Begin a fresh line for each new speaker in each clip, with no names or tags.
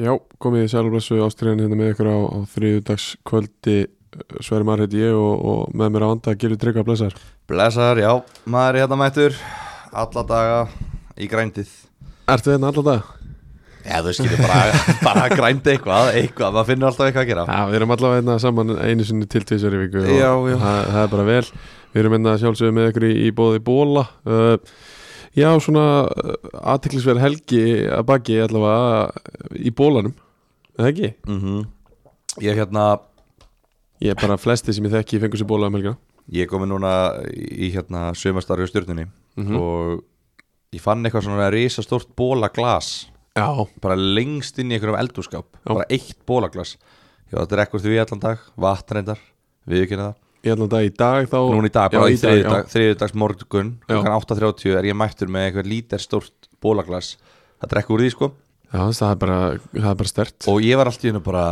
Já, komið í sælblessu ástriðan hérna með ykkur á, á eh, þriðudags kvöldi Sverri Marr heiti ég og, og með mér á vanda Gilvi Tryggva Blessar
Blessaður, já, maður er hérna mættur Alla daga í grændið
Ertu hérna allan dag?
Já, þú skilur bara, bara grænd eitthvað Eitthvað, maður finnur alltaf eitthvað að gera
Já, við erum allavega hérna saman einu sinni til tvisar í viku og
Já, já.
Það, það er bara vel Við erum hérna sjálfsögum með ykkur í, í bóði bóla uh, Já, svona uh, aðtiklisverð helgi að baki allavega í bólanum Er Það ekki?
mm Ég hérna,
Ég er bara flesti sem ég þekki fengur sér bóla um helgina
ég komi núna í hérna sömastarfi á stjórnunni Og ég fann eitthvað svona risastórt bólaglas
Já,
Bara lengst inn í einhverjum eldúskáp
Já.
Bara eitt bólaglas Já, þetta er ekkur því allan dag, vatnreindar, viðkynna það
í allan dag í dag þá
Núna í dag,
Já,
bara í
í dag, já.
þriðjudag, þriðjudags morgun
Já.
Klokkan 8.30 er ég mættur með eitthvað lítar stórt bólaglas Það drekku úr því sko
Já, þess að það er bara, það er bara stert
Og ég var allt í hennu bara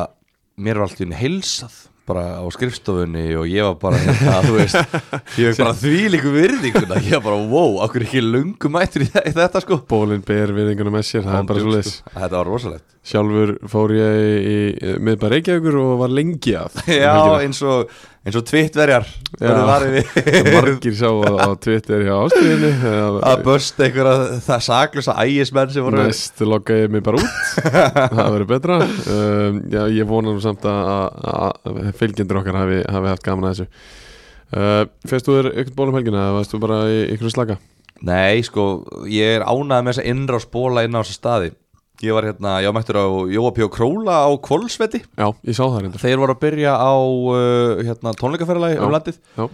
Mér var allt í hennu heilsað Bara á skrifstofunni og ég var bara hérna, Þú veist, ég var bara því líku virðinguna Ég var bara, wow, okkur ekki lungu mættur í þe- í þetta sko
Bólinn ber viðinguna með sér, það er bara svo leis
Þetta var rosalegt
Sjálfur fór ég í, í miðbæð Reykjavíkur og var lengi að
Já, eins og, eins og tvittverjar Verður varðið við
Margir sá á, á Twitter hjá ástriðinni
Að börst einhverja það saklösa ægismenn sem voru
Næst logga ég mig bara út Það verður betra um, Já, ég vonar nú samt að, að, að fylgjendur okkar hafi, hafi haft gaman að þessu uh, Fyrst þú þér ykkur bólum helgina eða varst þú bara í ykkur slaka?
Nei, sko, ég er ánægð með þessa innra spóla inn á þessa staði Ég var hérna, ég var mættur á Jóapjó Króla á Kvolsvetti
Já, ég sá það reyndur
Þeir voru að byrja á uh, hérna, tónleikaferðalagi um landið
Já,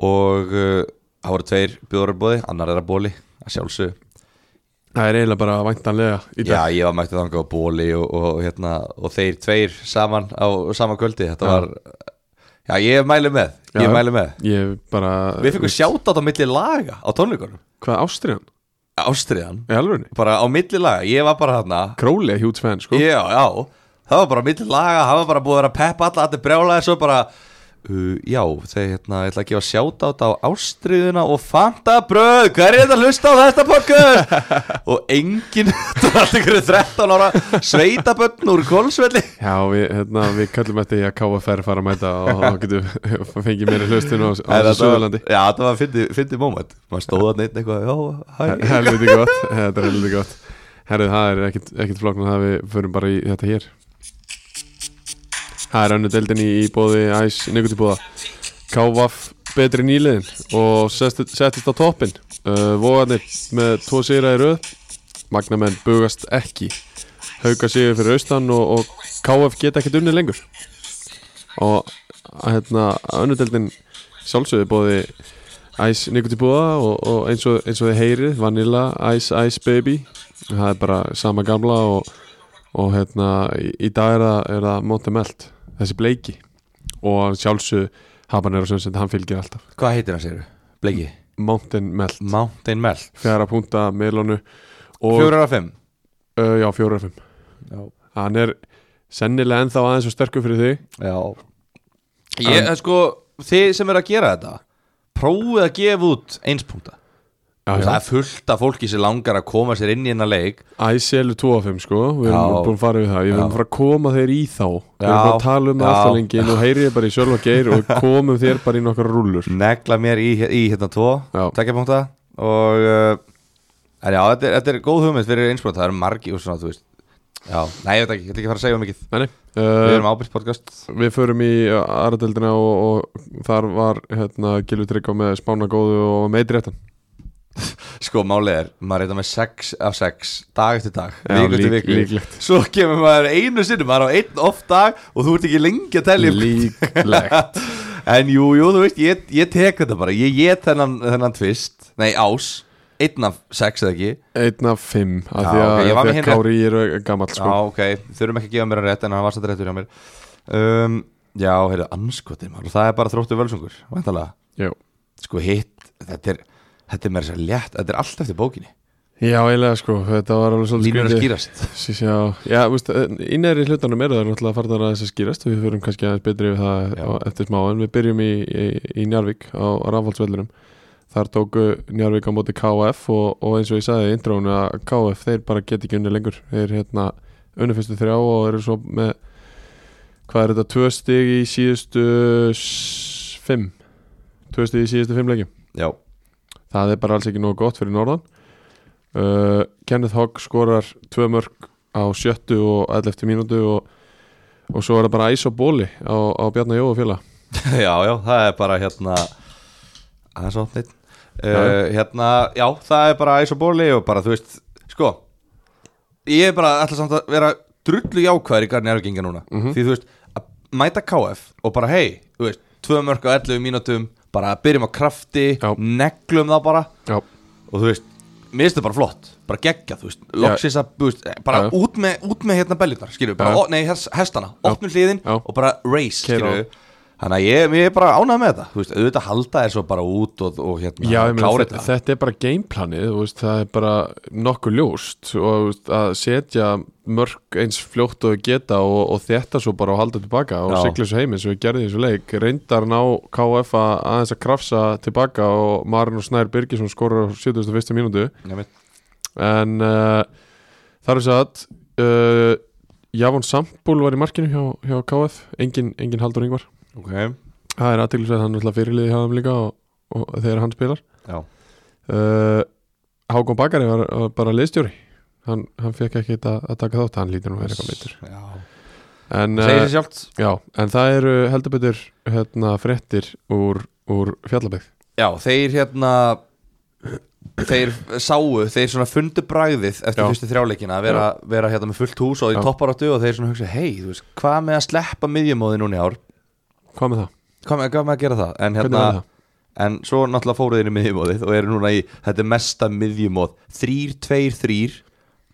Og uh, það voru tveir bjóður að bóði, annar er að bóli, að sjálfsög
það er eiginlega bara væntanlega í dag
Já, ég var mættur þangað á bóli og, og, hérna, og þeir tveir saman á sama kvöldi Þetta
Já.
var, já, ég mæli með, ég
Já.
mæli með
Ég bara
Við fengum sjátt á milli laga á tónleikunum
Hvað ástriðan?
Ástriðan,
Í alvegni?
bara á milli laga, ég var bara hérna
Króli er hjúts fenn, sko
Já, já, það var bara mitt laga Það var bara búið að vera að peppa alla Þetta er brjálaði svo bara uh, Já, þegar hérna, ég ætla að gefa sjátátt á ástriðuna Og fanta bröð Hvað er þetta að hlusta á þetta podcast? og engin, þetta var allt ykkur 13 ára sveitabönd úr kólsvelli
Já, við, hérna, við kallum þetta í að KFR fara að mæta og þá getum við fengið meira hlustun á, á
Nei,
þessu
þetta var-
Suðurlandi
Já, þetta var fyndið fyndi moment Maður stóða neitt eitthvað Já, hæ
Helviti gott, þetta er helviti gott Herðu, það er ekkit, ekkit flókn að við förum bara í þetta hér Það er önnu deildin í, í bóði Æs Nikotibúða KVAF betri nýliðin og settist settist á toppin uh, Vóðanir með tvo sigra í röð Magnamenn bugast ekki Hauka sigur fyrir austan og, og KF geta ekkit unni lengur og hérna önnudeldin sjálfsögði bóði Ice Nikotibúða og, og eins og, eins og þið heyrið Vanilla, Ice Ice Baby það er bara sama gamla og, og hérna í, í dag er það, er það Monte Melt, þessi bleiki og sjálfsög Habanero Sunset, hann fylgir alltaf
Hvað heitir hann sér? Bleiki?
Mountain Melt,
Mountain Melt
fjara punta melonu og,
4 af 5
uh, já, fjóra af fimm
Já
hann er sennilega ennþá aðeins og sterkur fyrir þig
Já Ég, sko, þið sem eru að gera þetta Prófið að gefa út einspunkta
já,
Það er fullt af fólki sem langar að koma sér inn í hennar leik
Æs elu 2 af 5 sko Við erum
Já.
búin að fara við það Ég verðum
Já.
að fara að koma þeir í þá Við
Já.
erum búin að tala um það
Já.
alltaf lengi Nú heyri ég bara í Sölva Geir og komum þér bara í nokkar rúllur
Negla mér í, í hérna tvo
Já.
Tekjapunkta Og uh, En já, þetta er, þetta er góð hugmynd fyrir einspunkta Það eru margi og svona, þú veist Já, nei, ég veit ekki, ég ætla ekki að fara að segja um mikið
Nei, nei.
Við
uh,
erum ábyrgt podcast
Við förum í aðradeldina og, og þar var hérna, Gilvi Tryggva með spána góðu og meitréttan
Sko, málið er, maður er þetta með 6 af 6 Dag eftir dag,
Já,
viku eftir
lík-
viku
líklegt.
Svo kemur maður einu sinni, maður á einn off dag Og þú ert ekki lengi að telja upp
Líklegt
En jú, jú, þú veist, ég, ég tek þetta bara Ég get þennan, þennan tvist Nei, ás, einn af sex eða ekki
Einn af fimm af
Já,
Því að,
ok, ég var
okay,
með
að
hinn
Kári er gammal
Já,
sko
ok, þurfum ekki að gefa mér hann rétt En hann var satt réttur hjá mér um, Já, heyrðu, anskotir maður og Það er bara þróttu völsungur, vantalega
Já,
Sko, hitt, þetta er Þetta er mér sér létt, þetta er allt eftir bókinni
Já eiginlega sko Þetta var alveg svolítið
Línur að
skrítið.
skýrast
Sí, sí, Já, já veist, innæri hlutanum eru það náttúrulega farnar að þess að skýrast og við förum kannski aðeins betri við það
Já.
á, eftir smá en við byrjum í, í, í Njarvík á, á rafhaldsveldurum þar tóku Njarvík á móti KF og, og eins og ég sagði í intrónu að KF þeir bara get ekki unni lengur þeir, hérna, unnu fyrstu þrjá og eru svo með hvað er þetta, tvö stig í síðustu s- fimm tvö stig í síðustu fimm leikjum
Já,
það er bara alls ekki nógu gott fyrir norðan uh, Kenneth Hogg skorar tvö mörg á sjöttu og 11. mínútu og, og svo er það bara æs og bóli á, á Bjarnar Jó og fjöla
já, já, það er bara hérna aðeins opnit uh, Hérna, já, það er bara æs og bóli og bara, þú veist, sko Ég er bara ætla samt að vera drullu jákvæður í garni erfinginga núna Því, þú veist, að mæta KF og bara, hei, þú veist, tvö mörg á 11 mínútum Bara byrjum á krafti,
Já.
neglum það bara
Já,
og þú veist, mér finnst þetta bara flott bara geggja, þú veist, loksins að þú veist, bara
Já, já.
Út, með, út með hérna bellunar, skilju bara,
Já.
ó, nei, hest, hestana, opnum hliðin
Já.
og bara race,
Keyra
skilju þannig að ég, ég er bara ánægð með þetta þú veist, auðvitað halda þér svo bara út og, og hérna,
Já ég meina,
klára
þetta,
þetta
þetta er bara gameplanið þú veist, það er bara nokkuð ljóst og þú veist, að setja mörg eins fljótt og þau geta og, og þetta svo bara og halda tilbaka og
Já.
sigla þessu heim eins og við gerðum í þessu leik reyndar ná KF að aðeins að krafsa tilbaka og Marun og Snær Birgisson skorar á 71. mínútu
Nei, mitt.
en uh, þar er satt uh, Javon Sambúl var í markinu hjá, hjá KF engin, engin Haldur Ingvar
ok,
það er aðtilsveit hann er alltaf fyrirliði hjá þeim líka og, og þegar hann spilar
já,
uh, Hákon Bakari var, var bara liðstjóri hann, hann fekk ekki að, að taka þátt hann lítur nú að vera eitthvað meitur
já.
en,
segir sér
uh,
sjálft
já, en það eru heldur betur hérna, fréttir úr, úr fjallabæð
já, þeir hérna þeir sáu, þeir svona fundu bragðið eftir
Já.
fyrstu þrjáleikina að vera, vera hérna með fullt hús og
Já.
í topparáttu og þeir svona hugsa, hei, þú veist, hvað með að sleppa miðjumóði núna í ár
hvað með það?
hvað með, hvað með að gera það en,
Hvernig
hérna,
verður það?
en svo náttúrulega fóruð inn í miðjumóðið og eru núna í þetta er mesta miðjumóð 3-2-3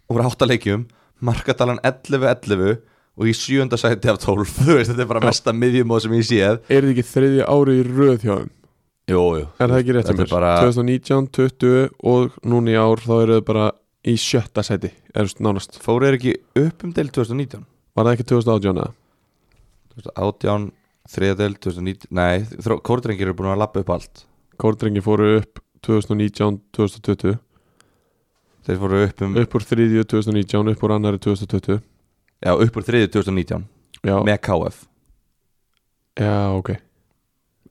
og voru átta leikjum markatalan 11-11 og í sjönda sæti af 12 þú veist þetta er bara mesta miðjumóð sem ég séð
Er þið ekki þriðja ári í röð hjá þeim?
jú, jú.
Er það ekki rétt hjá
Þetta
mér?
er bara,
2019, 20 og núna í ár þá eru þau bara í sjötta seti er þú nánast.
fóruð er ekki upp um del 2019
Var það ekki 2018 eða?
2018, 3 del 2019 nei, kórdrengir eru búin að lappa upp allt
Kórdrengi fóru upp 2019, 2020
þeir fóru upp um,
upp úr þriðju 2019, upp úr annari 2020
já, upp úr 3 2019
Já,
með KF
já ok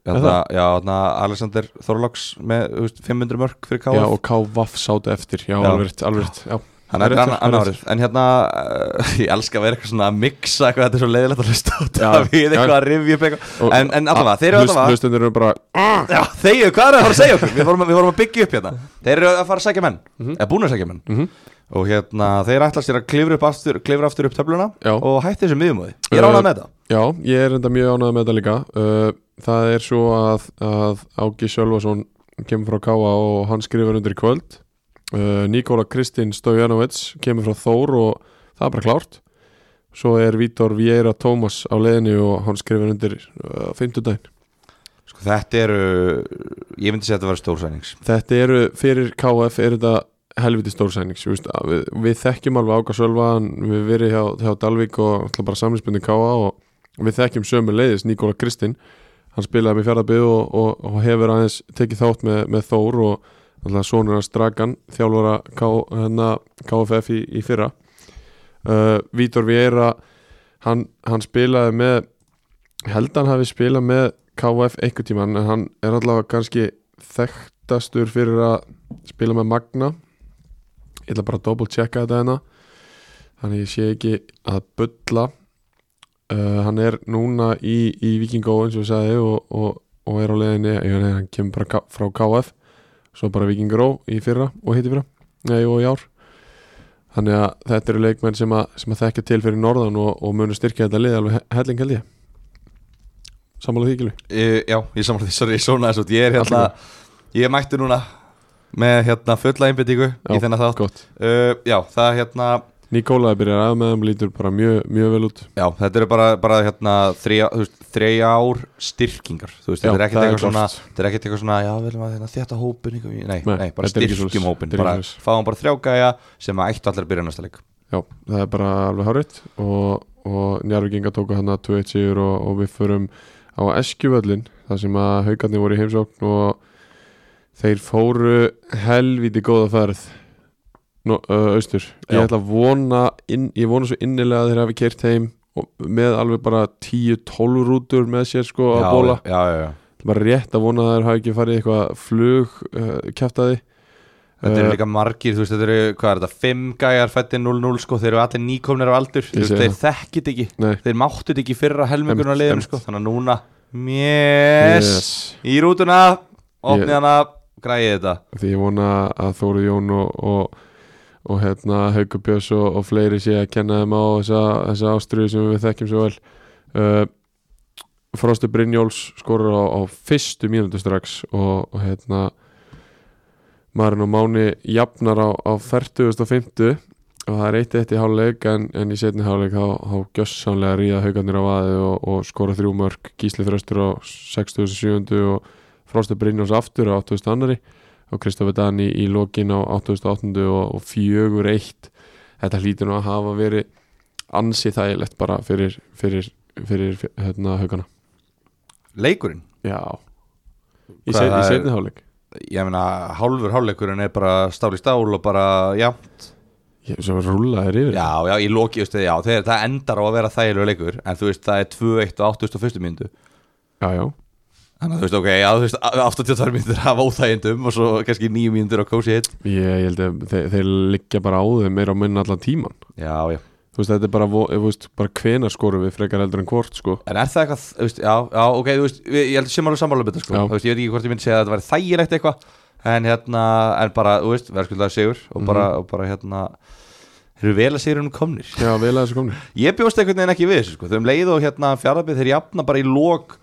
Er
Þarna, já, þarna Alexander Þorlóks með þú veist, 500 mörg fyrir KF
Já, og KVaf sátu eftir, já,
Já.
alveg rétt, alveg rétt já.
Hann er
Rétt
annar
hjá-
anna
rétt.
árið En hérna, uh, ég elska að vera eitthvað svona að mixa eitthvað, þetta er svo leiðilegt að hlusta á þetta
Já,
Við
já.
eitthvað að rifja upp eitthvað
Og-
En, en allavega, þeir eru
Hlust-
allavega
Hlustendur eru bara,
Já, þeir eru, hvað er það að fara að segja okkur? Við vorum, við vorum að byggja upp hérna Þeir eru að fara að sækja menn, eða búin að sækja menn
Mhm.
Og hérna, þeir ætla sér að klifra upp aftur, klifra aftur upp töfluna
Já.
Og hætti þessum miðumóði Ég
Uh,
er ánað með þetta
já, ég er enda mjög ánægð með þetta líka uh, Það er svo að, að Ági Sjölvason kemur frá KVA og hann skrifar undir í kvöld uh, Nikola Kristinn Stojanovic kemur frá Þór og það er bara klárt Svo er Vítor Vieira Tómas á leiðinni og hann skrifar undir uh, á fimmtudaginn
Sko, þetta eru, ég myndi segja að þetta vera stórsænings
Þetta eru, fyrir KF er þetta helviti stórsænings við, við, við þekkjum alveg Áka Sölva hann- við hefum verið hjá, hjá Dalvík og alltaf bara samlingsbundin KA og við þekkjum sömu leiðis Nikola Kristinn hann spilaði með fjaraðbyð og, og, og hefur aðeins tekið þátt með, með Þór og alltaf sonur hans Dragan þjálfara K, hérna, KFF í, í fyrra uh, Vítor Vieira hann, hann spilaði með ég held að hann hafi spilað með KF einhver tíma en hann er allavega kannski þekktastur fyrir að spila með Magna ég ætla bara að double checka þetta hérna þannig ég sé ekki að bulla uh, hann er núna í, í Vikingó eins og við sagði og, og, og er á leiðinni ég, nei, hann kemur bara K- frá KF svo bara Vikingó í fyrra og hitti fyrra nei, og í ár þannig að þetta eru leikmenn sem að, sem að þekkja til fyrir norðan og, og munu styrkja þetta lið alveg he- helling held ég sammála því gilvi
Uh, já, ég samfélag því, sorry, ég svona þessu út. Ég er hérna, ég er mættu núna með hérna fulla einbyttingu í þennan þátt
gott
uh, Já, það hérna,
Nikólaði byrjar að með þeim lítur bara mjög, mjög vel út
já, þetta eru bara, bara hérna þrjá, þú veist, þrjá ár styrkingar Þú
Já,
veist, þetta er ekkert
það er
eitthvað svona,
klárt.
þetta er ekkert eitthvað svona, já, við viljum að hérna þetta hópin ykkur, nei,
Nei,
nei, bara
þetta er ekki svoleiðis,
styrkjum
þetta
hópin
er
Bara
ekki svoleiðis.
fáum bara þrjá gæja sem að ættu allir að byrja næsta leik
Já, það er bara alveg hárétt og, og Njárvíkinga tóku hann að 2-1 sigur og, og við förum á Eskjuvöllin þar sem að haugarnir voru í heimsókn og þeir fóru helvíti góða ferð no, uh, austur Ég
Já.
ætla að vona inn, Ég vona svo innilega að þeir hafi kert heim og með alveg bara 10-12 rútur með sér sko að bóla
já, já, já.
bara rétt að vona að þeir hafi ekki farið í eitthvað flug uh, kjaftaði
Þetta
Eh,
eru líka margir, þú veist, þetta eru, hvað er þetta, fimm gæjar fætti 0-0, sko, þeir eru allir nýkomnir af aldur, þú veist,
segi
þeir þekkit ekki,
Nei.
þeir máttut ekki fyrra helmingurinn á
Einmitt,
liðinu,
einmitt.
sko, þannig að núna, yes, í rútuna, opnið
Ég-
hana, græði þetta.
því ég vona að Þóri Jón og, og, og hérna Haukur Björns og, og fleiri sé að kenna þeim á þessa, þessa ástriðu sem við þekkjum svo vel uh, Frosti Brynjóls skorur á, á fyrstu mínútu strax og, og hérna Marin og Máni jafnar á, á 40.50 og það er eitt eitt í háluleik en, en í setni háluleik þá, þá gjössamlega ríða haugarnir á vaðið og, og skora þrjú mörg Gísli Þröstur á 60.70 og Frosti Brynjóls aftur á 8.2 og Kristoffer Dani í lokin á 2008 og, og fjögur eitt þetta hlýtur nú að hafa verið ansið þægilegt bara fyrir fyrir, fyrir hérna haugana
Leikurinn,
já í,
Hvað
se, í
það er-
seinni hálik
ég meina, hálfur hálfleikurinn er bara stál í stál og bara, já,
sem rúla þér yfir
já, já, í loki, þú veist, já, þeir, það endar á að vera þægilegu leikur, en þú veist, það er 2-1 og 8.1. myndu.
já, já.
Þannig að þú veist, ok, já, þú veist, 82 myndur af óþægindum og svo kannski 9 myndur á kósi hitt.
Ég, ég held að þeir, þeir liggja bara á þeim meira á munn allan tíman
Já, já.
þú veist þetta er bara, vo- þú veist, bara hvenar skorum við frekar eldur en hvort sko
En er það eitthvað, þú veist, já, já, ok, þú veist, við- ég held sem alveg sammála um þetta, sko,
Já.
þú veist, ég veit ekki hvort ég myndi segja að þetta væri þægilegt eitthvað, en hérna, en bara, þú veist, verðskuldaði sigur og bara, og bara, hérna, þeir eru vel að sigurinn komnir.
já vel að þessu komni
Ég bjóst einhvern veginn ekki við þessu, sko, þeim leið og hérna fjarlabið þeir jafna bara í lók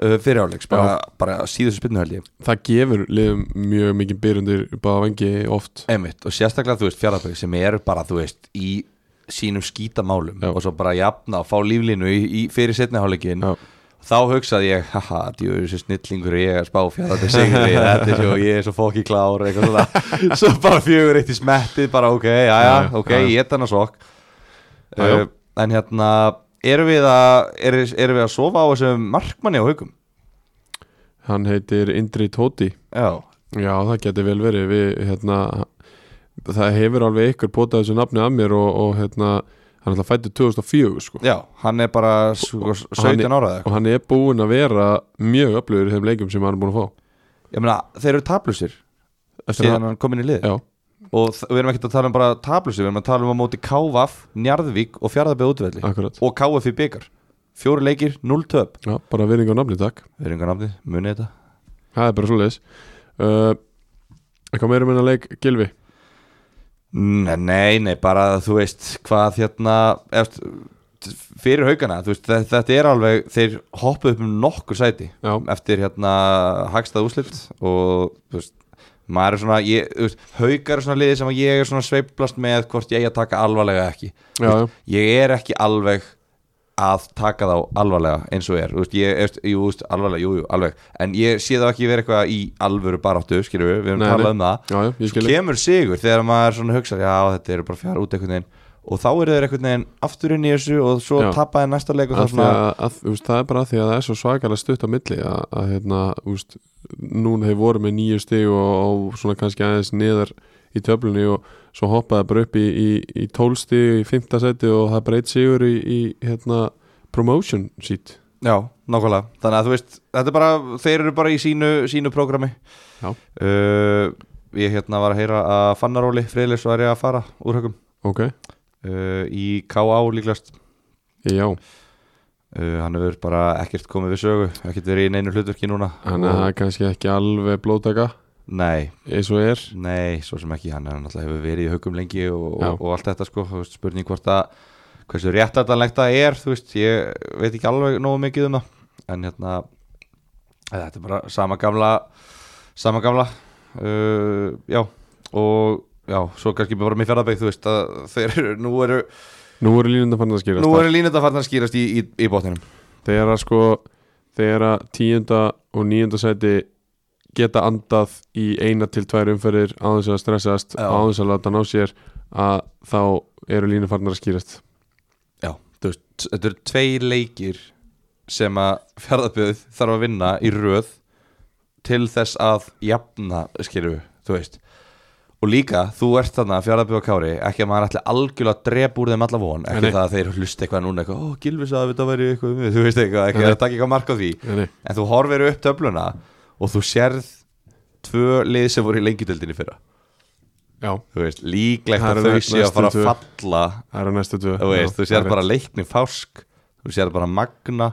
uh, fyriráleiks, bara, bara síðustu spinnu held ég.
það gefur liðum mjög mikið byrjundir bara vengi oft
Einmitt, og sérstaklega, þú veist, fjarlabið sem eru bara, þú veist, í sínum skítamálum
Já.
og svo bara jafna og fá líflínu í, í fyrir setniháleikin
já,
þá hugsaði ég, haha, djú, þessi snillingur ég er að spá fyrir þetta sigri, þetta er svo, ég er svo fokki klár, eitthvað svona, svo bara fjögur eitt í smettið, bara ok, já, já,
Já, já,
ok,
já, já.
ég er þannig að sokk,
Já, já.
uh, en hérna, erum við að, er, erum við að sofa á þessum markmanni á haugum?
hann heitir Indri Tóti
Já,
Já, það getur vel verið við, hérna, það hefur alveg ykkur potað þessu nafni af mér og, og hérna, hann ætla fættu 2004 sko.
já, hann er bara sko,
hann
17
er-
ára eða eitthvað,
og hann er búinn að vera mjög öflugur í þeim leikum sem hann er búinn að fá
ég meina, þeir eru tablusir
Eftir
síðan hann kom inn í lið
Já,
og þ- við erum ekkert að tala um bara tablusir, við erum að tala um á móti Kávaf, Njarðvík og Fjarðabæð útvelli
akkurat
og KF í byggar fjóri leikir, 0 töp
Já, bara virðing á nafni, takk
við erum engan nafni, munið þetta
Það er bara svoleiðis uh, Hvað meira meina leik Gilvi?
Nei, nei, nei, bara þú veist hvað hérna eftir, fyrir haugana, þú veist þe- þetta er alveg, þeir hoppuð upp um nokkur sæti
Já,
eftir hérna hagstað úslit og þú veist maður er svona, ég, þú veist, haugar er svona liði sem að ég er svona sveiplast með hvort ég eigi að taka alvarlega eða ekki
já, já,
ég er ekki alveg að taka þá alvarlega eins og er Þú veist, ég, eftir, jú, þú veist, alvarlega, jú, jú, alveg en ég sé þá ekki vera eitthvað í alvöru baráttu skilur við, við erum
Nei,
talað
nei.
um það
já, já, ég skil
kemur sigur þegar maður svona hugsar já þetta eru bara fjár út einhvern veginn og þá eru þeir einhvern veginn aftur inn í þessu og svo
Já.
tapa þeir næsta leik og
Af
það
því
svona
að, að, þú veist, það er bara af því að það er svo svakalega stutt á milli að, að hérna, úst, núna hefur voru með nýju stig og, og svona kannski aðeins niðar í töflunni og svo hoppaði bara upp í, í, í tólstig í fymta seti og það breyt sigur í, í hérna, promotion sheet
já, nákvæmlega, þannig að þú veist þetta er bara, þeir eru bara í sínu, sínu prógrami
Já.
Uh, ég hérna var að heyra að Fannaróli friðlis var ég að fara úr högum
ok,
uh, í K.A. líklast
já,
uh, hann hefur bara ekkert komið við sögu ekkert verið í neinu hlutverki núna
þannig að það
og,
er kannski ekki alveg blótaka
nei,
eins og er
nei, svo sem ekki hann er náttúrulega hefur verið í högum lengi og,
Já.
og, og allt þetta sko, þú veist, spurning hvort að hversu réttlætanlegt það er þú veist, ég veit ekki alveg nógu mikið um það en hérna eh, þetta er bara sama gamla sama gamla uh, já, og já, svo kannski bara með fjaraðbæk, þú veist að þeir eru, nú eru,
nú eru línundar fann að skýrast
nú eru línuðafarnar skýrast í, í, í bóttinum
þegar að sko þegar að tíunda og níunda sæti geta andað í eina til tvær umferðir á þess að stressast
Já.
á þess að láta ná sér að þá eru línu farnar að skýrast
Já, þú veist, þetta eru tveir leikir sem að fjárðabjöð þarf að vinna í röð til þess að jafna, skilju, þú veist og líka, þú ert þarna fjárðabbi og kári, ekki að maður ætli algjörlega að drepa úr þeim alla von, ekki
Nei, nei.
það að þeir hlusta eitthvað núna eitthvað, ó, Gilvi sagði að þetta væri eitthvað um mig," þú veist eitthvað, ekki
Nei, nei.
að taka eitthvað mark á því
Nei, nei.
en þú horfir upp töfluna og þú sérð tvö lið sem voru í lengjudeldinni fyrra
Já,
þú veist, líklegt
Það
að
eru
þau séu að
næstu
fara að
tvö.
falla
það eru næstu tvö
þú veist,
Já,
þú sér
það er
bara leikni fásk þú sér bara magna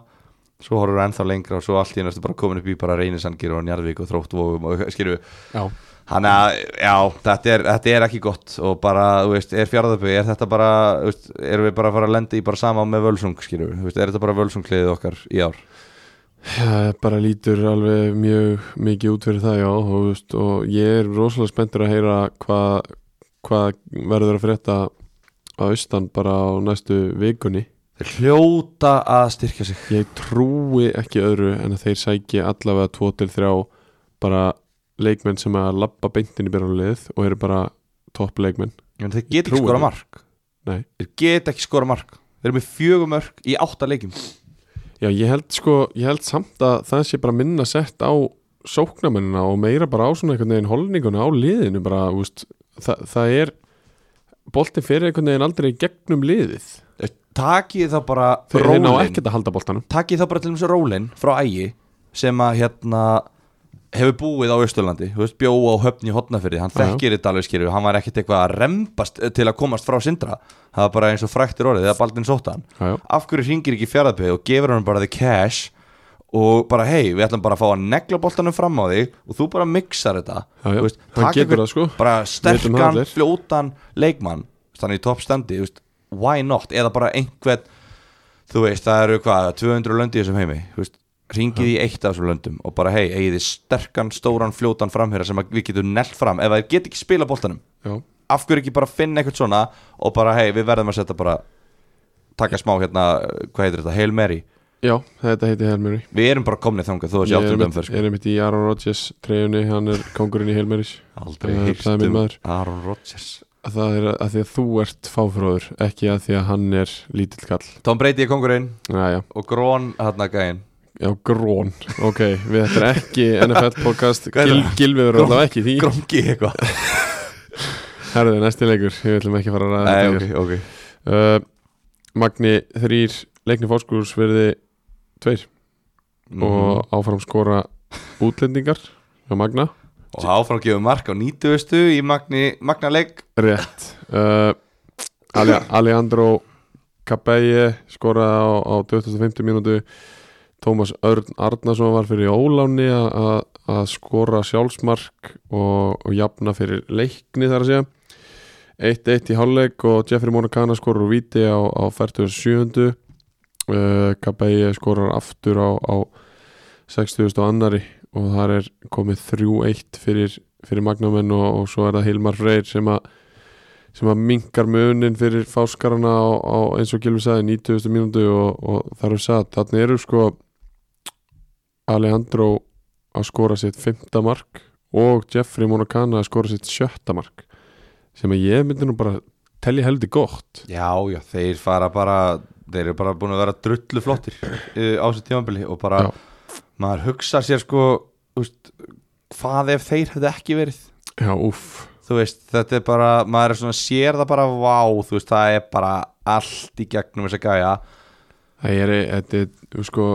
svo horfur ennþá lengra og svo allt í næstu bara komin upp í bara reynisangir og njarðvík og þróttvogum og skilju,
rétt. Já,
hann að já, þetta er, þetta er ekki gott og bara, þú veist, er fjárðabbi, er þetta bara þú veist, erum við bara að fara að lenda í bara sama með völsung, skilju, þú veist, er þetta bara völsungliðið okkar í ár,
Það bara lítur alveg mjög mikið út fyrir það, já, og, þú veist, og ég er rosalega spenntur að heyra hvað hva verður að frétta að austan bara á næstu vikunni.
þeir hljóta að styrkja sig
Ég trúi ekki öðru en að þeir sæki allavega tvo til þrjá bara leikmenn sem að labba beintin í byrjumlið og eru bara topp leikmenn.
en þeir get ekki
Trúi
skora
því.
mark
Nei.
þeir get ekki skora mark þeir eru með fjögumörk í átta leikum
Já, ég held sko, ég held samt að það sé bara minna sett á sóknamennina og meira bara á svona einhvern veginn holninguna á liðinu bara, úst, það, það er boltin fyrir einhvern veginn aldrei í gegnum liðið
takið þá bara
þeir ná
rólinn.
ekkert að halda boltanum
takið þá bara til þessu rólinn frá ægi sem að hérna hefur búið á Östurlandi, þú veist, bjó á höfn í hotnafyrði,
Já,
hann
já.
þekkir þetta alveg skýrðu hann var ekkert eitthvað að rembast eh, til að komast frá sindra, það var bara eins og fræktir orðið þegar Baldin sótt hann,
Já, já.
af hverju hringir ekki fjaraðbygg og gefur hann bara the cash og bara hei, við ætlum bara að fá að negla boltanum fram á þig og þú bara mixar þetta
Já, já.
Þú veist,
Hann
taka
getur
einhvern
það, sko.
bara
Vitum það
sterkan,
allir.
fljótan leikmann, þannig í toppstandi, þú veist, why not eða bara einhvern þú veist, það eru hvað, 200 löndi í þessum heimi þú veist, ringið í eitt af þessum löndum og bara hei, eigið þið sterkan, stóran, fljótan framherra sem að við getum nell fram ef það get ekki spila boltanum,
Já,
af hverju ekki bara finna eitthvað svona og bara hei, við verðum að setja bara taka smá hérna, hvað heitir þetta, Hail Mary
já þetta heiti Helmeri
við erum bara komnið þangað þó að
Ég
sjá
er
áttum
einmitt-
umferð sko.
er einmitt í Aaron Rodgers treyjunni, hann er kongurinn í Helmeris
aldrei
Eh,
heyrt
það er minn
um
maður.
Aaron Rodgers
Það er að því að þú ert fáfróður ekki að því að hann er lítill kall
Tom Brady er kongurinn
Næja,
og Grón hérna gæinn
já, grón Ok, við þetta er ekki NFL podcast
Hvað er
Gil,
það?
Gilvið verður allavega ekki í því
Gróngi eitthvað
Herði, næsti leikur, ég ætlum ekki að fara að ræða
Nei,
þetta
ok, ok
okay. uh, Magni þrýr leikni fórskúrs verði tveir
og,
og áfram skora útlendingar hjá Magna
og áfram gefur mark á 90. í magni, magna leik
Rétt uh, Ale Alejandro Cabeye skoraði á, á 25. mínútu Tómas Örn Arnason var fyrir óláni að- að að skora sjálfsmark og, og jafna fyrir leikni þar að segja 1-1 í hálfleik og Jeffrey Monacana skorur úr víti á, á 47. Uh, Cabeye skorar aftur á, á 60. og annari og þar er komið 3-1 fyrir, fyrir Magnamenn og, og svo er það Hilmar Freyr sem að sem að minkar munin fyrir fáskarana á, á eins og Gilvi sagði 90. mínútu og, og þar er satt þannig eru sko Alejandro að skora sitt fymta mark og Jeffrey Monacana að skora sitt sjötta mark sem að ég myndi nú bara telja heldur gott
Já, já, þeir fara bara þeir eru bara búin að vera drullu flottir á þessu tímabili og bara
Já.
maður hugsa sér sko úst, hvað ef þeir hefðu ekki verið
Já, úff
þú veist, þetta er bara, maður er svona sér það bara, vá, þú veist, það er bara allt í gegnum þess að gæja
Það er, þetta er, þú sko,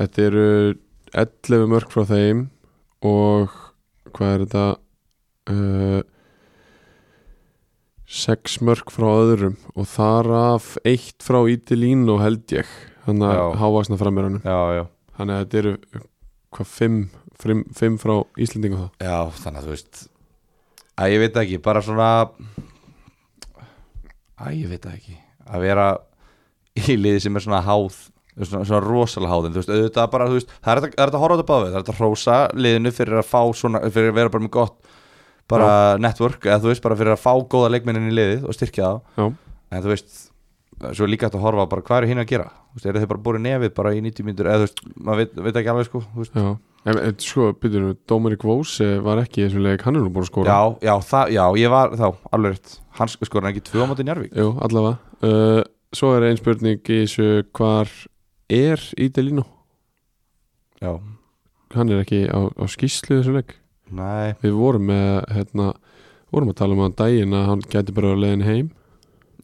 þetta eru 11 mörg frá þeim og hvað er þetta? Uh, 6 mörg frá öðrum og þar af 1 frá Ítilínu held ég, hann að
Já.
hávaksna framir hann.
Já, já
Þannig að þetta eru, hvað, 5, 5, 5 frá Íslendingu þá?
Já, þannig að þú veist að ég veit það ekki, bara svona að ég veit það ekki að vera í liði sem er svona háð svona, svona rosalega háð en þú veist, auðvitað bara, þú veist það er þetta- það er þetta að horfa á þetta báðið, það er þetta að hrósa liðinu fyrir að fá svona, fyrir að vera bara með gott bara network, eða þú veist, bara fyrir að fá góða leikminnin í liðið og styrkja þá
Já,
en þú veist, svo er líka hægt að horfa bara hvað eru hinn að gera, þú veist, eru þeir bara búin nefið bara í 90 mínútur, eða þú veist, maður veit, veit ekki alveg sko, þú veist,
já. En, en sko, byrjum við, Dómarik Vóse eh, var ekki í þessum leik, hann er nú búin að skóra.
Já, já, það, já, ég var þá alveg rétt, hann sk- skoraði ekki tvö á móti Njarvík
Jú, allavega uh, Svo er einn spurning í þessu hvar er Ídelínu?
Já,
Hann er ekki á, á skýslu þessu leik
nei,
Við vorum með hérna, vorum að tala um hann daginn að hann gæti bara að leiðin heim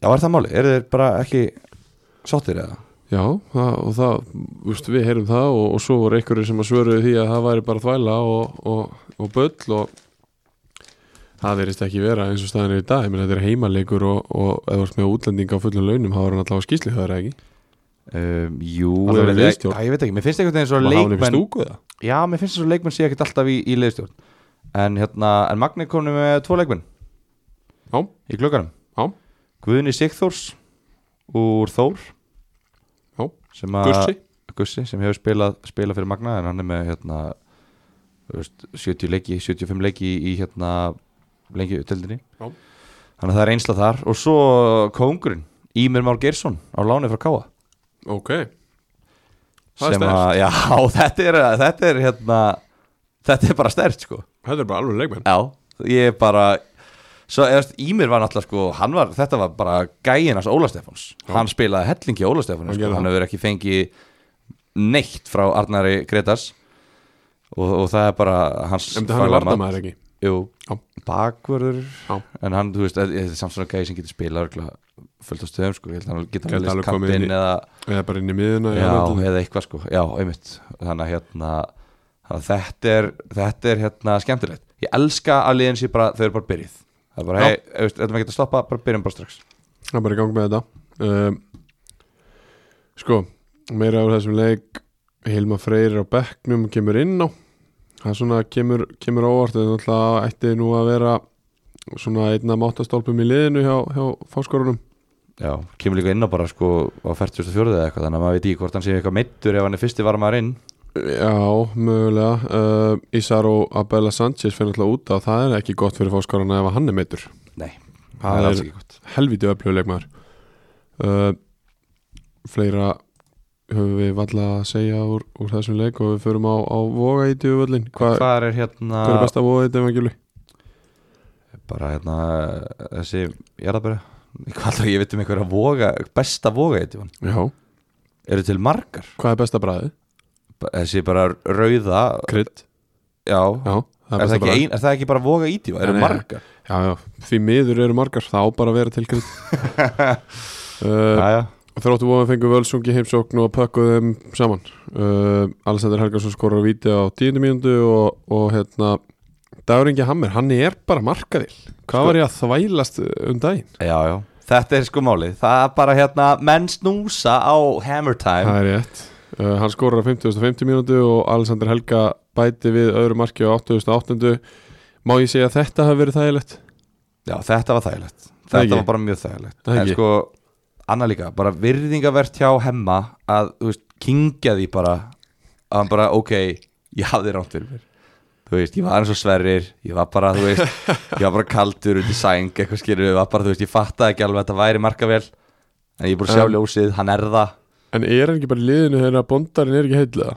Já, er það máli? Eru þeir bara ekki sáttir eða?
já, það, og það, úst, við heyrum það og, og svo voru einhverju sem að svöruðu því að það væri bara þvæla og, og, og böll og það verist ekki vera eins og staðan er í dag menn þetta er heimalegur og, og eða varst með útlendinga á fullum launum, þá var hann allavega skýsli það er ekki, Ehm,
Um, jú,
Hann
ég
er í
veit, ekki,
liðstjórn.
Æ, ég veit ekki, mér finnst einhvern veginn svo
maður hafa hann upp í
leikmenn
stúku eða?
Já, mér finnst svo leikmenn sé ekkert alltaf í, í liðstjórn En hérna, en Magni komni með tvo leikmenn
já,
í klukkanum
já,
Guðni Sigþórs úr Þór
já,
sem að-
gussi
Gussi sem hefur spilað, spilað fyrir Magna en hann er með hérna, þú veist, 70 leiki, 75 leiki í hérna lengi utdeldinni
Já.
þannig að það er einsla þar og svo kóngurinn, Ímir Már Geirsson á láni frá Káa
ok, Það er
sem að, já, þetta er, þetta er hérna, þetta er bara stert sko,
þetta er bara alveg leikmenn
já, ég er bara svo, eða, veist, Ímir var náttúrulega sko, hann var, þetta var bara gæinas Óla Stefáns,
Já.
hann spilaði hellingi Óla Stefáns,
Hann
sko.
gerði
hann
það.
hefur ekki fengið neitt frá Arnari Gretars og, og það er bara hans
en hann er
faglega mat.
varnamæður ekki
Jú,
Já.
bakvörður
Já.
En hann, þú veist, þetta er samt svona gæði sem getur spilað örugglega fullt á stöðum, sko, ég held að hann getur
Gæti
hann list
alveg komið inn
kaptinn
í-
eða
eða bara inn í miðuna í
Já,
handriðinu.
eða eitthvað sko, já, einmitt Þannig að hérna þannig að þetta er, þetta er hérna skemmtilegt Ég elska að liðin sér bara, þau eru bara byrjuð Það er bara,
Já.
hei, ef við ætlum ekki að stoppa, bara byrjum bara strax
Það er bara í gang með þetta um, Sko, meira úr þessum leik Hilma Freyr er á bekknum kemur inn á Það er svona, kemur, kemur á óvart en alltaf ætti nú að vera svona einna máttastólpum í liðinu hjá, hjá fáskorunum
Já, kemur líka inn á bara sko á 44 eða eitthvað, þannig að maður veit í hvort hann sé eitthvað meittur ef hann er fyrsti varmaður inn
Já, mögulega uh, Isaro Abela Sanchez finnir alltaf út að það er ekki gott fyrir fáskoruna ef að hann er meittur
Nei,
Það
það
er-
er alls ekki gott
helvítið öfluguleikmaður uh, fleira höfum við valla að segja úr, úr þessum leik og við förum á, á voga í djúvöllin Hva, hvað
Hvað er hérna,
hver er besta voga í djúvöllin?
bara hérna þessi, ég er að byrja Hvað alltaf ég veit um einhverja voga, besta voga eitthvað
Já,
Eru til margar,
hvað er besta bræði?
Ba- þessi bara rauða
Krydd,
Já,
já, það er
er, það
besta
ekki
bræði
ein, er það ekki bara voga í því? Eru
Nei, nei.
margar?
Já, já, því miður eru margar, þá bara að vera til krydd uh,
Jæja.
Þróttu voga fengu völsungi heimsókn og pökkuðu þeim saman uh, Alexander Helgarsson skorar víti á tíundu mínútu og, og hérna Dagur Ingi Hammer, hann er bara markaðil Hvað var ég að þvælast um daginn?
Já, já. Þetta er sko málið. Það er bara hérna menn snúsa á Hammer Time.
Það er rétt uh, Hann skorar á 50.50 mínútu og Alexander Helga bæti við öðru marki á 8.8. Má ég segja að þetta hafi verið þægilegt?
Já, þetta var þægilegt.
Það
Þetta
ekki.
var bara mjög þægilegt.
Það
en
ekki.
sko, annað líka, bara virðingavert hjá hemma að, þú veist, kingja því bara að hann bara, ok, ég hafði ránt fyrir mér. Þú veist, ég var eins og sverrir, ég var bara, þú veist, ég var bara kaldur út í sæng, eitthvað skilur, ég var bara, þú veist, ég fattaði ekki alveg að þetta væri markavel, en ég er búin að sjá
Um,
ljósið, hann er það.
En er hann ekki bara í liðinu þegar að bondarinn er ekki heitlega?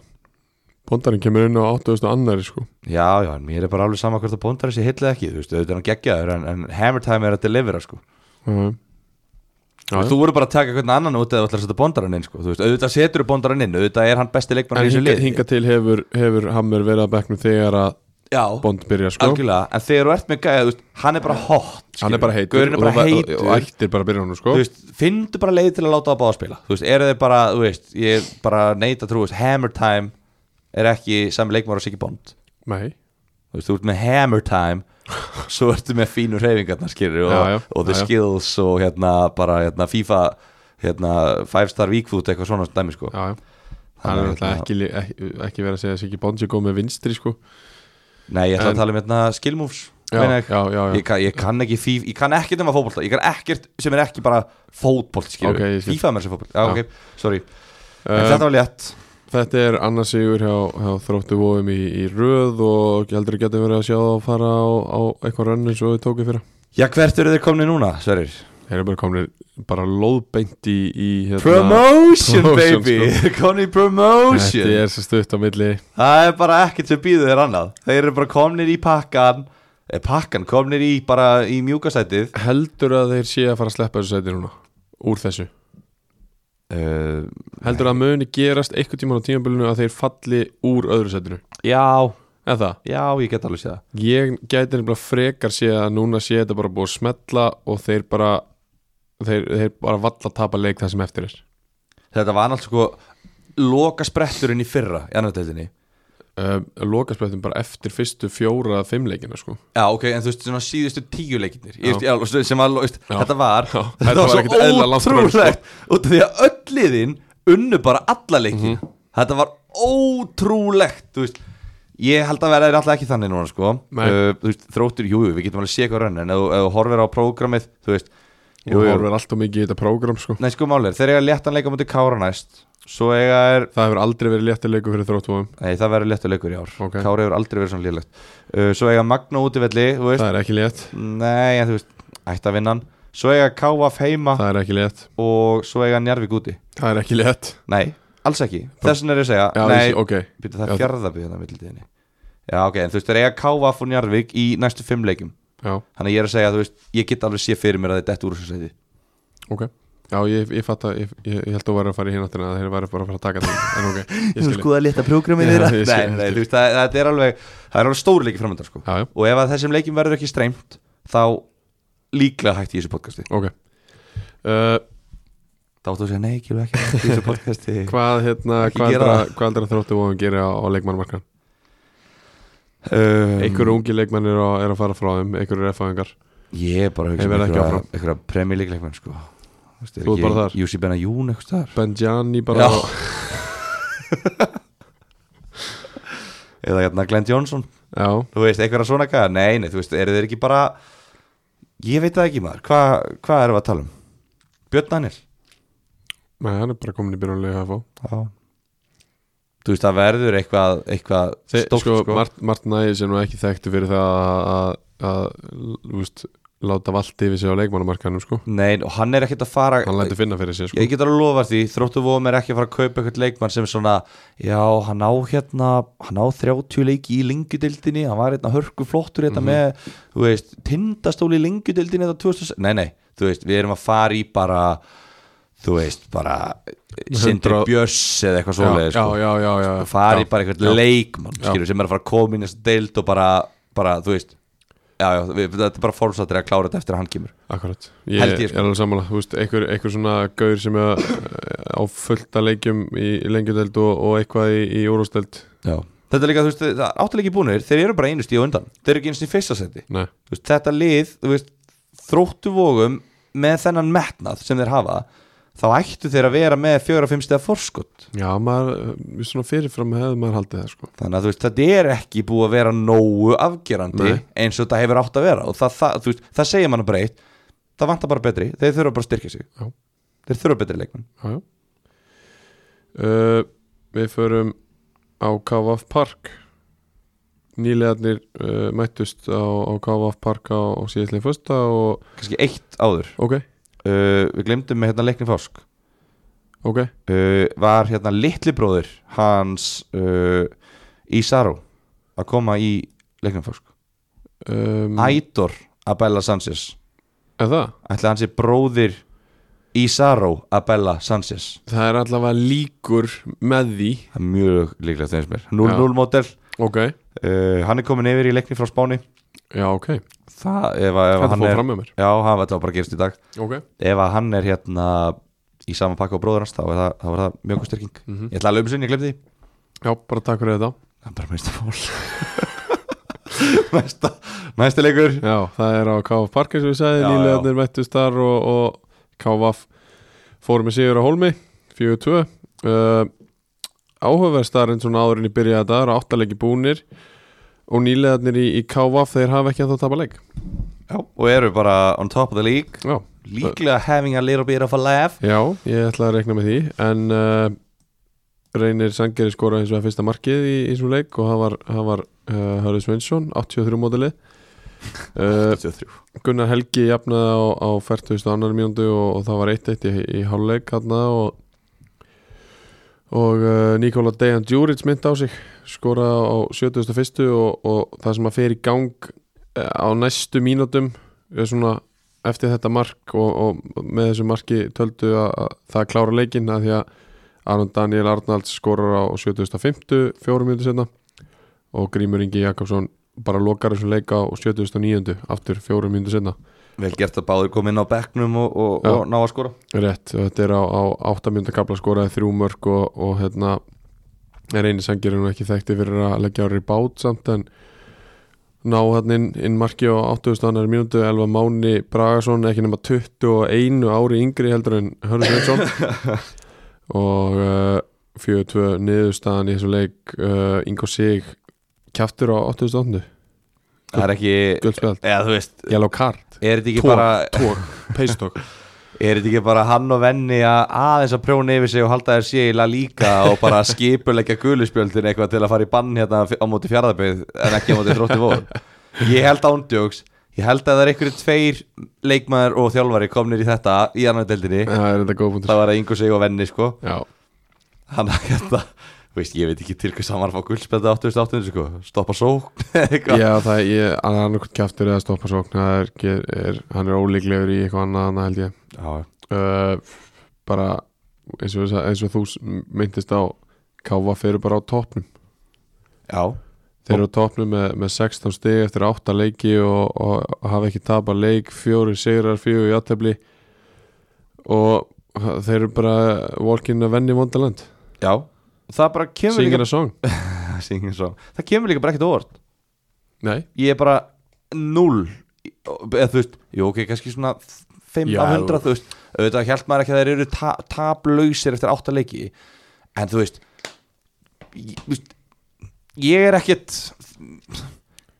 Bondarinn kemur inn á 8.2. sko
Já, já, en mér er bara alveg sama hvort að bóndari sé hillið ekki, þú veist, auðvitað er hann geggjaður en, en hammer time er að delivera, sko
uh, Já,
Þú voru bara að taka hvernig annan út eða þú ætlar að setja bóndaran inn, sko, þú veist, auðvitað setur bóndaran inn, auðvitað er hann besti leikmann
En
í þessu
hinga,
lið
hinga til hefur, hefur Hammer verið að bekknum þegar að
Já,
bond byrja sko
algjörlega, en þegar þú ert með gæða, þú veist, hann er bara hot
Hann er bara heitur
Gaurin er
og,
bara
og-
heitur,
og, og ættir bara að byrja hann sko
þú veist, finndu bara leið til að láta á báða spila Þú veist, eru þeir bara, þú veist, ég bara neita trú, þú veist, hammer time er ekki sami leikmann og Siggi Bond
Nei,
þú veist, þú ert með hammer time svo ertu með fínu reyfingarnar skilur og,
Já, já,
og the
já, já.
skills og hérna bara hérna FIFA hérna five star week food eitthvað svona dæmi sko
já, já Hann er
Þannig að hérna,
náttúrulega ekki, li- ekki, ekki verið að segja að Siggi Bond sé góð með vinstri sko
nei ég ætla
En-
að tala um hérna skill moves
Já,
meina ég.
já, já, já.
Ég, kann, ég kann ekki FIFA, ég kann ekkert um að fótbolta ég kann ekkert sem er ekki bara fótbolt skilur
Ok, ég skil.
FIFA er mér sem fótbolta, já,
Já. Um,
ok, sorry en þetta var létt
Eh, Þetta er annars sigur hjá, hjá þróttu vóum í, í röð og ég heldur að geta verið að sjá það að fara á, á eitthvað rönn eins og við tókum fyrir.
já hvert eru þeir komni núna, Sverir?
Þeir eru bara komin bara lóðbeint í, í hérna,
promotion
promotion,
baby,
sko.
þeir komni í promotion
Þetta er svo stutt á milli
Það er bara ekkert sem býður þeir annað Þeir eru bara komnir í pakkan eh, Pakkan komnir í bara í mjúkastætið
Heldur að þeir sé að fara að sleppa þessu sæti núna úr þessu.
uh,
Heldur að muni gerast eitthvað tíman á tímanbölinu að þeir falli úr öðru sætinu.
Já
en það
Já, ég get alveg séð það
Ég gæti nefnilega frekar sé að núna sé þetta bara búið að smetla og þeir bara þeir, þeir bara valla að tapa leik það sem eftir er
Þetta var annars sko Loka spretturinn í fyrra Í annar deildinni
um, Lokasprettum bara eftir fyrstu fjóra eða fimm leikina sko
Já, ok, en þú veist, svona síðustu tíu leikinnir
Já.
sem var, veist,
Já.
þetta var
Já,
þetta
þetta var
var
ekkert eðlilega langt frá,
svo
sko.
ótrúlegt út af því að öll liðin unnu bara alla
Mhm.
leikin þetta var ótrúlegt þú veist, ég held að vera er alltaf ekki þannig núna, sko
Nei.
uh, þú veist, þróttur, jú, jú, við getum alveg séð hvað rönn en ef þú- ef þú horfir á prógramið, þú veist
og horfir alltaf mikið í þetta prógram sko
Nei, sko málið, er, þeir eiga léttan leika mútið Kára næst svo eiga er
Það hefur aldrei verið léttir leiku fyrir þróttvóðum
Nei, það verður léttur leikur í ár
Ok.
Kári hefur aldrei verið svona lélegt uh, Svo eiga Magna út í velli, þú veist
Það er ekki létt,
Nei, en þú veist, ætti að vinna hann Svo eiga KF heima
það er ekki létt
og svo eiga Njarvík úti
Það er ekki létt
Nei, alls ekki, þess vegna er ég að segja
Já,
Nei,
ég- ok,
byrja það
Já.
er fjárðabíð hérna millitíðinni Já, ok, en þú veist, þeir eiga KF og Njarvík í næstu fimm leikum
já,
Þannig að ég er að segja, þú veist, ég get alveg sé fyrir mér að þið dett úr þessu sæti
ok Já, ég, ég fatt að, ég, ég, ég held að þú væri að fara í hináttina að þeir væri bara að fara að taka það En ok, ég skilji
að leta prógramið
Já,
þeirra
ég skil,
Nei,
ég
nei,
skil.
þú veist, það, það er alveg, það er alveg stóri leiki framöndan sko.
Já, já,
Og ef að þessum leikim verður ekki streymt Þá líklega hætti ég þessu podcasti
ok uh,
Þá áttu að segja, nei, ekki, ekki, ekki þessu podcasti
Hvað, hérna,
Ekki
hvað heldur
gera
að,
það.
hvað heldur að þróttvóðum gerir á, á leikmannmarkan?
um,
einhverju ungi leikmenn eru að, er að fara frá þeim einhverju refaðingar
Ég er bara að hugsa
Ég
um
verð ekki
einhverja,
áfram.
einhverja premjölíkleikmenn sko. Vist,
Þú ert bara þar.
Júsi Benna Jún eitthvað þar
Benjani bara
Já. Eða hérna Glenn Jónsson
Já.
Þú veist, einhverja svona gæða Nei, nei, þú veist, eru þeir ekki bara Ég veit það ekki maður Hva- Hvað erum við að tala um? Björn Daniel
Nei, hann er bara komin í byrjunlega HFO
Já Þú veist, það verður eitthvað, eitthvað
Þe,
stórt
sko,
sko,
Mart, Martin Ægis er nú ekki þekktu fyrir það að- að- að þú veist, láta valdi yfir sig á leikmannamarkanum sko.
Nei, og hann er ekkert að fara
hann lætur finna fyrir sig sko.
Ég get alveg að lofa því, þróttu vóðum er ekki að fara að kaupa eitthvað leikmann sem er svona Já, hann á hérna, hann á 30 leiki í lengjudeildinni, hann var hérna hörku flottur
Mhm.
hérna með, þú veist, tindastóli í hérna lengjudeildinni þetta 2000 Nei, nei, þú veist, við erum að fara í bara, þú veist, bara Sindri
100
Björs eða
já,
eitthvað svoleiði,
já,
sko
já, já, já, já.
Fara í
Já.
bara
Já.
eitthvað leikmann,
Já.
skilur, sem er að fara að koma inn í þessa deild og bara, bara, þú veist Já, já, við, þetta er bara fórsatir að klára þetta eftir að hann kemur
Akkurat, ég,
Held ég, sko.
er alveg sammála Þú veist, einhver, einhver svona gaur sem er eh, á fullta leikjum í, í lengjudeld og, og eitthvað í, í úrústeld
Já. Þetta er líka, þú veist, það er áttalegi búnir Þeir eru bara einu stíð á undan, þeir eru ekki einu stíð fyrsta seti
Nei,
Þú veist, Þetta lið, þú veist, þróttu vógum með þennan metnað sem þeir hafa þá ættu þeir að vera með fjögur og fimm stíða forskot
já, maður eh, svona fyrirfram hefði maður haldið það sko.
þannig að þú veist, þetta er ekki búið að vera nógu afgerandi
Nei.
eins og þetta hefur átt að vera og það, það, þú veist, það segir mann bara eitt það vantar bara betri, þeir þurfa bara að styrkja sig
Já.
þeir þurfa betri leikmenn
Já, já. Uh, við förum á KVF Park Nýlegarnir uh, mættust á, á KVF Park á, á síðastlega fyrsta og
kannski eitt áður
ok,
uh, við glemdum með hérna leikni fásk
ok,
uh, var hérna litli bróðir hans uh, Ísaró að koma í leiknum fólk
um,
Ædor Abella Sanchez
er það?
ætli hans er bróðir Ísaró Abella Sanchez
Það er allavega líkur með því
það er mjög líklega þeim sem er 0-0 mótel
Ok,
uh, hann er komin yfir í leikni frá Spáni
já ok,
það, ef, að- ef
þetta
að hann
fór
er
fram með mér
já, hann var bara að gerast í dag
Ok,
ef að hann er hérna í sama pakka á bróður hans þá er það, þá er það mjög góð styrking
Mhm.
ég ætla að löfum sinni, ég glemdi því
já, bara takk fyrir þetta
Það er bara mesta fól Mesta, mesta leikur
Já, það er á KVF Park eins og við sagði
Já,
Nýlegarnir mættust þar og, og KVF fórum með sigur á Holmi 4-2 uh, Áhugaverðstarinn svona áðurinn í byrjaði þetta eru áttalegi búnir og nýlegarnir í, í KVF þeir hafa ekki að það tapa leik
Já, og eru bara on top of the league
Já,
Líklega having a little bit of a laugh
Já ég ætla að rekna með því en uh, reynir Sangeri skora eins og það fyrsta markið í, í þessum leik og það var, það var uh, Hörður Sveinsson 83 mótilið uh,
23
Gunnar Helgi jafnaði á, á 42. mínúndu og, og það var 1-1 í, í hálfleik hérna og og uh, Nikola Dejan Djuric mynd á sig skoraði á 71. og, og það sem að fer í gang eh, á næstu mínútum er svona eftir þetta mark og, og með þessu marki töldu að, að það klára leikinn að því að Aron Daniel Arnalds skorar á 75. fjórum mínútu setna og Grímur Ingi Jakobsson bara lokar þessum leika á 79. aftur fjórum mínútu senna
Vel gert að báður koma inn á bekknum og, og,
Já.
og ná að skora
Rétt, og þetta er á, á 8 mínúta kapla skoraði þrjú mörg og, og hérna er eini sangir nú ekki þekkti fyrir að leggja ári í bát samt en ná hann inn, inn marki á 80. annar mínútu Elva Máni Bragason ekki nema 21 ári yngri heldur en Hörður Sveinsson og uh, 42 niðurstaðan í þessu leik uh, Ingo Sig kjaftur á 88.
Það er ekki,
guldspjald,
eða þú veist
yellow card
Er þetta ekki
Tók.
bara
tók, peistók
Er þetta ekki bara hann og venni að aðeins að prjóna yfir sig og halda þér síla líka og bara skipulegja gulispjöldin eitthvað til að fara í bann hérna á móti fjaraðabeyð en ekki á móti þrótti vor Ég held ándjóks, ég held að það er einhverju tveir leikmaður og þjálfari komnir í þetta í annar deildinni
það er þetta góð punktur
það var að yngu sig og venni sko
Já,
hann að hérna þú veist, ég veit ekki til hvað samar fá guldspjöldi 88 sko, stoppa sókn eitthvað
Já, það er, ég, hann er annarkvæmt kjaftur eða stoppa sókn, það er, ekki- er, hann er ólíklegur í eitthvað annað, annað held ég.
Já,
Uh, bara, eins og, þess- eins og þú s- myndist á, KVF eru bara á toppnum.
já,
Þeir eru á toppnum með, með 16 stig eftir 8 leiki og, og hafa ekki tapað leik, fjóri sigrar, fjóri játefli og þeir eru bara walking a venni vondaland.
já það bara kemur
Singin a song.
líka Singin song. það kemur líka bara ekkert á óvart
Nei.
ég er bara null eða þú veist, jú ok, kannski svona 5
Já,
af 100
þú-
þú veist, auðvitað held maður ekki að þeir eru ta tablausir eftir 8 leiki en þú veist ég, þú veist, ég er ekkert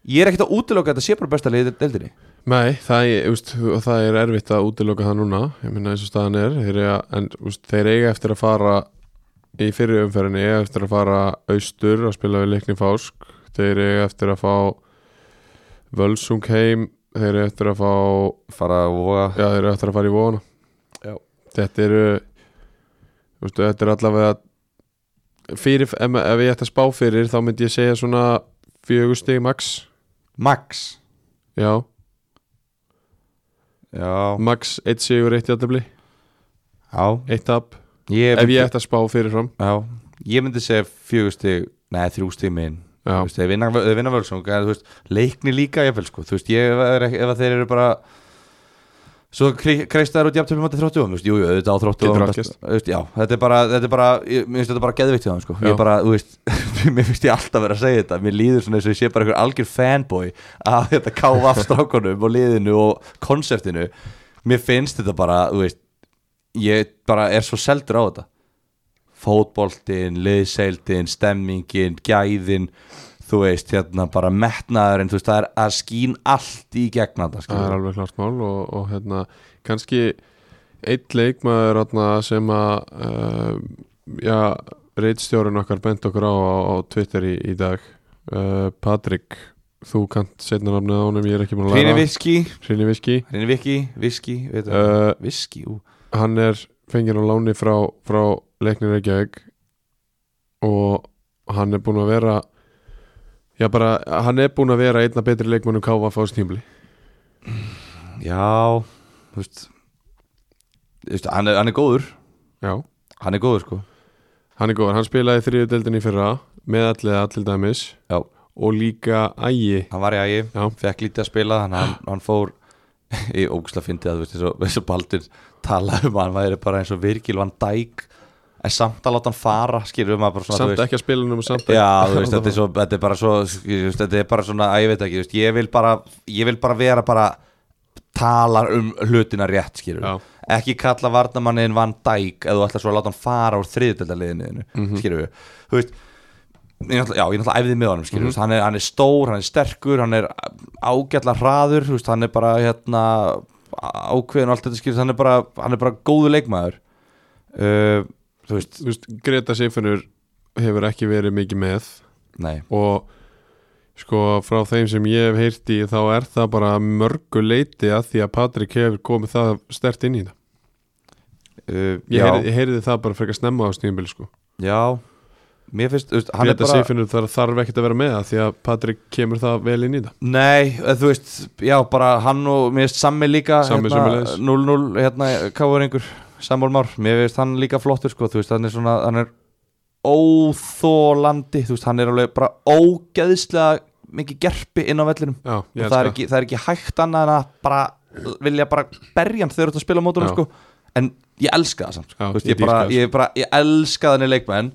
ég er ekkert að útiloka að þetta sé bara besta liðið í deildinni
Nei, það er, úst, það er erfitt að útiloka það núna ég minna eins og staðan er þeir eiga, en úst, þeir eiga eftir að fara í fyrri umferðinni eiga eftir að fara austur að spila við leikni fásk þeir eiga eftir að fá völsung heim þeir eiga eftir að fá já,
fara að voga
þeir eiga eftir að fara í vona
Já.
þetta eru úst, þetta er allavega fyrir, ef, ma- ef ég ætti að spá fyrir þá myndi ég segja svona fjögur stig max
Max
já,
Já,
max 1 sigur 1 játtabli
já
1 tap
Ég
ef
myndi,
ég ætti að spá fyrirfram
já, ég myndi segja fjögur stig Nei, þrjú stig minn
já,
Þú veist, Þeir vinna, þeir vinna völsung en, þú veist, Leikni líka ég sko Þú veist, ég er ekki, ef að þeir eru bara Svo kreist það út jafntöfum Mátti þróttu um, þú veist, jú, jú, auðvitað á þróttu
Getur
og-
algjast.
þú veist, Já, þetta er bara, þetta er bara ég- Mér finnst þetta bara geðvikt í það, sko
Já.
Ég bara, þú veist, mér finnst ég alltaf vera að segja þetta Mér líður svona eins og ég sé bara einhver algjör fanboy Af þetta káfa af strákonum Og liðinu og konseptinu Mér finnst þetta bara, þú veist Ég bara er svo seldur á þetta fótboltinn, liðseildin, stemmingin, gæðin þú veist, hérna bara metnaðurinn, þú veist, það er að skín allt í gegna þetta,
það er
skilur
alveg klart mál og, og hérna, kannski eitt leikmaður hérna, sem að uh, já, reitstjórun okkar bent okkur á á, á Twitter í, í dag uh, Patrik, þú kant setna nafnið á honum, ég er ekki múin að
Hrinni
læra
viski,
Hrini Viski
hrinni viki, viski veit það,
uh,
viski, ú
hann er fengið á láni frá, frá leiknir Reykjavík og hann er búin að vera já bara, hann er búin að vera einna betri leikmannum káfa á stímbli
já, þú veist þú veist, hann er, hann er góður
já
hann er góður, sko
Hann er góður, hann spilaði þriðu deildin í fyrra með allir allir dæmis
já,
og líka ægi
hann var í ægi,
Já.
fekk lítið að spila hann, hann, hann fór í ógustlega fyndið að þú veist, eins og, eins og Baldur talaði um að hann væri bara eins og Virgil van Dijk en samt að láta hann fara, skilur maður bara svona, þú
samt
veist-
ekki að spila um samt
Já, þú veist, þetta er, svo, þetta er bara svo þú veist, þetta er bara svona, að ég veit ekki þú veist, ég, vil bara, ég vil bara vera bara tala um hlutina rétt skilur
Já.
ekki kalla varnamannin Van Dijk eða þú ætlar svo að láta hann fara úr þriðdeldaliðinu mm
Mhm.
-hmm. skilur þú veist Ég náttúrulega, já, ég náttúrulega æfði með honum,
Mhm.
skilur mm hann, er, hann er stór, hann er sterkur, hann er ágætla hraður, þú veist, hann er bara hérna, ákveðin og allt þetta skilur hann er bara, hann er bara góðu leikmaður uh, þú veist,
Þú veist, Greta Seifunur hefur ekki verið mikið með
nei
og sko frá þeim sem ég hef heyrt í þá er það bara mörgu leiti að því að Patrik hefur komið það stert inn í það
uh,
Ég
já.
heyrði, ég heyrði það bara frekar snemma á stímbili sko
Já, mér finnst þú veist, hann
Greta bara...
er bara
Seifunur þarf, þarf ekkert að vera með það því að Patrik kemur það vel inn í það
Nei, eh, þú veist, já, bara hann og mér finnst Sammi líka
Sammi
hérna,
sömuleiðis.
0-0, hérna, káur einhver Samúl Már, mér finnst hann líka flottur sko, þú veist, hann er svona, hann er óþólandi Þú veist, hann er alveg bara ógeðislega mikið gerpi inn á vellinum
Já, sko. ég
og það er,
elska.
ekki, það er ekki hægt annað en að bara vilja bara berja hann þegar þú ert að spila á mótunum
Já.
sko. en ég elska það samt sko.
Já,
Þú veist,
ég
ég, bara,
dýrka það,
ég, bara, ég elska þannig leikmenn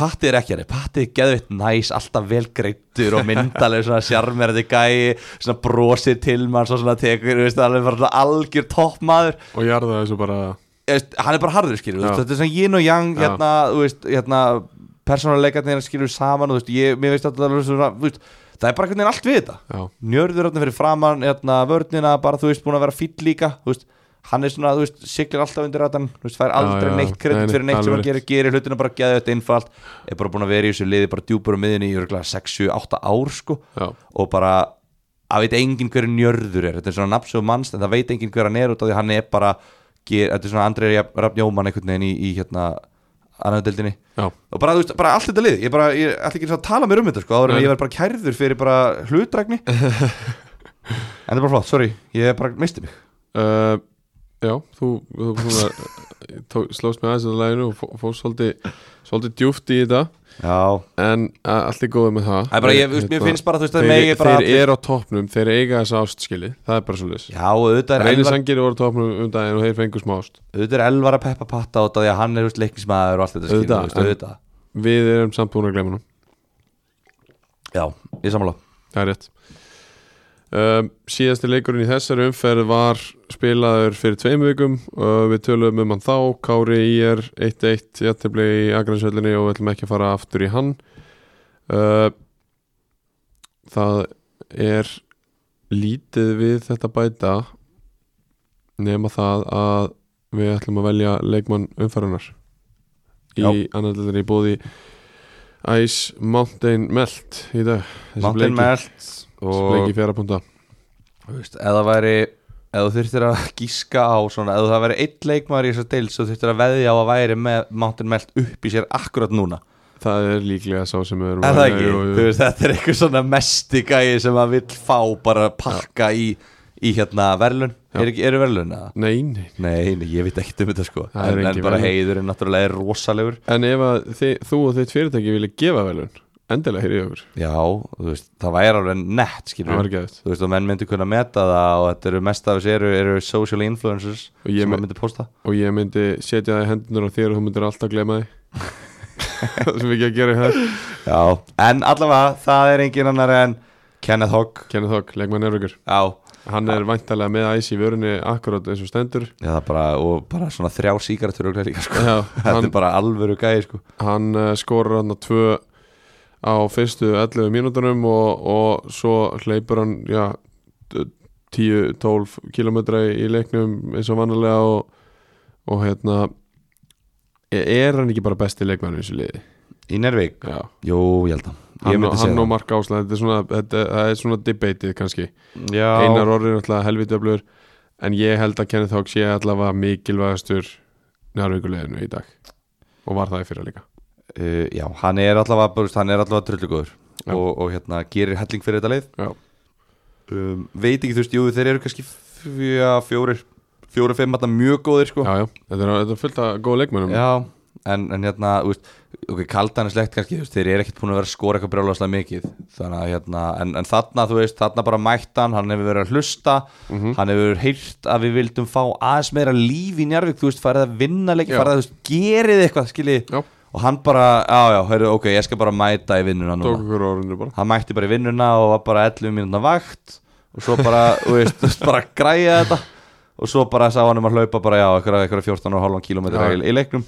Patti er ekki hann, Patti er geðvitt næs, alltaf velgreittur og myndaleg svona sjarmerandi gæi, svona brosir til mann, svona tekur, þú veist, alveg bara svona algjör toppmaður
og ég er það þessu bara
Ég veist, hann er bara harður skilur
Já.
veist, þetta er svona yin og yang
Já.
hérna, þú veist, hérna, persónuleikarnir skilur saman og þú veist, ég, mér veist alltaf alveg svona, þú veist, það er bara hvernig allt við þetta
já,
njörður hérna fyrir framann hérna, vörnina, bara þú veist, búin að vera fýll líka þú veist, hann er svona, þú veist, siglir alltaf undir rættan, þú veist, fær aldrei
já,
neitt kredit
nei, nei,
fyrir neitt sem
alveg
hann gerir, gerir hlutina bara geða þetta einfalt, er bara búin að vera í þessu liði bara djúpur á miðinni í örgulega 6-7-8 ár sko,
já,
og bara að veit enginn hverju njörður er, þetta er svona nafnsöf manns, en það veit enginn hver hann er út af því að hann er bara, ger, þetta er svona Andrei Rafn Jóman einhvern veginn í, í hérna annaðdeldinni
já,
og bara, þú veist, bara allt þetta lið ég, bara, ég ætla ekki einu sinni að tala mér um þetta sko, áður en
Nei.
ég verð bara kærður fyrir bara hlutrækni en það er bara flott, sorry ég bara misti mig
uh, já þú, þú svona, tók, slóst með aðeins að læginu og fó- fórst svolítið svolítið djúft í þetta
já,
en uh, allt er góðið með það
það er bara, ég, þú veist, mér
Hérna,
finnst bara, þú veist, það megi
þeir,
bara
þeir eru á toppnum, þeir eiga þessa ástskili það er bara svo
já, auðvitað er,
Reynir
elvar,
Sangeri voru á toppnum um daginn og þeir fengu smá ást
auðvitað er elvar að peppa patta út af því að hann er, þú veist, leiknismæður og allt þetta skilur,
Auðvitað,
þú veist,
en-
auðvitað
við erum samt búin að gleyma hann
já, ég samanlá
Það er rétt um, Síðasti leikurinn í þessari umferð var spilaður fyrir tveim vikum og við töluðum um hann þá Kári í er 1-1 jættibli í Akransvöllinni og við ætlum ekki að fara aftur í hann uh, Það er lítið við þetta bæta nema það að við ætlum að velja leikmann umferðunar í
Já.
annaðlega í bóði Ice Mountain Melt í dag Þessi bleiki-
Mountain Melt og,
Bleiki fjara punta
þú veist, eða væri eða þú þurftir að gíska á svona, eða það væri eitt leikmaður í þessu deil svo þurftir að veðja á að væri með Mountain Melt upp í sér akkurat núna
Það er líklega sá sem við erum
Er
að-
það ekki?
Jú, jú.
Þú veist, þetta er eitthvað svona mesti gæi sem að vill fá bara pakka í, í hérna verðlun
Já.
er, ekki- Eru verðlun að?
Nei, nei
Nei, nei, ég veit ekkert um þetta sko
Það er
En, en
engin
bara
verðlaun.
heiðurinn náttúrulega er rosalegur
En ef að þi, þú og þitt fyrirtæki vilja gefa velun Endilega hér í okkur
Já, þú veist, það væri alveg nett
Það var
skilur
ekki aðeins
Þú veist, og menn myndi kunna meta það og þetta eru mest af þessu eru, eru social influencers
Og ég
sem
mynd-
að myndi posta
Og ég myndi setja það í hendunar á þér og þú myndir alltaf glema því Það sem ekki að gera hér
Já, en allavega, það er engin annar en Kenneth Hogg
Kenneth Hogg, leikmann er okkur
Já,
Hann er væntalega með æs í vörunni akkurát eins og stendur
Já það bara, og bara svona þrjá sígarettur og líka sko
Já,
Þetta
hann,
er bara alvöru gæi sko
hann eh, skorar hann að tvö á fyrstu 11 mínútunum og, og svo hleypur hann já, d- 10-12 kilometra í í leiknum eins og vanlega og, og hérna e- er hann ekki bara besti leikmann í þessu liði
Í Nervík
já.
Jú, ég held að Ég
hann, og-
myndi
hann
segja
og Mark Ásla þetta er svona, þetta, það er svona debatið kannski
það Já,
Einar orðin er alltaf helvitaflur en ég held að Kenneth Hawks sé allavega mikilvægastur nærvíkuleginu í dag og var það í fyrra líka
uh, já hann er allavega, bara, þú veist, hann er allavega trullugóður
Já.
og, og hérna, gerir helling fyrir þetta leið
já
um, Veit ekki, þú veist, jú, þeir eru kannski fjá, fjórir, fjórir, fimm, þarna mjög góðir sko
Já, já, þetta er, þetta er fullt af góða leikmennum
Já, en, en hérna þú veist, ok, kaldan er slegt kannski þú veist, þeir eru ekkert búin að vera að skora eitthvað brjóðlega mikið þannig að hérna, en, en þarna þú veist þarna bara mættan, hann hefur verið að hlusta hann hefur heyrt að við vildum fá aðeins meira líf í Njarvík þú veist, farið að vinna leik,
Já.
farið að þú veist, gerið eitthvað, skiljið,
Já.
og hann bara já, já, heyrðu, ok, ég skal bara mæta í vinnuna núna
Tók okkur orðinu bara
hann mætti bara í vinnuna og var bara 11 mínúna vakt og svo bara, þú veist, þú veist, bara græja þetta og svo bara sá hann um að hlaupa bara já, einhverja, einhverja 14 og halvan kílómetra
Já.
í, í leiknum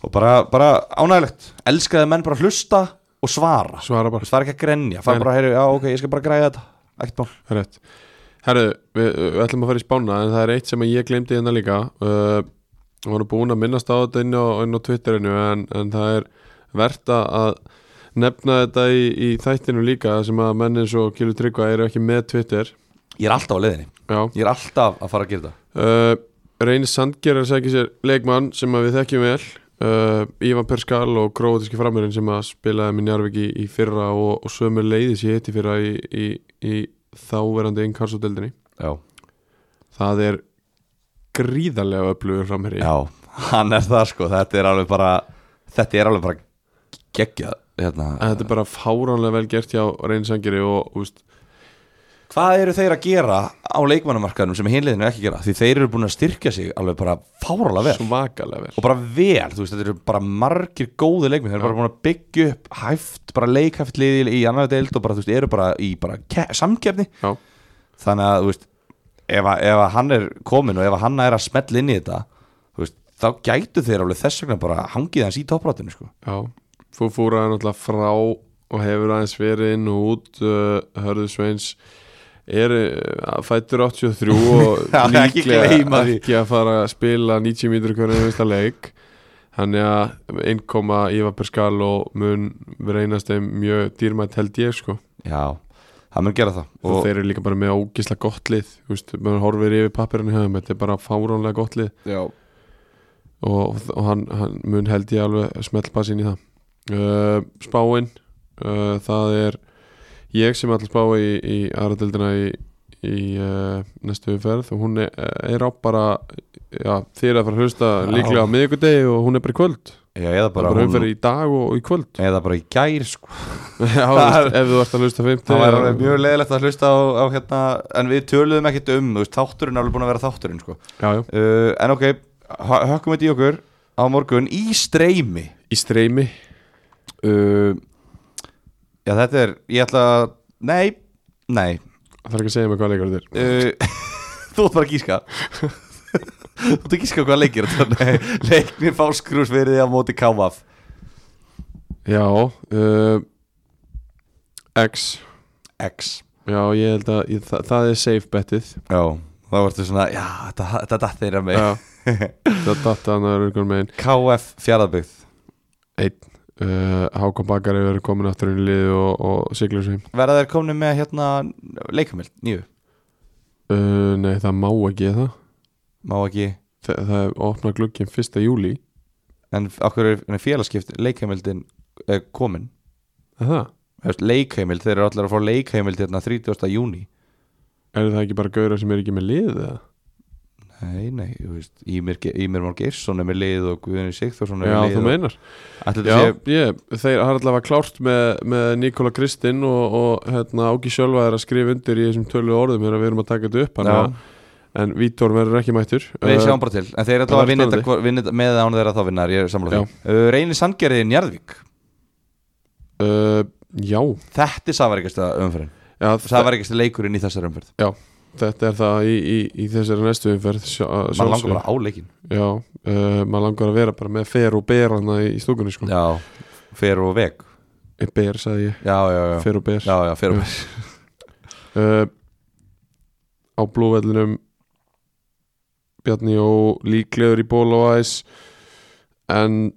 og bara, bara ánægilegt elskaði menn bara að hlusta og svara
Svara bara,
svara ekki að grenja, fara
Nei.
bara að heyra já, ok, ég skal bara græja þetta, ekkert mál
rétt Herru, við, við ætlum að fara í spána en það er eitt sem að ég glemdi hérna líka uh, og hann er búin að minnast á þetta inn á, inn á Twitterinu en, en það er verðt að nefna þetta í, í þættinu líka sem að menn eins og Gilur Tryggva eru ekki með Twitter
ég er alltaf á leiðinni,
Já
ég er alltaf að fara að gera þetta
uh, Reyni Sandgerðar sækir sér leikmann sem að við þekkjum vel uh, Ívan Perskal og króatíski framurinn sem að spilaði með Njarvík í, í fyrra og, og sömu leiðis í hitti fyrra í, í, í þáverandi innkarsódeldinni
já,
það er gríðarlega öflugur framherji
já, hann er það sko þetta er alveg bara þetta er alveg bara geggjað hérna.
En Þetta er bara fáránlega vel gert hjá reynsangeri og úst,
Hvað eru þeir að gera á leikmannumarkaðnum sem hinliðinu ekki að gera? Því þeir eru búin að styrkja sig alveg bara fárálega vel
svakalega vel
og bara vel, þú veist, þetta eru bara margir góði leikmenn, þeir eru bara búin að byggja upp hæft, bara leikhæft liði í annar deild og bara, þú veist, eru bara í bara ke- samkeppni
Já,
þannig að, þú veist, ef, að, ef að hann er komin og ef að hann er að smetla inn í þetta þú veist, þá gætu þeir alveg þess vegna bara hangið hans í topprátunni, sko
já Þú fúraði náttúrulega frá og hefur aðeins verið inn og út uh, Hörðu Sveins er uh, fættur 83 og
Já, ekki gleyma
líklega
því.
ekki að fara að spila 90 mínútur hvernig einasta leik Þannig að innkoma Ívar Perskal og mun reynast þeim mjög dýrmætt held ég sko
Já, það mun gera það
og þeir eru líka bara með ógisla gott lið þú veist, maður horfir yfir pappirinn í höfum þetta er bara fáránlega gott lið
já.
og, og hann, hann mun held ég alveg smeltpass inn í það uh, spáin uh, það er ég sem ætla að spá í, í aðradeldina í, í uh, næstu ferð og hún er, er á bara já, þið er að fara að hlusta
Já.
líklega á miðvikudegi og hún er bara í kvöld
já, eða
bara,
bara,
bara
hún,
umferð í dag og, og í kvöld
eða bara í gær, sko
já, þú veist, ef þú ert að hlusta 50
Það var alveg mjög leðilegt að hlusta á, á hérna, en við töluðum ekkert um, þú veist, þátturinn er alveg búin að vera þátturinn, sko.
já, já.
Uh, en ok, hö- hökkum við í okkur á morgun í streymi.
í streymi
Uh, já, þetta er, ég ætla að, nei, nei,
það er ekki að segja mig hvað leikur þetta er
uh, þú ert bara að gíska. þú ert að gíska hvað leikir þetta, nei, leiknir fáskrús verið á móti káfaf.
Já uh, X
X.
Já, ég held að ég, það, það er safe betið
Já, þá ertu svona, já, þetta, þetta datt þeirra með.
Já, það datta hann að vera ykkur megin
KF fjaraðbyggð.
Einn uh, Hákon Bakar hefur verið komin aftur inn í lið og, og siglur sem
Verða þeir komni með hérna leikamil, nýju?
uh, Nei, það má ekki það
Má ekki
Þa, Það er opna glugginn 1. júli
En okkur er félagskipt leikheimildin er komin
Það,
Hefst, Leikheimild, þeir eru allir að fá leikheimild hérna 30. júni
er það ekki bara gauðra sem er ekki með lið eða?
Nei, nei, þú veist, Ímir, Ge- Ímir Már Geirsson er með lið og Guðinni Sigþórsson er
Já,
með
þú
lið
meinar
Ætli
Já,
þetta sé-
ég, þeir har allavega klárt með, með Nikola Kristinn og, og hérna, Áki Sjölva er að skrifa undir í þessum tölu orðum þegar við erum að taka þetta upp þannig
Já.
að- En Vítor verður ekki mættur
Við
Uh,
sjáum bara til, en þeir eru
það
alltaf að
verður
vinna þetta
spennandi.
hvor- vinna þetta með án þeirra þá vinnar, ég er samlega því uh, Reyni Sandgerði Njarðvík,
Uh, já,
þetta er safaríkasta umferðin
já þa-
Safaríkasta leikurinn í þessari umferð
þetta er það í, í, í þessari næstu umferð sjá- að
Man
sjálfsögðu.
langar bara á leikin
Já, uh, maður langar að vera bara með fer og ber hana í, í stúkunni sko
Já, fer og veg
Eh, Ber, sagði ég,
Já, já, já,
fer og ber
já, já, fer og veg
uh, Á blúvellinum Bjarni og líklegur í ból og æs En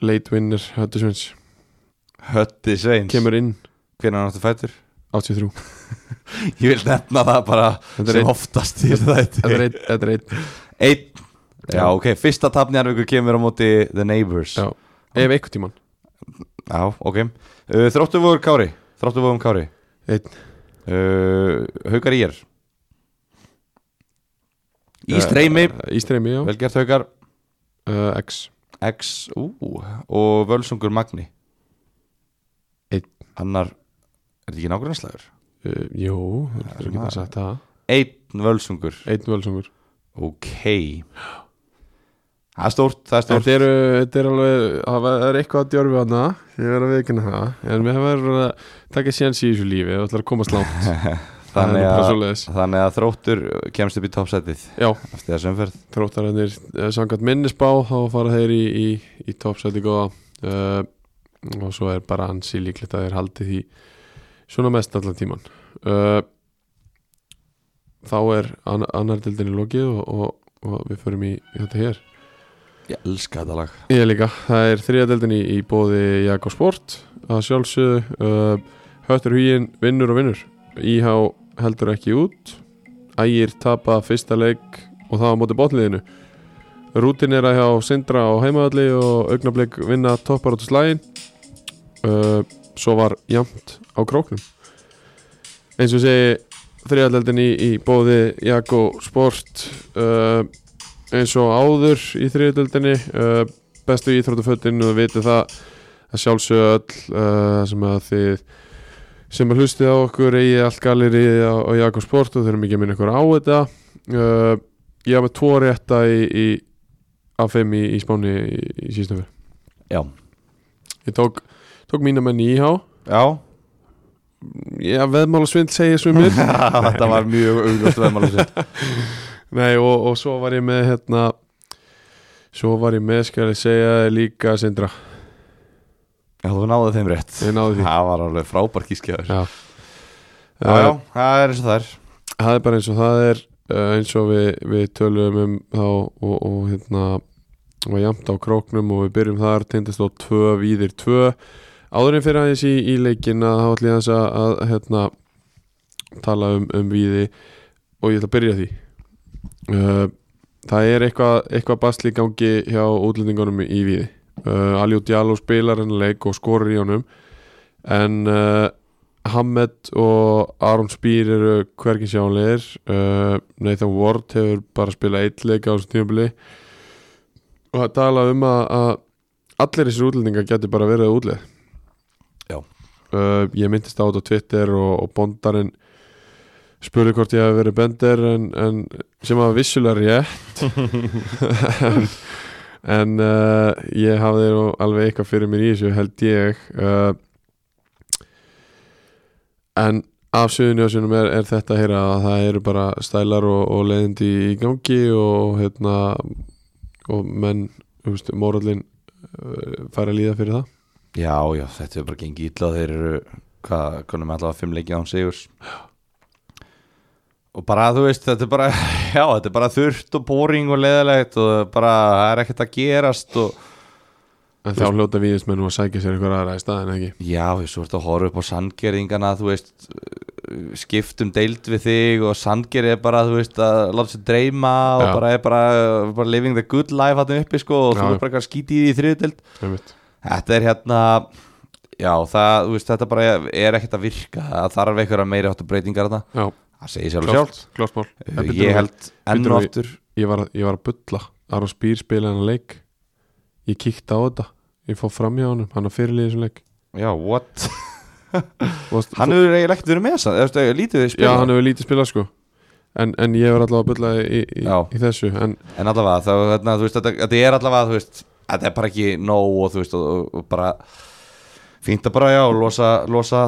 Late winner, Höttu Sveins
Hötti Sveins,
Kemur inn,
hvernig hann áttu fættur?
83
Ég vil nefna það bara
Þetta er
sem
einn-
oftast í þetta
þetta er einn- þetta er einn
Einn Já, ok, fyrsta tapn Njarvíkur kemur á móti The Neighbours
Já. Ef einhvern tímann
Já, ok uh, Þróttu voru Kári Þróttu voru Kári
Einn.
uh, Haukar í er Í
Eh,
streymi
Í streymi, já
Velgert Haukar
uh, X
X Ú Og Völsungur Magni
Einn.
Annar Er þetta ekki nágrunnslægur?
uh, Jú, það
er
er ekki
maður.
að sagt það
Einn Völsungur
Einn völsungur
Ok Það er stórt Það er stórt
Þetta eru, þetta er alveg Það var- það er eitthvað að djörfi hana Ég verð að viðkynna það En við verðum að taka séns í þessu lífi Það ætlar að komast langt Það er
Þannig
bara
að
svoleiðis
Þannig að þróttur kemst upp í toppsætið
Já,
eftir þessu umferð
þróttararnir eh, Samkvæmt minnisbá Þá fara þeir í, í, í toppsæti góða uh, Og svo er bara ansi líklegt að þeir haldi því Svona mest allan tíman uh, Þá er an annar dildinni lokið og, og, og við förum í, í þetta hér
Ég elska þetta lag
Ég líka, það er þriðadeldin í, í bóði Jakob Sport að sjálfsögðu uh, Höttur huginn vinnur og vinnur Íhá heldur ekki út Ægir tapa fyrsta leik og það á móti botliðinu Rútin er að hjá Sindra á heimavalli og augnablik vinna topparóttu slægin uh, Svo var jamt á króknum Eins og ég segi þriðadeldin í, í bóði Jakob Sport uh, eins og áður í þriðutöldinni uh, bestu íþróttafötin og viti það að sjálfsögðu öll uh, sem að þið sem að hlustið á okkur eigi allt galeri á, á Jakob Sport og þurfum ekki að minna ykkur á þetta uh, ég hafa með tvo rétta í, í af fimm í, í spáni í, í síðstöfu
Já
ég tók, tók mína menn í íhá
Já
ég að veðmála svindl segja svimir
Þetta var mjög augljóst veðmála sitt
Nei og, og svo var ég með hérna Svo var ég með skal ég segja þér líka Sindra,
Já, þú náðu þeim rétt
ég náði því
Það var alveg frábær kískjaður Já,
Já,
já, það er eins og það er
Það er bara eins og það er uh, eins og við, við tölum um þá og, og hérna var jamt á króknum og við byrjum þar tindast á 2 víðir 2 áðurinn fyrir aðeins í, í leikin að þá ætlum ég aðeins að, að hérna, tala um, um víði og ég ætla að byrja á því uh, það er eitthvað, eitthvað basli í gangi hjá útlendingunum í víði uh, Aljó Djaló spilar hennar leik og skorur í honum en uh, Hamed og Aron Spýr eru hverki sjáleir uh, Nathan Ward hefur bara spilað eitt leik á þessum tímabili og það tala um að, að allir þessir útlendingar geti bara verið útleið
Já.
uh, Ég myndist á þetta á Twitter og, og bondarinn spurði hvort ég hef verið bender en, en sem að vissulega rétt en, en uh, ég hafði nú alveg eitthvað fyrir mér í þessu held ég uh, en af söðunjósunum er, er þetta að heyra að það eru bara stælar og, og leiðindi í gangi og hérna og menn, þú veist, morallin uh, fær að líða fyrir það
Já, já, þetta er bara gengið illa Þeir eru, hvað, konum allavega fimm leikið án sigurs Og bara, þú veist, þetta er bara Já, þetta er bara þurft og boring og leðilegt Og bara, það er ekkert að gerast og
en þá hljóta víðismenn og sækja sér einhver aðra í staðin ekki
Já, þú veist, þú ert að horfa upp á sandgerðingana þú veist, uh, skiptum deild við þig og sandgerði er bara þú veist, að láta sér dreyma og
Já.
bara er bara, bara living the good life hann uppi, sko, og
Já,
þú
já.
er bara eitthvað að skíti í því þriðdeild.
Einmitt.
Þetta er hérna já, það, þú veist, þetta bara er ekkert að virka, það þarf einhverja meiri áttu breytingar þarna,
já,
það segir sjálf og sjálf
klárt, klárt mál En
Uh,
bíddu nú
Ég
við.
held
bíddu
enn og
nú við.
aftur
ég var, að- ég var að bulla Aron Spýr spilaði hann leik ég kíkti á þetta ég fór fram hjá honum, hann að fyrirlið þessum leik
Já, what?
Varst,
Hann hefur eiginlega ekkert verið með þess að, þú veist, lítið við
já,
spila
hann hefur lítið spilað sko en, en ég var allavega að bulla í, í,
Já.
í þessu en
En allavega, þá, þarna, þú veist, þetta, þetta er allavega, þú veist, þetta er bara ekki nóg og þú veist, og, og, og bara fínt að bara, já, losa, losa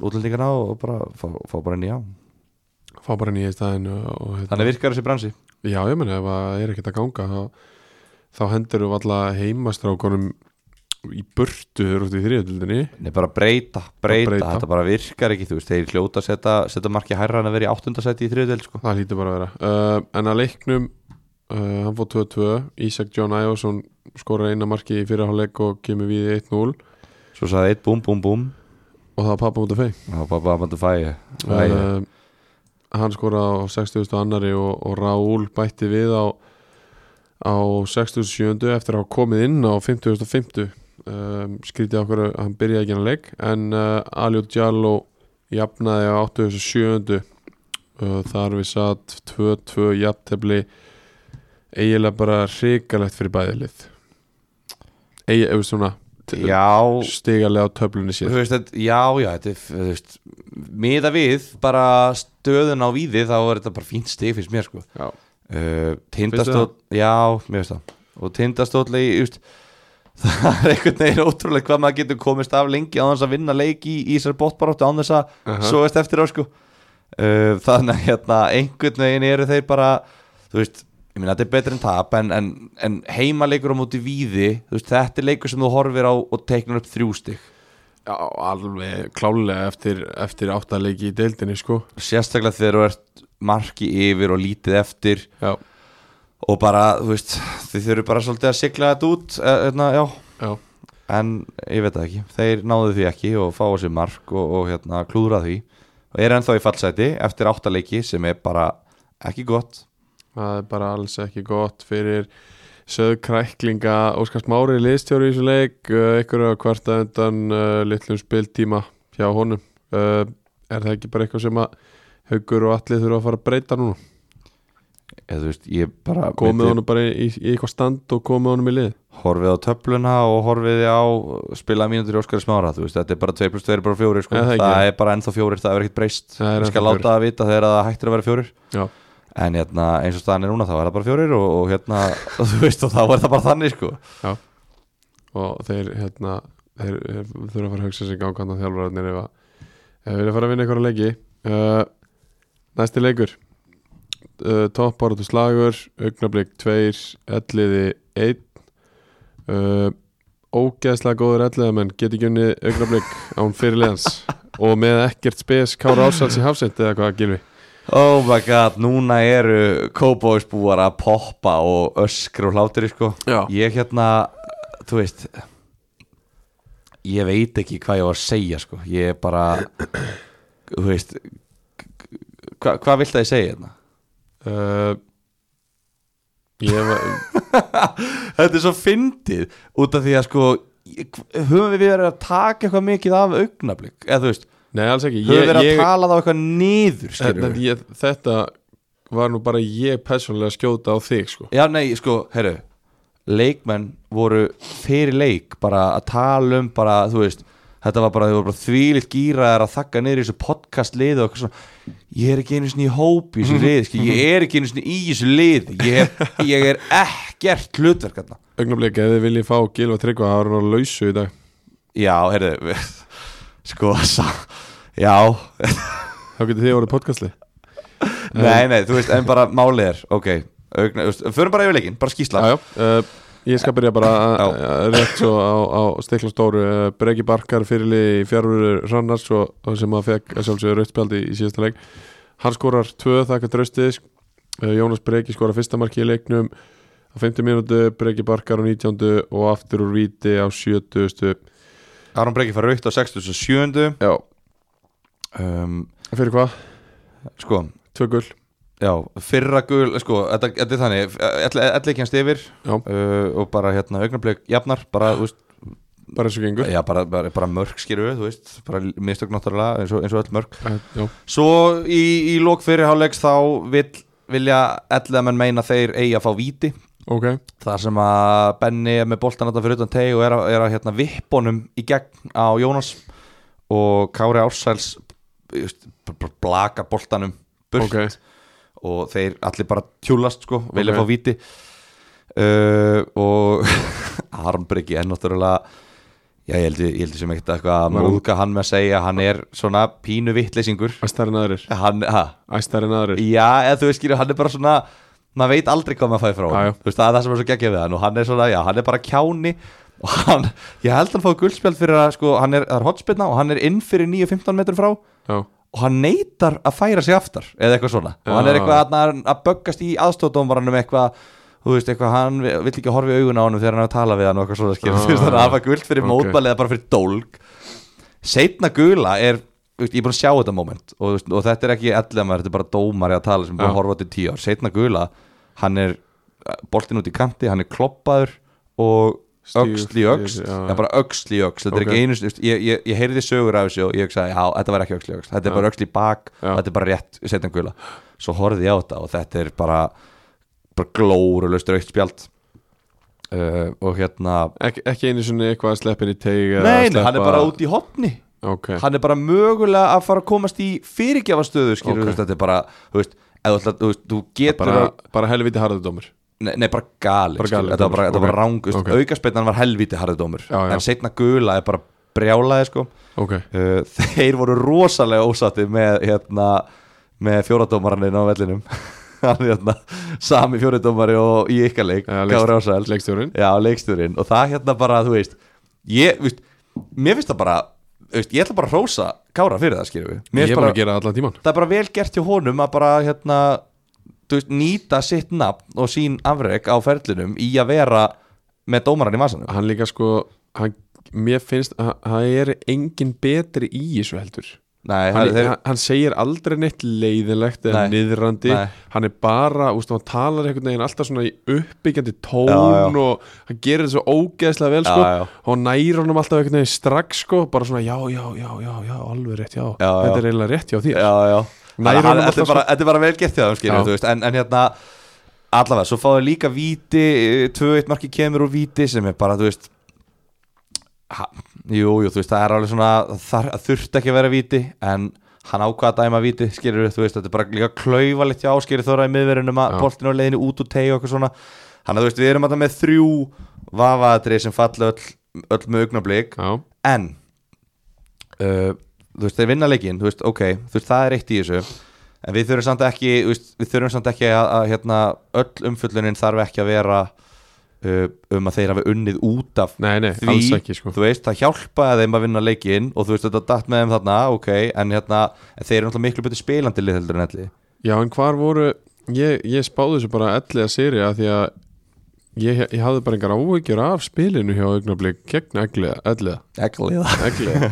útlendingana og og bara fá, fá bara nýja.
fá bara nýja í staðin og, og hérna-
Þannig virkar þessi bransi.
Já, ég meni, ef það er ekkert að ganga þá, þá hendur við alla heimastrákunum í burtu þegar út í þriðjöldinni
Nei, bara breyta, breyta,
breyta.
þetta bara virkar ekki, þú veist, þeir hljóta að setja, setja marki hærra en að vera í áttundasæti í þriðdel, sko.
það hlýtur bara að vera uh, en að leiknum, uh, hann fór 2-2 Ísak John Ævarsson skorar eina marki í fyrirháleik og kemur við í 1-0 og
Svo sagði eitt búm, búm, búm,
það var pappa út af fei
og bara bara bandu fæi. Uh,
uh, hann skoraði á 60. annari og, og Raúl bætti við á, á 67. eftir að hafa komið inn á 50.50 um, skrítið okkur að hann byrjaði ekki hann leik en uh, Aljó Djaló jafnaði á 87. Uh, þar við satt 2-2 jafntefli eiginlega bara hrikalegt fyrir bæðilið eiginlega, ef við eh, svona
já,
stigalega á töflunni sér
þú veist, þetta, já, já, þetta er, þú veist, miða við bara stöðun á víði þá er þetta bara fínt stig finnst mér, sko.
Já.
Uh, tindastóll, já, mér veist það. Og tindastóll, í, just, það er einhvern veginn ótrúlega hvað maður getur komist af lengi á þess að vinna leik í, í þessar bóttbaráttu án þess að uh
Aha.
sogast eftir á, sko. Uh, þannig að hérna, einhvern veginn eru þeir bara, þú veist, ég meina þetta er betur en tap en, en, en heimaleikur á móti víði þú veist, þetta er leikur sem þú horfir á og teiknar upp þrjú stig
Já, alveg klálega eftir, eftir áttaleiki í deildinni sko
sérstaklega þegar þú ert marki yfir og lítið eftir
Já,
og bara, þú veist, þið þurfum bara svolítið að sigla þetta út eh, hérna, já,
já,
en ég veit það ekki þeir náðu því ekki og fá sér mark og, og hérna, klúðra því og er ennþá í fallseti eftir áttaleiki sem er bara ekki gott
það er bara alls ekki gott fyrir söðkræklinga Óskars Mári liðstjóri í þessu leik uh, ykkur að kvarta undan uh, litlum spiltíma hjá honum Eh, uh, Er það ekki bara eitthvað sem að haugur og allir þurfa að fara að breyta núna?
eða þú veist, ég bara
komið
myndi-
honum bara í, í eitthvað stand og komið honum í lið
horfið á töfluna og horfið á spila mínútur í Óskari Smára þú veist, þetta er bara 2 plus 2 er bara 4 sko.
Ja, það er
það,
ekki.
er bara ennþá 4, það er ekkert breyst
Það er
ég skal
ennþá
láta það að vita þegar það hættir að vera 4
já,
en hérna, eins og staðan er núna þá er það bara 4 og, og hérna, þú veist, og þá er það bara þannig sko.
og þeir hérna þeir, þeir þurfa að fara að hugsa sig gangkvæmna þjálfurarnir ef að ef þeir vilja fara að vinna einhverja leiki uh, næsti leikur uh, toppbáratu slagur augnablík 2, elliði 1 uh, ógeðslega góður elliðamenn get ekki unni augnablík án fyrirleðans og með ekkert spes Kára Ársals í hafsend eða hvað gilvi
oh my god, núna eru kóbóisbúar að poppa og öskra og hlátir sko.
Já.
ég hérna, þú veist ég veit ekki hvað ég var að segja sko. ég er bara þú veist hva, hvað vilt að ég segja hérna?
uh, ég var
þetta er svo fyndið út af því að sko ég- höfum við verið að taka eitthvað mikið af augnablík eða þú veist,
nei alls ekki
höfum við
ég,
verið að
ég,
tala þá eitthvað niður skilurðu?
þetta, Hérna, ég, þetta var nú bara ég persónulega að skjóta á þig sko
Já, nei, sko, herru Leikmenn voru fyrir leik bara að tala um bara, þú veist Þetta var bara, þau voru bara þvílitt gýraðar að þakka niður í þessu podcast liði og eitthvað svona Ég er ekki einu sinni í hópi í þessu liði, skil, ég er ekki einu sinni í þessu liði Ég, hef, ég er ekkert hlutverk hérna
Ögnablik, ef þið viljið fá Gilva Tryggva það var hann á lausu í dag
Já, herru, við- sko, sá, já,
þá getur þið orðið podcastli
nei, nei, þú veist, en bara málið er, ok augna, þú veist, Förum bara yfir leikin, bara skýsla
Jájá, uh, ég skal byrja bara að-
Já.
að- rétt svo á, á stikla stóru uh, Breki Barkar fyrirli í fjárfjörður Rannars og, og sem að fekk að sjálfsögur rauðspjaldi í síðasta leik hann skorar tvö þakka draustið uh, Jónas Breki skorar fyrsta marki í leiknum á 50 mínútu, Breki Barkar á 19 og aftur úr víti á 70
Aron Breki fær raukt á 67.
Já,
Um,
fyrir hvað?
sko,
Tvö gull
Já, fyrra gul, sko, þetta, þetta er þannig Elli ekki hans yfir
Já.
uh, og bara hérna augnablik jafnar bara, þú veist,
bara eins og gengur
já, bara, bara, bara mörg skýru, þú veist, bara mistök náttúrulega eins og, eins og öll mörg
Eh, Já,
Svo í, í lók fyrirháleiks þá vil, vilja Elli að menn meina þeir eigi að fá víti
ok
þar sem að Benni er með boltan þetta fyrir utan teg og er að, er að hérna, vippunum í gegn á Jónas og Kári Ársæls þú veist, bara- bara blakar boltanum burt
Ok.
og þeir allir bara tjúlast sko, vilja
Ok.
fá víti uh, og Armbryggi er náttúrulega já, ég held ég held ég sem ekkert eitthvað að
Var hann-
múlga hann með að segja hann er svona pínu vittleysingur
Æstari naðurir
hann, ha,
Æstari naðurir
Já, eða þú veist skilur, hann er bara svona maður veit aldrei hvað maður fæði frá
Já, já.
honum. Þú veist, það er það sem er svo geggjað við hann og hann er svona, já, hann er bara kjáni og hann, ég held hann fáið guldspjald fyrir að sko, hann er, það er hotspilna og hann er inn fyrir 9-15 metrum frá og
Já,
hann neytar að færa sig aftar eða eitthvað svona og hann
Já.
er eitthvað þarna að, að böggast í aðstóðdómaranum eitthvað þú veist, eitthvað, hann vill ekki horfa í augun á honum þegar hann er að tala við hann og eitthvað svona skilur,
Ah.
þú veist, hann er að hafa guld fyrir
Ok.
okay. mótmæli eða bara fyrir dólg setna gula er þú veist, ég er búin að sjá þetta moment og, þú veist, og þetta er ekki ellemar, þetta er bara dómari að tala sem er búin
Já.
að horfa til tíu ár setna gula, hann er boltin út í kanti, hann er kloppaður og
Stígur,
öxl í öxl
stígur,
já,
já, já.
bara öxl í öxl, þetta
Ok.
er ekki einu þú veist, ég, ég, ég heyrði sögur af þessu og ég hugsaði já, þetta var ekki öxl í öxl, þetta
Já.
er bara öxl í bak
Já.
þetta er bara rétt, setna gula svo horfði ég á þetta og þetta er bara bara glórulust raukt spjald uh, og hérna
ekki, ekki einu sinni eitthvað að sleppin í teig eða
nei,
sleppa-
hann er bara út í hopni
Ok,
hann er bara mögulega að fara að komast í fyrirgjafastöðu skilur
Ok.
þú veist, þetta er bara þú veist, eða þú, ætlar- þú, veist, þú getur
bara,
að
bara helviti harðudómur
Nei, nei, bara gali,
Bara
skilur,
gali
þetta var
dómur,
bara, þetta
ok,
var bara rang
ok.
okay. aukaspeinnan var helviti harðidómur
Já, já.
en setna gula er bara brjálaði sko.
Ok,
uh, þeir voru rosalega ósatti með, hérna, með fjóradómaraninn á vellinum hann hérna, sami fjóradómari og í ykkar leik,
Já, leikst-
Kári Ásæl
leikstjórin
Já, leikstjórinn og það hérna bara, þú veist ég, þú veist, mér finnst það bara þú veist, ég ætla bara að rósa Kára fyrir það, skilur við
Ég
Mér
er
finnst
bara
bara,
að gera allan tíman
það er bara vel gert hjá honum að bara, hérna þú veist, nýta sitt nafn og sín afrek á ferlinum í að vera með dómaran í vasanum
Hann líka sko, hann, mér finnst að það er engin betri í þessu heldur
Nei,
Hann,
þeir,
hann, hann segir aldrei neitt leiðilegt eða
Nei.
niðrandi
Nei.
Hann er bara, úst, hann talar einhvern veginn alltaf svona í uppbyggjandi tón
Já, já.
og hann gerir þetta svo ógeðslega vel
Já,
sko,
já.
og næra honum alltaf einhvern veginn strax sko, bara svona já, já, já, já, já, alveg rétt, já,
Já, já.
þetta er eiginlega rétt hjá því
já, já
Nær
Þannig að
honum
hann-
alltaf
Þetta er bara- þetta er bara vel gert hjá þeim, skilur
Já.
við, þú veist en, en hérna allavega, svo fáðu líka víti eh, 2-1 marki kemur úr víti sem er bara, þú veist ha, jú, jú, þú veist, það er alveg svona þar, þurft ekki að vera víti en hann ákvaða að dæma víti, skilur þú veist, þetta er bara líka klaufalegt hjá áskýri þóra í miðverunum að
Já.
boltinu á leiðinu út úr tegi og eitthvað svona þannig að þú veist, við erum alltaf með þrjú vafaðatri sem falla öll, öll með augnablík
Já,
en uh, þú veist, þeir vinna leikinn þú veist, ok, þú veist, það er eitt í þessu en við þurfum samt ekki, þú veist, við þurfum samt ekki að, að hérna, öll umfullunin þarf ekki að vera uh, um að þeir hafi unnið út af
nei, nei,
því,
alls ekki sko
þú veist, það hjálpaði þeim að vinna leikinn og þú veist, þetta datt með þeim þarna, ok en hérna, en þeir eru náttúrulega miklu betur spilandi lið heldur en elli,
Já, en hvar voru, ég, ég spáði þessu bara elliða seri að því að ég, ég hafði bara engar ávegjur af spilinu hjá augnablík gegn elliða, elliða,
elli það
elliða.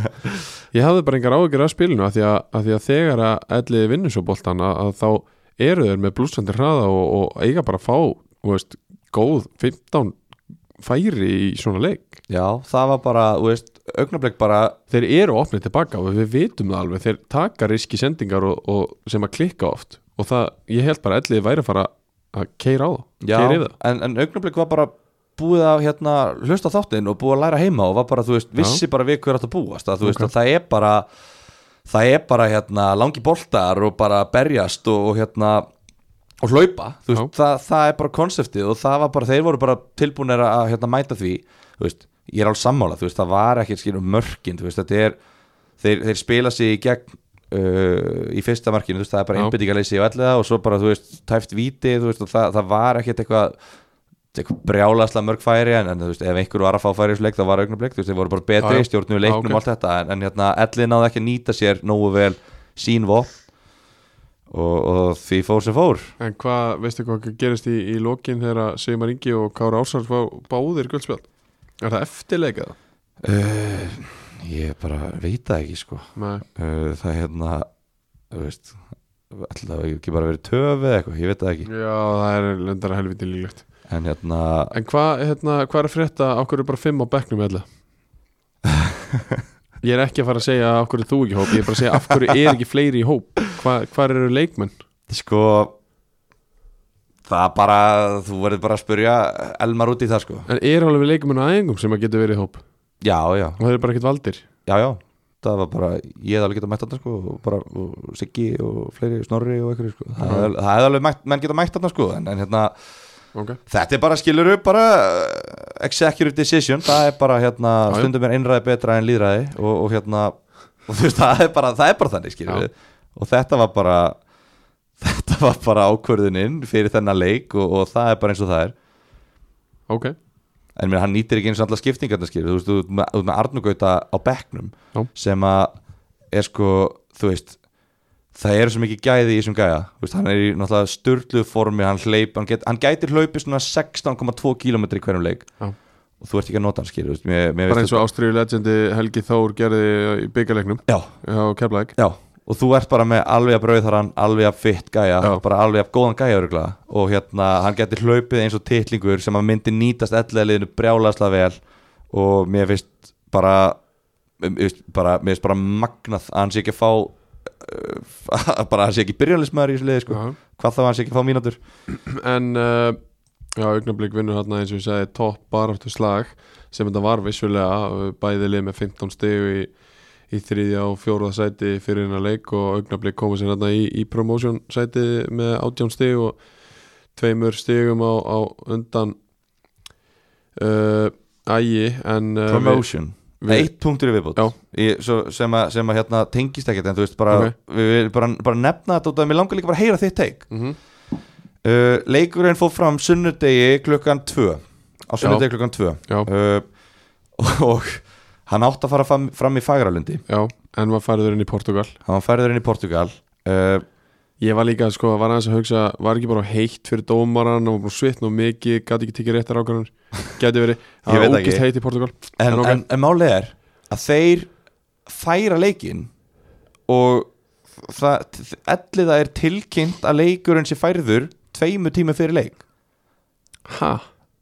Ég hafði bara engar ávegjur af spilinu að því að, að, því að þegar að elliði vinnur svo boltan að, að þá eru þeir með blúsandi hraða og, og eiga bara að fá, þú veist, góð 15 færi í svona leik.
já, það var bara, þú veist, augnablik bara
Þeir eru opnið tilbaka og við vitum það alveg, þeir taka riski sendingar og, og sem að klikka oft og það, ég held bara að elliði væri að fara að keira á það,
já,
keira yfir það.
en, en augnablik var bara búið að hérna, hlusta á þáttinn og búið að læra heima og var bara, þú veist,
Já.
vissi bara við hver átt að búast að þú veist
Ok.
að það er bara það er bara hérna langi boltar og bara berjast og, og hérna og hlaupa, þú veist, það, það er bara konseptið og það var bara, þeir voru bara tilbúinir að hérna mæta því, þú veist ég er alveg sammála, þú veist, það var ekki skilur mörkin, þú veist, þetta er þeir, þeir spila sig í gegn uh, í fyrsta markinu, þú veist, það er bara
Já.
einbyttingaleysi og allega og svo bara, þú veist, tæft víti þú veist, og það, það var ekkert eitthvað eitthvað brjálaslega mörg færi en, en þú veist, ef einhver var að fá færi í þessu leik þá var augnablik, þú veist, þeir voru bara
Já, já.
betri, stjórnum
Já,
leiknum
ok.
og allt þetta en, en hérna, Elli náði ekki að nýta sér nógu vel sín vopn og, og því fór sem fór
En hvað, veistu hvað gerist í, í lokin þegar Sigmar Ingi og Kára Ársar fá báðir guldspjald? Er það eftirleikað?
uh, ég bara veit það ekki sko
Nei,
uh, það hérna þú veist, alltaf ekki bara verið töfi eða eitthvað, ég veit það ekki
já, það er lendara helviti líklegt
en hérna,
En hvað, hérna, hvað er að frétta, okkur er bara fimm á bekknum eða? Ég er ekki að fara að segja af hverju er þú ekki í hóp, ég er bara að segja af hverju er ekki fleiri í hóp Hva, Hvar eru leikmenn?
sko það bara þú verður bara að spyrja Elmar út í það sko
En eru alveg leikmenn á aðengum sem að geta verið í hóp
já, já,
og þeir eru bara ekkert valdir
já, já það var bara, ég hefði alveg getað mætt þarna sko og bara, og Siggi og fleiri Snorri og eitthvað sko, það hefði það hefði alveg mætt, menn getað mætt þarna sko, en, en hérna
okay.
þetta er bara, skilur upp bara uh, executive decision, það er bara hérna,
Já, já.
stundum er einræði betra en líðræði og, og hérna, og þú veist, það er bara það er bara þannig, skilur við, og þetta var bara þetta var bara ákvörðuninn fyrir þennan leik og, og það er bara eins og það er
ok,
en mér, hann nýtir ekki eins og allar skiptingarna skilur þú veist, þú ert með, þú ert með Arnugauta á bekknum
Já.
sem að er sko, þú veist það eru svo mikið gæði í þessum gæða þú veist, hann er í náttúrulega styrlu formi hann, hleyp, hann, get, hann gætir hlaupið svona 16,2 km í hverjum leik
Já.
og þú ert ekki að nota hann skilur þú veist, mér, mér
bara
veist
eins og Ástriðu legendi Helgi Þór gerði í byggarleiknum
þetta-
á Keflæk
já, já, og þú ert bara með alveg að brauð þar hann alveg að fitt gæja,
Já.
bara alveg að góðan gæja öruglega. og hérna, hann gætir hlaupið eins og titlingur sem að myndi nýtast ellegliðinu brjálasla vel og mér finnst bara um, veist, bara, mér finnst bara magnað að hann sé ekki að fá uh, bara að hann sé ekki byrjanlismæður í þessu liði sko.
Já. Eh,
hvað þá að hann sé ekki að fá mínútur
en uh, já, augnablík vinnur hérna eins og ég segi topp baráttu slag sem þetta var vissulega uh, bæði lið með 15 stegu í, í þriðja og fjóruða sæti fyrir hennar leik og augnablík koma sér hérna í, í promotion sæti með 18 stegu og tveimur stegum á, á undan uh, ægi en uh,
promotion,
við- við-
eitt punktur í viðbútt
Já.
Ég, svo, sem að, sem að hérna, tengist ekkert en þú veist bara,
Ok.
við, við bara, bara nefna þetta út af mér langar líka bara að heyra þitt teik
Mhm.
Uh, leikurinn fór fram sunnudegi klukkan 2 á sunnudegi klukkan 2
já,
uh, og hann átti að fara fram, fram í Fagralundi
já, en maður færður inn í Portugal
hann færður inn í Portugal uh,
Ég var líka, sko, var aðeins að hugsa, var ekki bara heitt fyrir dómaran, hann var bara svitn og mikið, gæti ekki tekið réttar ákvæðanir, gæti verið, það
veit
var
ekki.
ógist heitt í Portugal.
en,
En ok.
en, en málið er að þeir færa leikinn og það, ellið það er tilkynnt að leikurinn sé færður tveimur tímum fyrir leik
Hæ?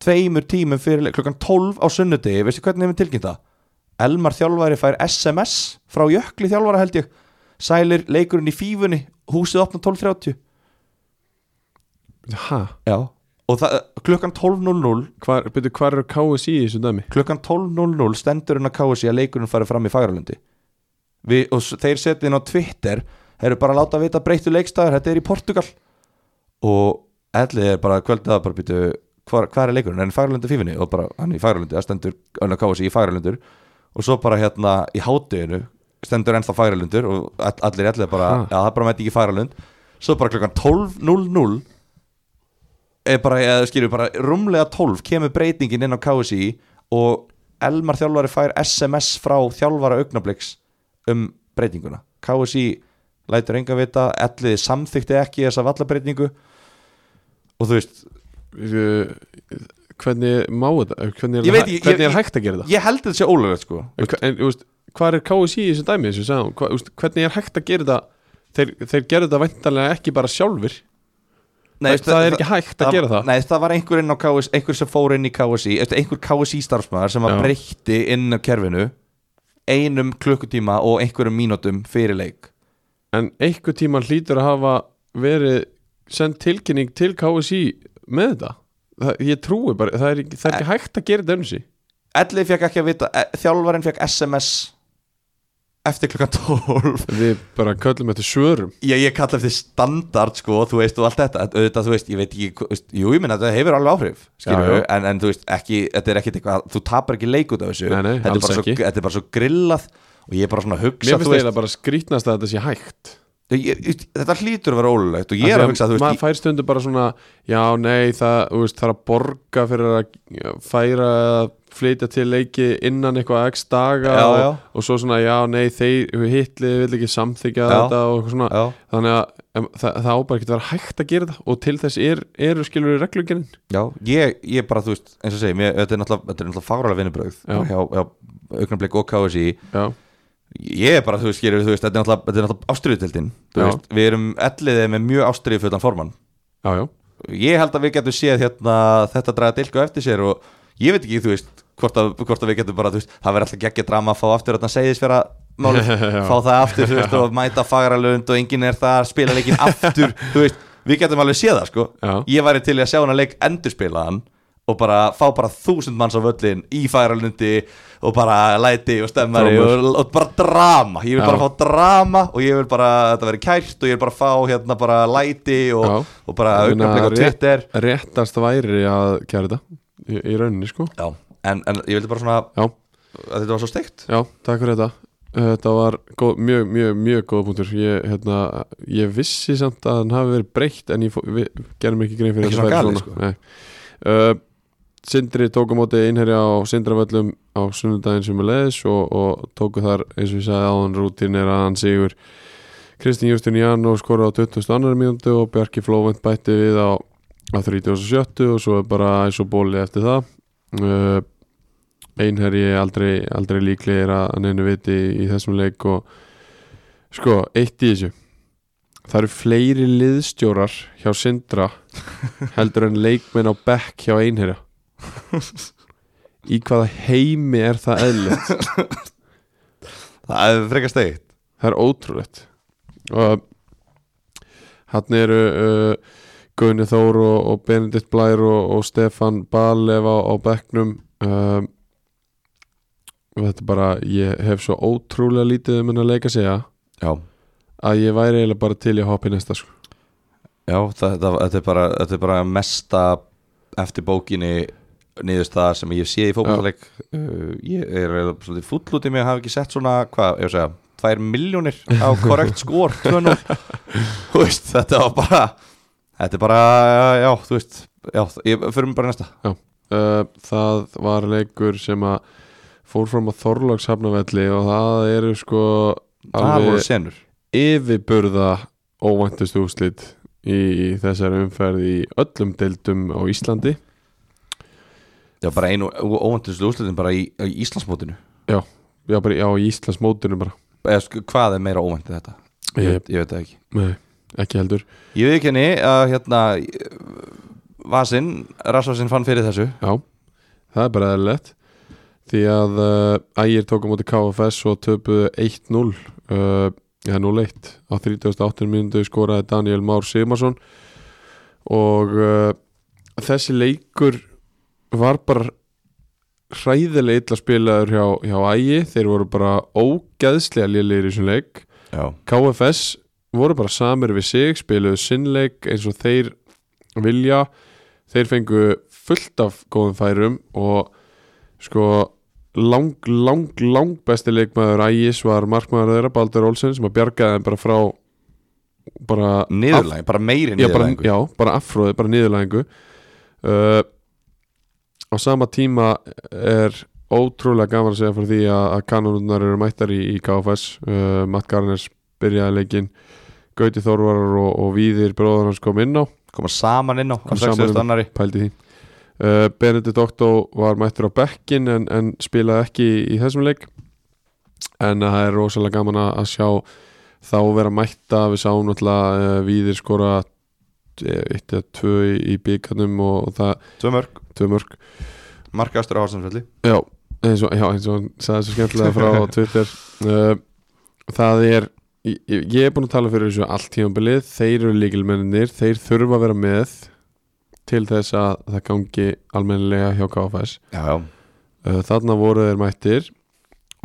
tveimur tímum fyrir leik, klukkan 12 á sunnudegi veistu hvernig hefum tilkynnt það? Elmar þjálfari fær SMS frá Jökli þjálfara held ég sælir leikurinn í fífunni, húsið opna 12.30
Hæ?
já, og það, klukkan 12.00
Hvar, byrju, hvar eru KSI í þessu dæmi?
klukkan 12.00 stendur hún að káa sig að leikurinn farið fram í Fagralundi Vi, og s- þeir setja inn á Twitter þeir eru bara að láta vita breyttu leikstæðar þetta er í Portugal og ellið er bara kvöldið að bara býtu hvar, hvar er leikurinn, er hann í Fagralundi fífinni og bara hann er í Fagralundi, það stendur hann að káa sig í Fagralundur og svo bara hérna í hátteginu stendur ennþá Fagralundur og all- allir ellið bara,
Ha.
já það bara mæti ekki Fagralund svo bara klukkan 12.00 er bara, eða skilur bara rúmlega 12 kemur breytingin inn á KSI og Elmar þjálfari fær SMS frá þjálfara augnabliks um breytinguna KSI lætur enga vita elliði samþykti ekki þessa vallabreytingu og þú veist
Byrju, Hvernig má þetta? Hvernig er,
Ég
það-
veit ekki, ég-
hvernig er
ég-
hægt að gera það?
ég held þetta sé ólögulegt sko
En, hva- en, þú veist, hvað er KSI í þessu dæmi? Þessu, sagði hún? Hva, þú veist, hvernig er hægt að gera það? Þeir, þeir gerðu þetta væntanlega ekki bara sjálfur Nei, það, er ekki hægt að gera það
Nei, það var einhver, inn á KS, einhver sem fór inn í KSI eftir einhver KSI starfsmæðar sem var
Já.
breytti inn á kerfinu einum klukkutíma og einhverjum mínútum fyrir leik
En einhver tíma hlýtur að hafa verið send tilkynning til KSI með þetta það, Ég trúi bara, það er, ekki- það er ekki hægt að gera þetta um sig
Elli fekk ekki að vita, e, þjálfarinn fekk SMS eftir klukkan 12
Við bara köllum þetta svörum
Ég, ég kalla eftir standard sko, þú veist og allt þetta, en auðvitað þú veist, ég veit ekki hva- þú veist, Jú, ég minna, þetta hefur alveg áhrif skilur,
Já, já.
En, en þú veist, ekki, þetta er ekkit eitthvað þú tapar ekki leik út af þessu
Nei, nei,
þetta, er
alls
bara svo,
ekki.
þetta er bara svo grillað og ég er bara svona að hugsa
Mér
þú
finnst eiginlega bara skrýtnast að þetta sé hægt
ég, ég, Þetta hlýtur að vera ólulegt og ég
Af
er
því
að hugsa, þú
Maður
veist,
fær stundu bara svona Já, nei, það, þú veist, það er að borga fyrir að færa eða flytja til leiki innan eitthvað x daga
Já,
og,
já.
og svo svona, já, nei, þeir hitlið vil ekki samþykja
Já.
þetta og eitthvað svona
ég, já,
þannig að em, það, það ábæð ekki að vera hægt að gera það og til þess er, eru skilur reglugjörn
Já, ég, ég bara, þú veist, eins og segi mér, þetta er náttúrulega, þetta er náttúrulega fagrálega vinnubröð
Já.
hjá, hjá augnablik og KSI
já,
ég er bara, þú veist, skilur, þú veist, þetta er náttúrulega, þetta er náttúrulega ástriðutildin, þú
Já.
veist, við erum elliðið með mjög ástriðufullan formann
já, já,
ég held að við getum séð hérna þetta draga dilku eftir sér og ég veit ekki, þú veist, hvort að, hvort að við getum bara, þú veist, það verður alltaf geggja drama að fá aftur þarna segðis fyrir að málið,
Já.
fá það aftur, þú veist, og mæta fagralund og enginn er það, spila leikin aftur, þú veist, við getum alveg séð það, sko
já.
ég væri til í að sjá hana leik endurspila hann og bara fá bara þúsund manns á völlin í færalundi og bara læti og stemmari og,
Drómur.
og bara drama, ég vil
Já.
bara fá drama og ég vil bara, þetta veri kært og ég vil bara fá hérna bara læti
Já.
og, og bara
Ég meina,
augnablik á
rétt-
Twitter
réttast væri að gera þetta í, í rauninni sko
Já, en, en ég vildi bara svona
já,
að þetta var svo steikt
já, takk fyrir þetta Þetta var góð, mjög, mjög, mjög góða punktur ég, hérna, ég vissi samt að hann hafi verið breytt en ég fó- við gerum ekki grein fyrir að
Ekki
þetta væri
svona galið, sko.
Nei. uh, Sindri tók á móti innherja á Sindravöllum á sunnudaginn sem er leðis og, og tóku þar eins og ég sagði áðan rútin er að hann sigur Kristín Justin Ján og skora á 22. mínútu og Bjarki Flóvent bætti við á, á 37. og svo er bara eins og bóli eftir það uh, einherji er aldrei, aldrei líklegir að neinu viti í þessum leik og sko, eitt í þessu það eru fleiri liðstjórar hjá Sindra heldur en leikmenn á bekk hjá einherja í hvaða heimi er það eðlilegt
Það er frekar steikt
það er ótrúlegt og hann eru uh, Gunni Þór og, og Benedikt Blær og, og Stefan Balef á, á bekknum um, og þetta er bara ég hef svo ótrúlega lítið um henni að leika segja
Já,
að ég væri eiginlega bara til í að hoppa í næsta sko.
Já það, það, þetta, er bara, þetta er bara mesta eftir bókinni niðurst það sem ég sé í fótballleik uh, ég er eiginlega svolítið fúll út í mig að hafa ekki sett svona, hvað, ég að segja tvær miljónir á korrekt skor 2-0. þú veist, þetta var bara þetta er bara, já, þú veist já, ég förum bara í næsta
Uh, það var leikur sem að fór fram á Þorlags hafnavelli og það eru sko
það voru
alveg
senur
yfirburða óvæntustu úslit í þessari umferð í öllum deildum á Íslandi
já, bara einu óvendislu úrslitin bara í, í Íslandsmótinu
já, bara, já í Íslands mótinu bara
eða sko, hvað er meira óvendið þetta ég,
ég,
veit- ég veit það ekki
nei, ekki heldur
Ég veit ekki henni að hérna Vasinn, Rassvarsinn fann fyrir þessu
já, það er bara eðlilegt því að uh, ægir tók á móti KFS og töpuðu 1-0 uh, Já, 0-1 á 38. mínútu skoraði Daniel Már Sigmarsson og uh, þessi leikur var bara hræðilega illa spilaður hjá, hjá ægi þeir voru bara ógeðslega lélegir í þessum leik
Já,
KFS voru bara samir við sig spiluðu sinnleik eins og þeir vilja þeir fengu fullt af góðum færum og sko lang, lang, lang besti leikmaður ægis var markmaður þeirra Baldur Olsen sem að bjargaði þeim bara frá bara
niðurlæg, bara meiri
já, bara,
niðurlæg
já, bara afróði, bara niðurlæðingu uh, á sama tíma er ótrúlega gaman að segja fyrir því að, að kanonunnar eru mættar í, í KFS uh, Matt Garnes byrjaði leikinn Gauti Þorvarar og, og Víðir bróður hans kom inn á,
Koma saman inn á,
Koma
kom
saman
60
inn
annari
pældi því uh, Benedikt Otto var mættur á bekkin en, en spilaði ekki í, í þessum leik en uh, það er rosalega gaman að, að sjá þá vera mætta, við sáum náttúrulega uh, Víðir skora eh, eitt eða tvö í, í byggarnum og, og það,
Tvö mörg,
tvö mörg
marka ástur á Hálsanfelli
Já, eins og, já, eins og hann sagði svo skemmtilega frá á Twitter uh, Það er ég, ég er búin að tala fyrir þessu allt tímabilið Þeir eru líkilmenninir, þeir þurfa að vera með til þess að það gangi almennilega hjá KFS
Já, já,
uh, Þarna voru þeir mættir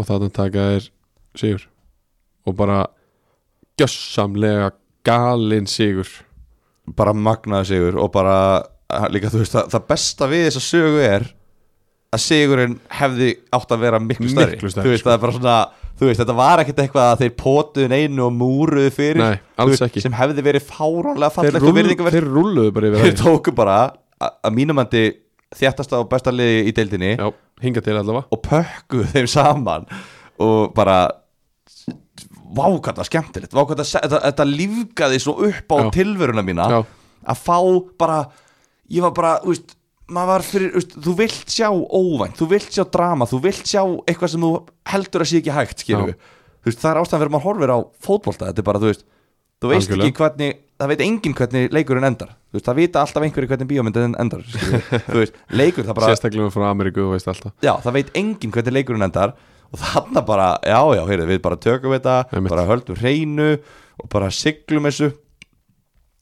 og þarna taka þeir sigur og bara gjössamlega galinn sigur
bara magnaði sigur og bara ha, líka þú veist það, það besta við þessa sögu er að sigurinn hefði átt að vera miklu stærri,
Miklu stærri, sko.
þú veist það er bara svona þú veist þetta var ekkert eitthvað að þeir pótuðu neinu og múruðu fyrir
Nei,
þú
alls
veist,
ekki.
sem hefði verið fáránlega
Þeir,
fallegt og
rúll,
verið eitthvað verið
þeir rulluðu bara yfir
þeir
aðeins
tóku bara a- að mínumandi þjættasta og besta liði í deildinni
Já, hinga til allavega
og pökkuðu þeim saman og bara vákvæmt að skemmtilegt vákvæmt að þetta, þetta lífgaði svo upp á
Já.
tilveruna mína
Já.
að fá bara ég var bara, þú veist maður var fyrir, þú veist, þú vilt sjá óvænt þú vilt sjá drama, þú vilt sjá eitthvað sem þú heldur að sé ekki hægt,
Já.
skilur við þú veist, það er ástæðan fyrir að maður horfir á fótbolta þetta er bara, þú veist, þú veist
Algjörlega.
ekki hvernig það veit enginn hvernig leikurinn endar þú veist, það vita alltaf einhverju hvernig bíómyndin endar skilurðu. þú veist, leikur það bara
Sérstaklega frá Ameríku, þú veist alltaf
já, það veit enginn hvernig leikurinn endar og þarna bara, já, já, heyrðu, við bara tökum þetta,
Einmitt.
bara höldum hreinu og bara siglum þessu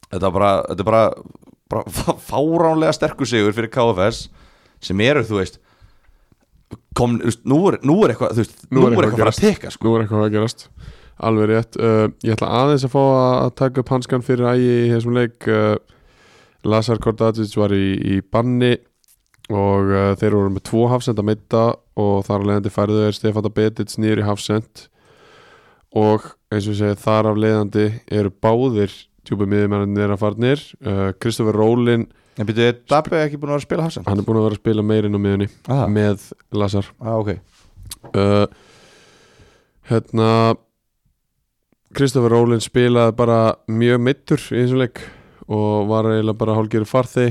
þetta er bara, þetta er bara, bara fáránlega sterkur sigur fyrir KFS sem eru, þú veist kom, þú veist, nú er, nú er eitthvað, þú veist, nú er eitthvað, að fara að
gerast.
teka sko.
Nú er eitthvað að gerast Alveg rétt uh, Ég ætla aðeins að fá að að taka upp hanskan fyrir ægi í þessum leik uh, Lazar Kordacic var í, í banni og uh, þeir voru með tvo hafsend að meita og þar af leiðandi færðu er Stefán Betic nýður í hafsend og eins og ég segi þar af leiðandi eru báðir djúpa miðjumennir að farnir uh, Kristoffer Rólin,
en byrju, er Dabbi ekki búin að vera að spila hafsend?
hann er búin að vera að spila meirinn á miðjunni
Ah,
með Lazar
ah, ok
uh, hérna Kristoffer Rólin spilaði bara mjög mittur í þessum leik og var eiginlega bara hálfgerðu farþi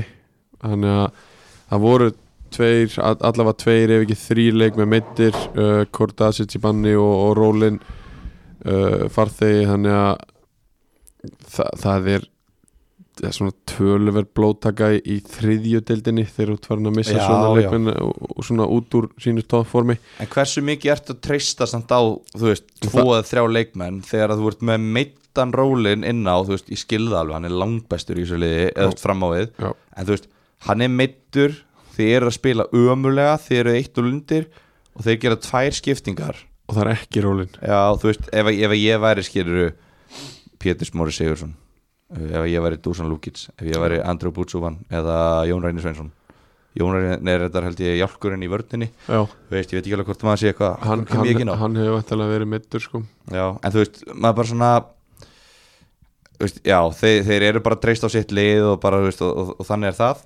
þannig að það voru tveir, all- allavega tveir ef ekki þrý leik með mittir uh, Kordasic í banni og, og Rólin uh, farþi þannig að þa það er það er svona töluverð blóttaka í, í þriðju deildinni þegar þú ert farin að missa
Já,
svona
já.
leikmenn og, og svona út úr sínu tóðformi
En hversu mikið ertu að treysta samt á, þú veist, tvo eða þrjá leikmenn þegar að þú ert með meittan rólinn inn á, þú veist, ég skilða alveg, hann er langbestur í þessu liði, eða þú veist, fram á við
Já.
en þú veist, hann er meittur þið eru að spila ömulega, þið eru eitt og lundir og þeir gera tvær skiptingar
og það er ekki rólin
Já, þú veist, ef, að- ef að ég væri skiluru Pétur Smári Sigursson ef að ég væri Dusan Lukic ef ég væri Andrew Butsuvan eða Jón Rænir Sveinsson Jón Rænir er þetta held ég jálkurinn í vörninni
Já,
Þú veist, ég veit ekki alveg hvort maður sé eitthvað
hann,
kem ég ekki
hann,
inn á.
hann hefur vantilega verið middur sko
Já, en þú veist, maður bara svona þú veist, Já, þeir, þeir eru bara treyst á sitt lið og bara, þú veist, og, og, og þannig er það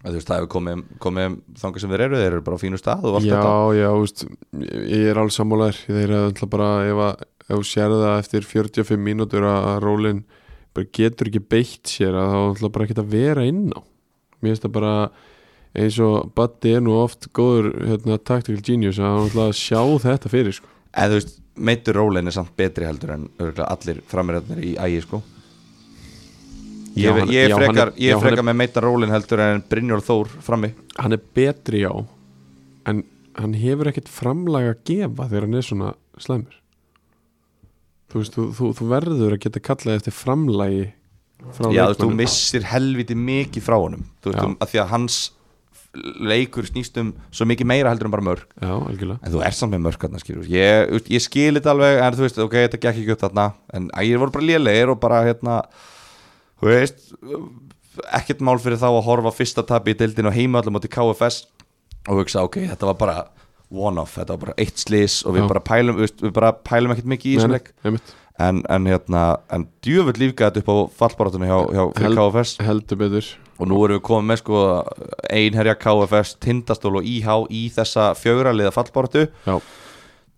En Þú veist, það hefur komið, komið þangað sem þeir eru, þeir eru bara á fínu stað og allt
Já,
þetta
já, þú veist, ég ég er alveg sammálaður þeir hefðu alltaf bara, ef að ef þú sér það eftir 45 mínútur að að rólin bara getur ekki beitt sér að þá er alltaf bara ekkert að vera inn á Mér finnst það bara eins og Batti er nú oft góður hérna, tactical genius að hann alltaf að sjá þetta fyrir sko
En þú veist, meittur rólinn er samt betri heldur en örgulega allir framiröðnir í ægi, sko Ég,
Já, hann-
ég er
já, hann
frekar,
er-
ég
já,
er
hann er-
frekar með meittar rólinn heldur en Brynjólf Þór frammi
Hann er betri já en hann hefur ekkert framlag að gefa þegar hann er svona slæmur Þú veist, þú, þú, þú verður að geta kallað eftir framlagi frá
Já, þú
leikmönnum.
missir helviti mikið frá honum Þú veist,
Já.
um, að því að hans leikur snýst um svo mikið meira heldur en bara mörg
Já, algjörlega
En þú ert samt með mörg þarna, skilur við. Ég, þú veist, ég skil þetta alveg, en þú veist, ok, þetta gekk ekki upp þarna En ægir voru bara lélegir og bara, hérna Þú veist, ekkert mál fyrir þá að horfa á fyrsta tabi í deildinu og heima allir móti KFS Og hugsa, ok, þetta var bara one-off, þetta var bara eitt slis Og
Já.
við bara pælum, þú veist, við bara pælum ekkert mikið í þessum leik
einmitt
En, en hérna, en djöfull lífgæði upp á fallbarátunni hjá, hjá fyrir
Held-
KFS
Heldur betur
og nú erum við komið með sko einherja KFS, Tindastól og IH í þessa fjögraliða fallbortu
Já,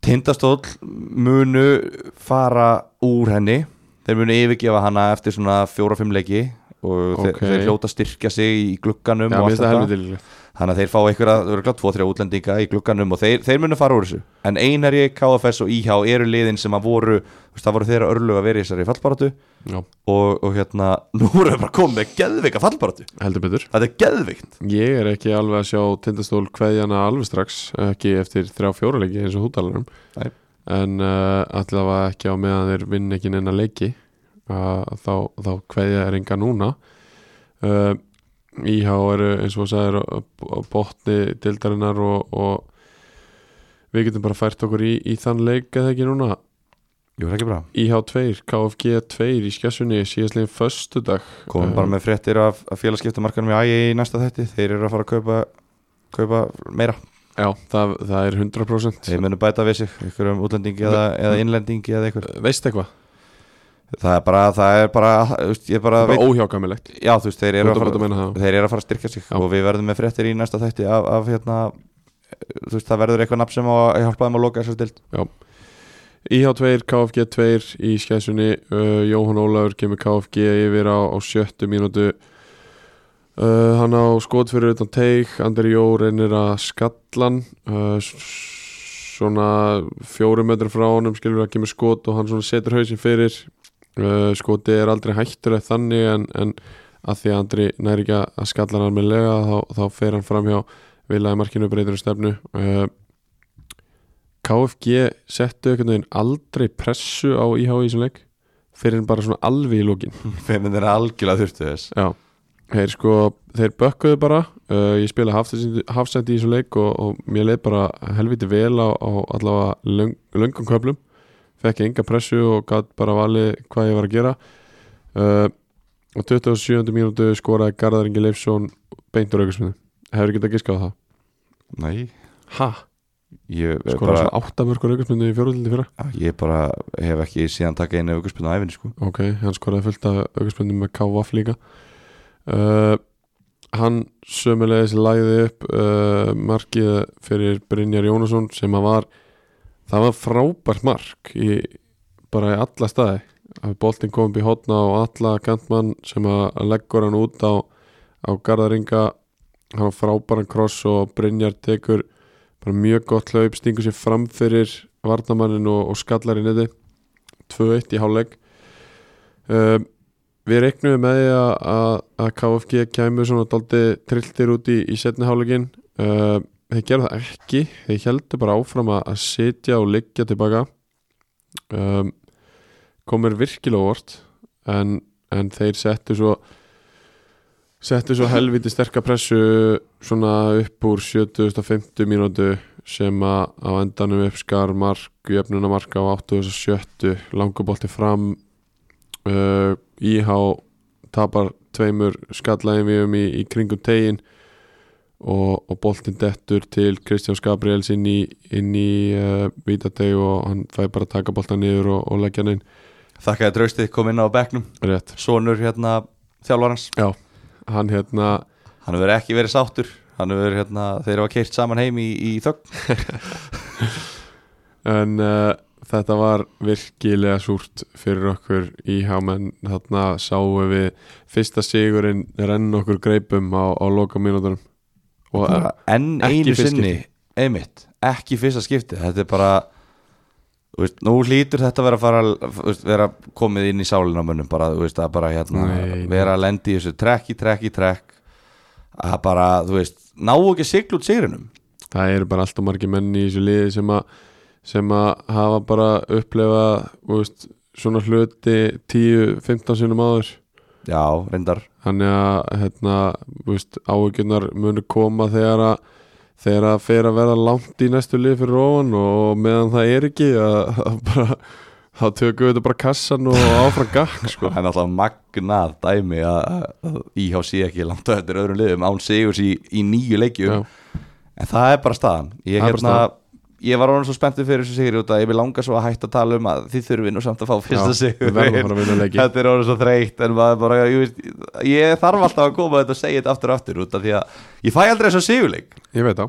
Tindastól munu fara úr henni þeir munu yfirgefa hana eftir svona fjóra-fimm leiki og
Ok.
þeir, þeir hljóta að styrkja sig í glugganum
já mér
og allt
finnst það
þetta
helviti líklegt
þannig að þeir fá einhverja, þau eru glátt tvo-þrjá útlendinga í glugganum og þeir, þeir munu fara úr þessu en einherji, KFS og IH eru liðin sem að voru, þú veist, það voru þeirra örlug að vera í þessari fallbortu
Já,
og, og hérna, nú erum við bara komið með geðvika fallbortu,
heldur betur
þetta er geðvikt
Ég er ekki alveg að sjá tindastól kveðjana alveg strax ekki eftir þrjá fjóra leiki eins og þú talar um
Nei.
en uh, allavega ekki á meðan þeir vinn ekki neina leiki uh, þá, þá kveðja er enga núna uh, IH eru eins og þú sagðir á- á botni dildarinnar og, og við getum bara fært okkur í, í þann leik eða ekki núna
Jú, það er ekki bra
IH 2, KFG 2 í skessunni síðastlegin föstudag
komum
Eh,
bara með fréttir af, af félagskiptamarkanum í ægi í næsta þetti, þeir eru að fara að kaupa kaupa meira,
Já, það, það er 100%
þeir munu bæta við sig einhverjum útlendingi eða, eða innlendingi eða einhver,
Veist eitthvað?
það er bara, það er bara, þú veist, ég bara,
Það er
veit,
bara óhjákamilegt
já þú veist, þeir
Þú
eru
ert
að
bara að
fara,
meina það
þeir eru að fara að styrkja sig
Já.
og við verðum með fréttir í næsta þetti af, af hérna, þú veist, það verður eitthvað nafn sem á að hjálpa þeim að loka þessu stilt
IH2, KFG 2 í skæsunni uh, Jóhann Ólafur kemur KFG yfir á, á sjöttu mínútu uh, Hann á skot fyrir utan teik Andri Jó reynir að skallan uh, s- svona fjórum metrar frá honum skilur að kemur skot og hann svona setur hausin fyrir uh, skoti er aldrei hættulegt þannig en, en að því að Andri næri ekki að skalla hann almennilega þá, þá fer hann fram hjá vilaði markinu breytur um stefnu uh, KFG settu einhvern veginn aldrei pressu á IH í þessum leik fyrir en bara svona alveg í lókin
þeir eru algjörlega þurftu þess
Já, þeir sko þeir bökkuðu bara, uh, ég spila hafsendi í þessum leik og, og mér leið bara helviti vel á, á allavega löng, löngum köflum fekk enga pressu og gatt bara valið hvað ég var að gera uh, og 27. mínútu skoraði Garðar Ingi Leifsson beint úr aukasminu, hefur ekki að giska á það
nei,
Ha?
ég, er
Skoraði
bara,
svona áttamörkur aukasminu í fjóruðildi fyrra
ég bara hef ekki síðan taka einu augurspunna á æfinni sko
Ok, hann skoraði fullt af aukarspöndum með K.V.A.F. líka uh, Hann sömulegis lagði upp uh, markið fyrir Brynjar Jónasson sem að var það var frábært mark í, bara í alla staði að boltinn kom upp í hotna og alla kantmann sem að leggur hann út á, á garðaringa hann var frábæran kross og Brynjar tekur bara mjög gott hlaup stingur sér fram fyrir varnamannin og, og skallar í neti 2-1 í hálfleik Um, við reiknum með því að- að að KFG kæmu svona daldi trilltir út í, í setni hálfleikin uh, þeir gerðu það ekki þeir heldur bara áfram að, að sitja og liggja tilbaka um, komur virkilega á óvart en, en þeir settu svo settu svo helviti sterka pressu svona upp úr 7050 mínútu sem að á endanum uppskar mark, jöfnuna marka á 87, langubolti fram uh, IH tapar tveimur skallæðin við um í, í kringum tegin og, og boltinn dettur til Kristjáns Gabriels inn í, inn í uh, vítateg og hann fæ bara að taka boltan niður og, og leggja hann inn
þakkaði draustið kom inn á bekknum
rétt,
sonur hérna þjálfarans
hann hérna
hann hefur ekki verið sáttur hann hefur hérna, þeir hafa keirt saman heim í, í þögn
en uh, þetta var virkilega súrt fyrir okkur IH menn þarna sáum við fyrsta sigurinn renn okkur greipum á, á loka mínútunum og uh,
Bara enn
ekki
einu
fyrsta
sinni einmitt, ekki fyrsta skipti þetta er bara þú veist, nú hlýtur þetta að vera, að fara, þú veist, vera komið inn í sálina á mönnum bara, þú veist, að bara hérna,
Nei, nei.
vera að lendi í þessu trekk í trekk í trekk að bara, þú veist, ná ekki sigl út sigrinum
það eru bara alltaf margir menn í þessu liði sem að sem að hafa bara upplefað þú veist, svona hluti 10-15 sinum áður
Já, reyndar
Þannig að hérna, þú veist, áhugjunar munu koma þegar að þegar að fer að vera langt í næstu lið fyrir ofan og meðan það er ekki að, að bara, þá tökum við þetta bara kassan og áfram gakk
sko, það er náttúrulega magnað dæmi að að íhá sé ekki langt á eftir öðrum liðum án sigurs í, í nýju leikjum
Já.
en það er bara staðan ég,
Það er bara
hérna, ég var orðin svo spenntið fyrir þessu sigur út að ég vil langa svo að hætta að tala um að þið þurfi nú samt að fá fyrsta
Já, við
sigur
verðum að fara að vinna leiki.
þetta er orðin svo þreytt en maður bara, ég, veist, ég þarf alltaf að koma þetta og segja þetta aftur og aftur út af því að ég fæ aldrei þessu sigurleik
Ég veit á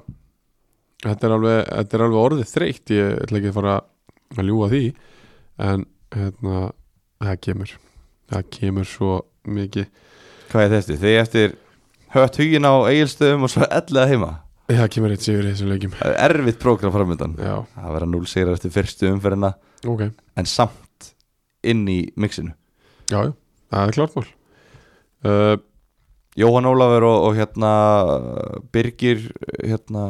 Þetta er alveg, þetta er alveg orðið þreytt Ég ætla ekki að fara að ljúga því En hérna Það kemur Það kemur svo mikið
hvað er þetta? Þið eftir hött hugin á eigilstöðum og svo ellega heima
Það kemur eitt sigur í þessum leikjum
Það er erfitt prógram framöndan
Já,
það verða núl sigur eftir fyrstu umferðina
ok
en samt inn í mixinu
Já, já, það er klart mál uh,
Jóhann Ólafur og, og hérna Birgir hérna,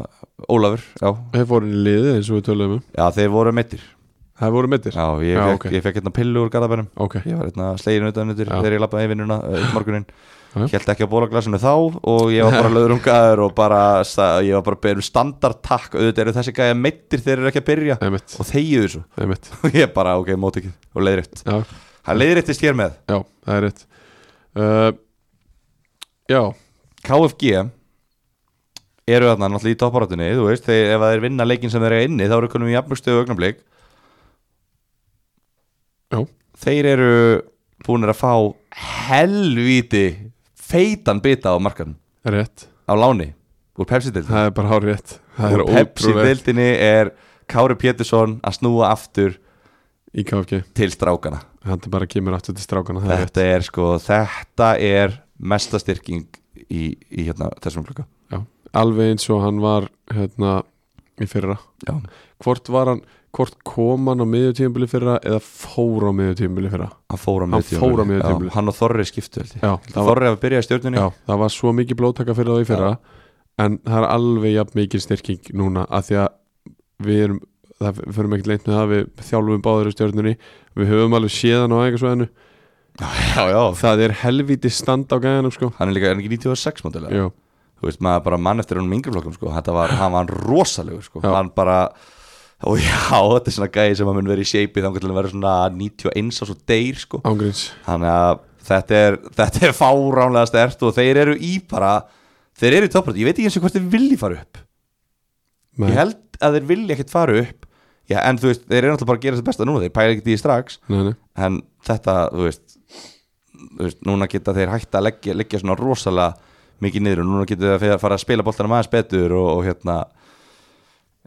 Ólafur, já,
Þeir fóru inn í liðið eins og við töluðum um
já þeir voru meittir
Það voru meittir
Já, ég
Já,
fekk,
ok.
ég fekk hérna pillu úr garðabænum
Ok,
ég var hérna slegin utan yfir
Já.
þegar ég lappaði vinnuna uh, morgunin,
Já.
held ekki á bólaglasinu þá og ég var bara löðrungaður og bara, sa- ég var bara beðum standardtakk auðvitað eru þessi gæja meittir þeir eru ekki að byrja
einmitt,
og þegiðu þessu
einmitt
og ég bara, ok, mót ekki og leiðrétt,
Já,
það leiðréttist hér með
já, það er rétt uh, Já,
KFG eru þarna náttúrulega í topparáttunni þú veist, þeir, ef þeir vinna leikin sem þeir eru inni þá eru konum í jafnmjögstu og augnablik
já,
þeir eru búinir að fá helvíti feitan bita á markan
rétt
á láni úr Pepsi-dildinni
Það er bara hár rétt Það er
úr
ótrúlegt
Pepsi-dildinni er Kári Pétursson að snúa aftur
í KFG
til strákana
Þetta bara kemur aftur til strákana Það er rétt
þetta er sko, þetta er mesta styrking í, í hérna, þessum klukka
Já, alveg eins og hann var hérna í fyrra
Já.
Hvort var hann, hvort kom hann á miðjutímbili fyrra eða fór á miðjutímbili fyrra
hann fór á
Hann
mjög
fór á miðju tímabili.
hann og Þorri skiptu held ég.
Já, það var,
Þorri hafa byrjað í stjórnunni
já, það var svo mikið blóttaka fyrir þá í fyrra en það er alveg jafn mikið styrking núna að því að við erum það förum ekkert leint með það, við þjálfum báður í stjórnunni, við höfum alveg séðan á einhversvæðinu,
já, já,
það er helviti stand á gæðanum sko
hann er líka, er hann ekki 96 mótilega
Jú,
þú veist, maður bara mann eftir honum yngri flokkum sko. þetta var, hann var rosalegur sko.
Já.
hann bara, og já, þetta er svona gæði sem að mun vera í shape þannig til að vera svona 91 og svo deyr sko.
ángríns
þannig að þetta er, þetta er fáránlega stert og þeir eru í bara þeir eru í topprönd, ég veit ekki eins og hvort þeir vilji fara upp ég
Nei,
held að þeir vilji ekkert fara upp já, en þú veist, þeir eru náttúrulega bara að gera þetta besta núna þeir pæla ekkert í því strax
nei, nei,
en þetta, þú veist, þú veist núna geta þeir hægt að leggja, leggja svona rosalega mikið niður og núna geta þeir að fara að spila boltanum aðeins betur og, og hérna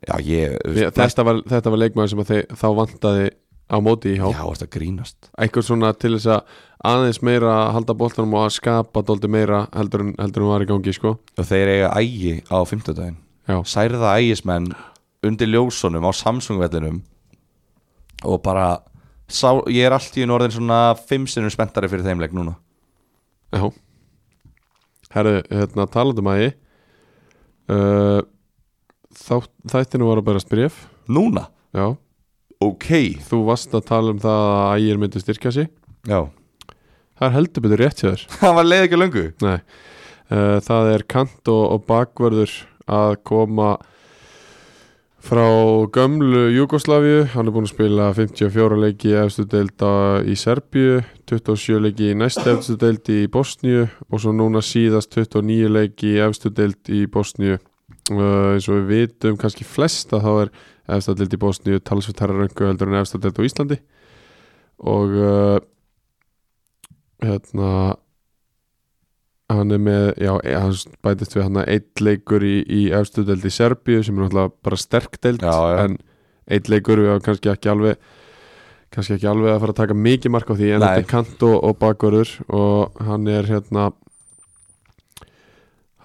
já, ég, þú
Ég-
veist,
þetta var, þetta var leikmaður sem að þeir, þá vantaði á móti í hjá
já, þetta grínast
eitthvað svona til þess að aðeins meira að halda boltanum og að skapa doldi meira heldur en, heldur en var í gangi sko.
og þeir eiga ægi á fimmtudaginn
já,
særða ægismenn undir ljósunum á Samsung-vellinum og bara sá, ég er allt í einu orðin svona fimm sinnum spenntari fyrir þeimleik núna
já herru, hérna talandum að ég uh, þá, þættinu var að berast bref
núna,
já,
ok
þú varst að tala um það að ægir myndi styrka sig
já,
það er heldur betur rétt hjá þér
það var leið ekki löngu
Nei, uh, það er kant og, og bakvörður að koma frá gömlu Júgoslavíu, hann er búinn að spila 54 leiki í efstu deilda í Serbíu, 27 leiki í næst efstu deildi í Bosníu og svo núna síðast 29 leiki í efstu deild í Bosníu uh, eins og við vitum kannski flesta þá er efstu deild í Bosníu talsveit herra röngu heldur en efstu deild á Íslandi og uh, hérna hann er með, já, e- hann bætist við hann eitt leikur í, í efstu deild í Serbíu sem er náttúrulega bara sterk deild
Já, já.
en eitt leikur við hafa kannski ekki alveg kannski ekki alveg að fara að taka mikið mark á því en
Nei.
þetta er kant og, og bakvörður og hann er hérna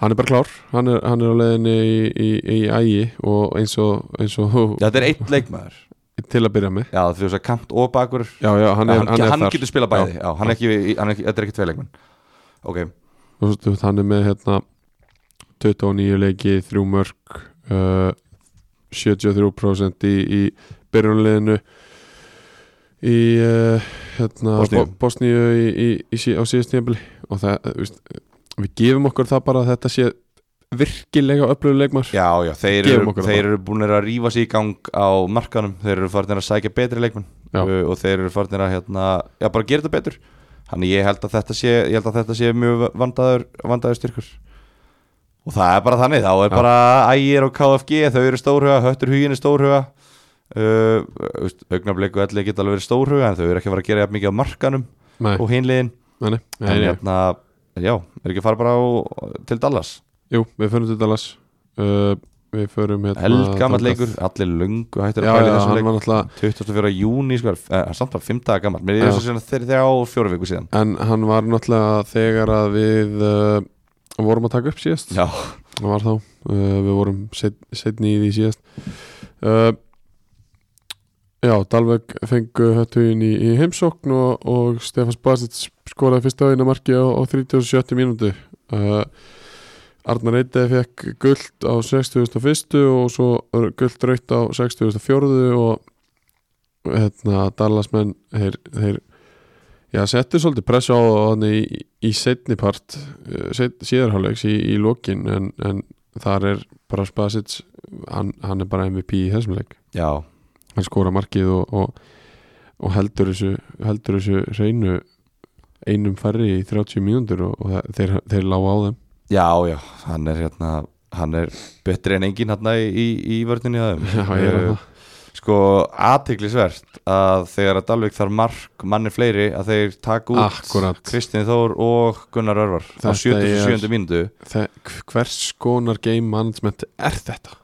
hann er bara klár hann er, hann er á leiðinni í, í, í ægi og eins og, eins og
Já, þetta er eitt leikmaður
til að byrja með
Já, þú veist að kant og bakur
já, já, hann
Hann,
er,
hann, hann,
er
getur spilað bæði,
Já.
já, hann, er ekki, hann er ekki, þetta er ekki tvei leikmenn Ok,
og svo, veist, hann er með hérna 29 leiki, 3 mörg uh, 73% í, í byrjunliðinu í uh, hérna,
Bosníu.
Bo- Bosníu í, í, í, sí- á síðast tíðanbili og það, þú veist, við gefum okkur það bara að þetta sé virkilega öflugur leikmar
Já, já, þeir
Gefum
eru,
okkur það.
þeir eru búinir að rífa sig í gang á markanum Þeir eru farinir að sækja betri leikmenn
Já.
uh, Og þeir eru farinir að, hérna, já, bara gera þetta betur Þannig ég held að þetta sé, ég held að þetta sé mjög vandaður, vandaður styrkur Og það er bara þannig, þá er
Já.
bara ægir og KFG, þau eru stórhuga, höttur hugin er stórhuga uh, Augnablik og elli geta alveg verið stórhuga En þau eru ekki að fara að gera jafn mikið á markanum
Nei,
og hinliðin
nei, nei, nei,
En
nei.
hérna, en já, er ekki að fara bara á, til Dallas
Jú, við förum til Dallas uh, Við förum hérna
Eldgammal
þangað.
leikur, allir löngu hættir
Já,
að pæla í
já,
þessum
hann
leik
var náttúrulega
24. júni, sko, eh, hann samt bara 5 daga gammal Mér
Já.
er þess að þeir þrjá og fjóra viku síðan
En hann var náttúrulega þegar að við uh, vorum að taka upp síðast
Já,
Það var þá, uh, við vorum set, setni í því síðast uh, Já, Dalveg fengu höttuðin í, í heimsókn og, og Stefán Spasic skoraði fyrsta auðina marki á, á 37. mínútu uh, Arnar Eitið fekk guld á 61. og svo guld raut á 64. og hérna Dallasmenn þeir, þeir já, settu svolítið pressa á hann í, í setni part síðarhálegs í, í lokin en, en þar er bara Spasic hann, hann er bara MVP í þessum leik
já,
hann skora markið og, og, og heldur þessu heldur þessu reynu einum færri í 30 mínútur og, og það- þeir, þeir lága á þeim
já, já, hann er hérna Hann er betri en enginn hérna í, í, í vörninni aðeim
Já, ég er það.
Sko, aðtiklisvert að þegar að Dalvik þarf mark manni fleiri að þeir taka út
Akkúrat.
Kristín Þór og Gunnar Örvar á
Þetta
77.
er-
mínútu
það, hvers konar game management er þetta?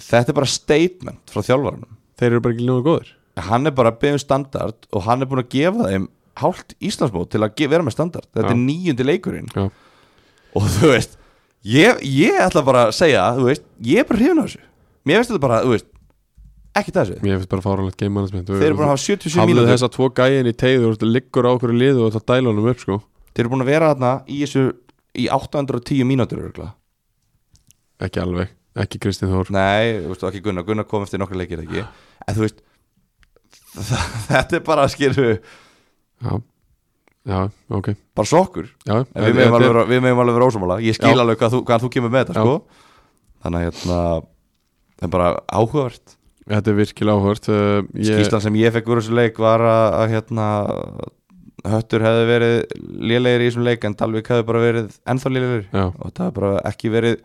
Þetta er bara statement frá þjálfaranum
Þeir eru bara ekki ljóða góðir
hann er bara að beðum standard og hann er búin að gefa þeim hálft Íslandsmót til að ge- vera með standard þetta
Já.
er nýjundi leikurinn
Já.
og þú veist ég, ég ætla bara að segja, þú veist ég er bara hrifin á þessu, mér veist þetta bara þú veist, ekki þessu
Mér finnst bara fáralegt game management
þeir eru búin að hafa 77
Hafðu
mínútur
þessa tvo gæin í tegður og liggur á okkur liðu og það dæla honum upp sko
þeir eru búin að vera þarna í þessu í 810 mínútur örugglega.
Ekki alveg, ekki Kristinn Þór
nei, þú veist, og ekki Gunnar, Gunnar kom eftir nokkra leikir ekki, en þú veist þetta er bara skilur
Já, já, ok
bara sokkur
já,
En við meðum
þetta
alveg,
er-
vera- við megum alveg vera ósámála Ég skil
Já.
alveg hvað þú, hvað þú kemur með þetta
Já.
sko. Þannig að hérna, það er bara áhugavert
Þetta er virkilega áhört uh, ég,
Skýslan sem ég fekk úr þessu leik var að, að hérna, Höttur hefði verið lélegir í þessum leik En Dalvik hefði bara verið ennþá lélegir
Já,
Og það hefði bara ekki verið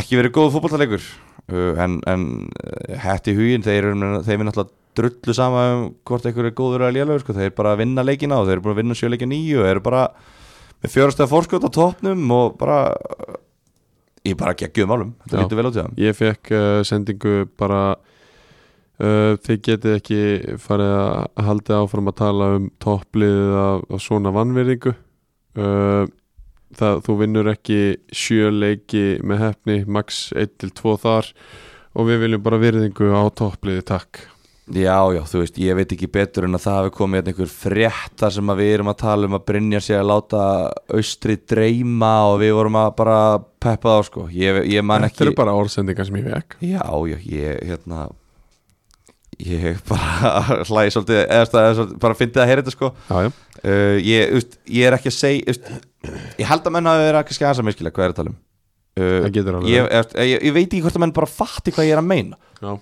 Ekki verið góð fótballtaleikur uh, En, en uh, hætt í hugin Þeir eru þeir eru náttúrulega drullu sama um hvort einhver er góður að lélegur sko. þeir bara vinna leikina og þeir eru búin að vinna sjöleikja nýju og eru bara með fjórastega fórskot á toppnum og bara ég bara geggjum álum, þetta
Já.
lítur vel út í það
ég fekk uh, sendingu bara uh, Þið getið ekki farið að halda áfram að tala um toppliðið af, af svona vannverðingu uh, það, Þú vinnur ekki sjö leiki með hefni max 1-2 þar og við viljum bara virðingu á toppliðið takk
Já, já, þú veist, ég veit ekki betur en að það hafi komið hérna einhver frétt þar sem að við erum að tala um að Brynja sé að láta austri dreyma og við vorum að bara peppa þá sko, ég, ég man
Þetta
ekki
eru bara orðsendingar sem ég fekk
Já, já, ég, hérna ég bara hlæði svolítið, eða svolítið, bara fyndið að heyra þetta sko
Já, já
uh, ég, úst, ég er ekki að segja úst, ég held að menn hafi verið að kannski aðeins að miskila hvað er að tala um uh,
Það getur alveg
ég, ég, ég, ég veit ekki hvort að menn bara fatti hvað ég er að meina
Já,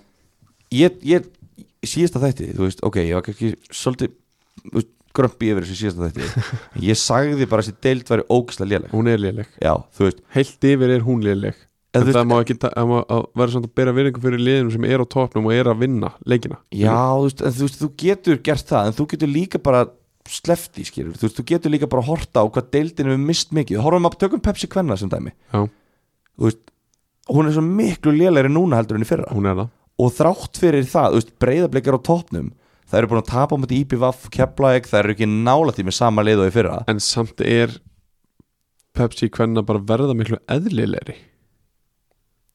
ég, ég síðasta þætti, þú veist, ok, ég var kannski svolítið þú veist, grömpi yfir þessu síðasta þætti ég sagði bara að þessi deild væri ógislega léleg
hún er léleg
já, þú veist,
Heilt yfir er hún léleg
En
En
þú e-
það má ekki ta- það má að vera samt að bera virðingu fyrir liðinu sem er á topnum og er að vinna leikina
já, þú veist, en, þú veist, þú getur gert það, en þú getur líka bara slefti, skilur, þú veist, þú getur líka bara að horta á hvað deildin við mist mikið, horfum að tökum Pepsi Kvenna sem dæmi,
Já,
þú veist hún er svo miklu lélegri núna heldur en í fyrra
hún er það
og þrátt fyrir það, þú veist, breyðablikar á topnum það eru búin að tapa á mæti IPVaf Keflavík, það eru ekki nála því með sama lið og í fyrra
En samt er Pepsi hvenna bara verða miklu eðlilegri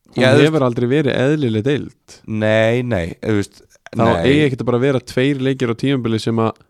Hún
Já, þú veist-
hefur aldrei verið eðlileg deild
Nei, nei, þú veist
Þá eigi ekkert að bara vera tveir leikir á tímabili sem að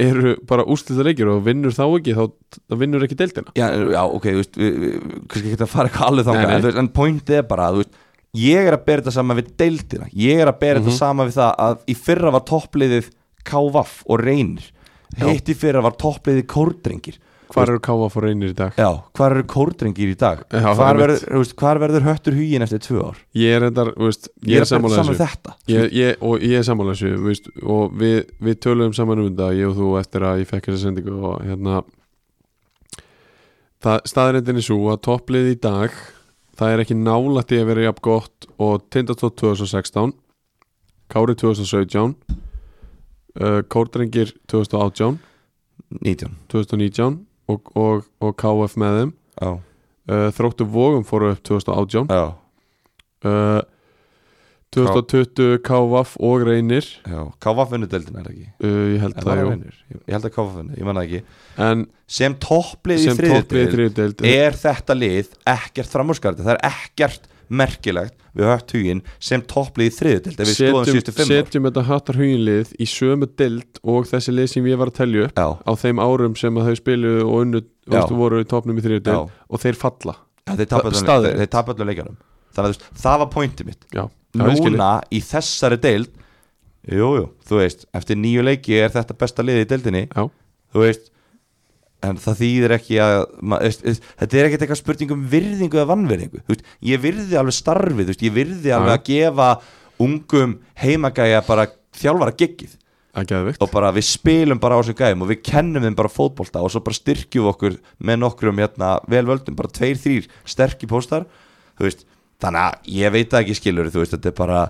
eru bara úrslita leikir og vinnur þá ekki þá, þá vinnur ekki deildina
já, já, ok, þú veist, við, við, kannski ekki að fara eitthvað alveg
Nei,
þangað
nei.
en, þú veist, en pointið er bara, þú veist
Mhm.
ég er að bera þetta saman við deildina, ég er að bera þetta saman við það að í fyrra var toppliðið K.V.A.F. og Reynir
Já.
Hitt í fyrra var toppliði Kórdrengir
Hvar eru Káaf og Reynir í dag?
Já, hvar eru Kórdrengir í dag?
Já,
hvar,
einmitt.
verður, þú veist, hvar verður höttur hugin eftir tvö ár?
Ég er endar, þú veist, ég er sammála
saman
þessu
þetta
ég, ég, og ég er sammála þessu þú veist, og við, við töluðum saman um þetta ég og þú eftir að ég fekk þessa sendingu og hérna það, staðrendin er svo að topplið í dag það er ekki nálætti að vera jafn gott og Tindatótt 2016 Kári 2017 uh, Kórdrengir 2018
19
2019 og, og, og KF með þeim
Já,
uh, Þróttu Vogum fóru upp 2018
já,
uh, 2020 KVF og Reynir
já K.V.A.F. vinnur deildin er það ekki
uh, ég held
Er
það,
það
jú
vinnur? Ég held að K.V.A.F. vinnur, ég manna ekki
en
Sem topplið í
sem topplið í
þriðutil
þriðdeild
Er þetta lið ekkert framúrskarði Það er ekkert merkilegt Við hött hugin sem topplið í þriðutil Þegar við
setjum,
stóðum síðustu fimm ár
setjum þetta hattar huginlið í sömu deild og þessi lið sem ég var að telja upp
Já,
á þeim árum sem að þau spiluðu og unnu
Já.
veistu, voru í topnum í
já,
þriðdeild og þeir falla
já þeir tapa öllum-
Staðreynd.
þeir- þeir tapa öllum leikjarum Þannig að þú veist, það var pointið mitt
já, já, ég skil þig.
núna í þessari deild jújú, jú, þú veist eftir nýju leiki er þetta besta liði í deildinni
já,
þú veist en það þýðir ekki að ma, veist, veist, þetta er ekkert eitthvað spurning um virðingu eða vannvirðingu, þú veist, ég virði alveg starfið þú veist, ég virði alveg að gefa ungum heimagæja bara þjálfara geggið
það er geðvikt
og bara við spilum bara á þessum gæjum og við kennum þeim bara fótbolta og svo bara styrkjum við okkur með nokkrum hérna velvöldum, bara tveir, þrýr sterkir póstar, þú veist þannig að ég veit það ekki skilur, þú veist þetta er bara,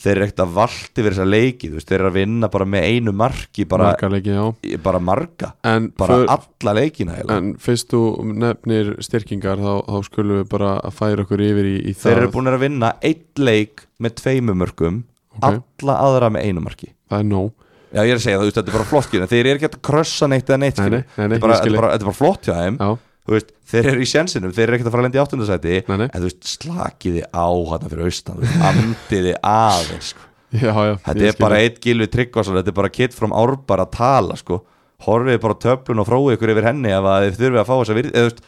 þeir eru ekkert að valdi verið þessa leiki, þú veist, þeir eru að vinna bara með einu marki, bara, marga,
margar leiki, já
bara marga
en,
bara
för-
alla leikina heila.
en fyrst þú nefnir styrkingar þá, þá skulum við bara að færa okkur yfir í, í
þeir
það
eru búin að vinna eitt leik með tveimum mörgum,
Ok.
alla aðra með einu marki
það er nóg
Já, ég er að segja það, þú veist, þetta er bara flott skilur, þeir eru ekki að krossa neitt eða neitt
Nei,
skilur,
nei, nei, nei,
þetta, er bara,
ég skil
þetta, er bara, þetta er bara flott hjá þeim
já,
þú veist, þeir eru í sjensinum, þeir eru ekkert að fara að lenda í áttundasæti
Nei, nei.
en þú veist, slakiði á hérna fyrir austan, þú veist, andiði aðeins sko.
já, já
þetta er bara eitt gilvi tryggvason, þetta er bara kid from árbar að tala, sko, horfið bara á töflun og fróið ykkur yfir henni ef að þið þurfið að fá þessa virð, eða þú veist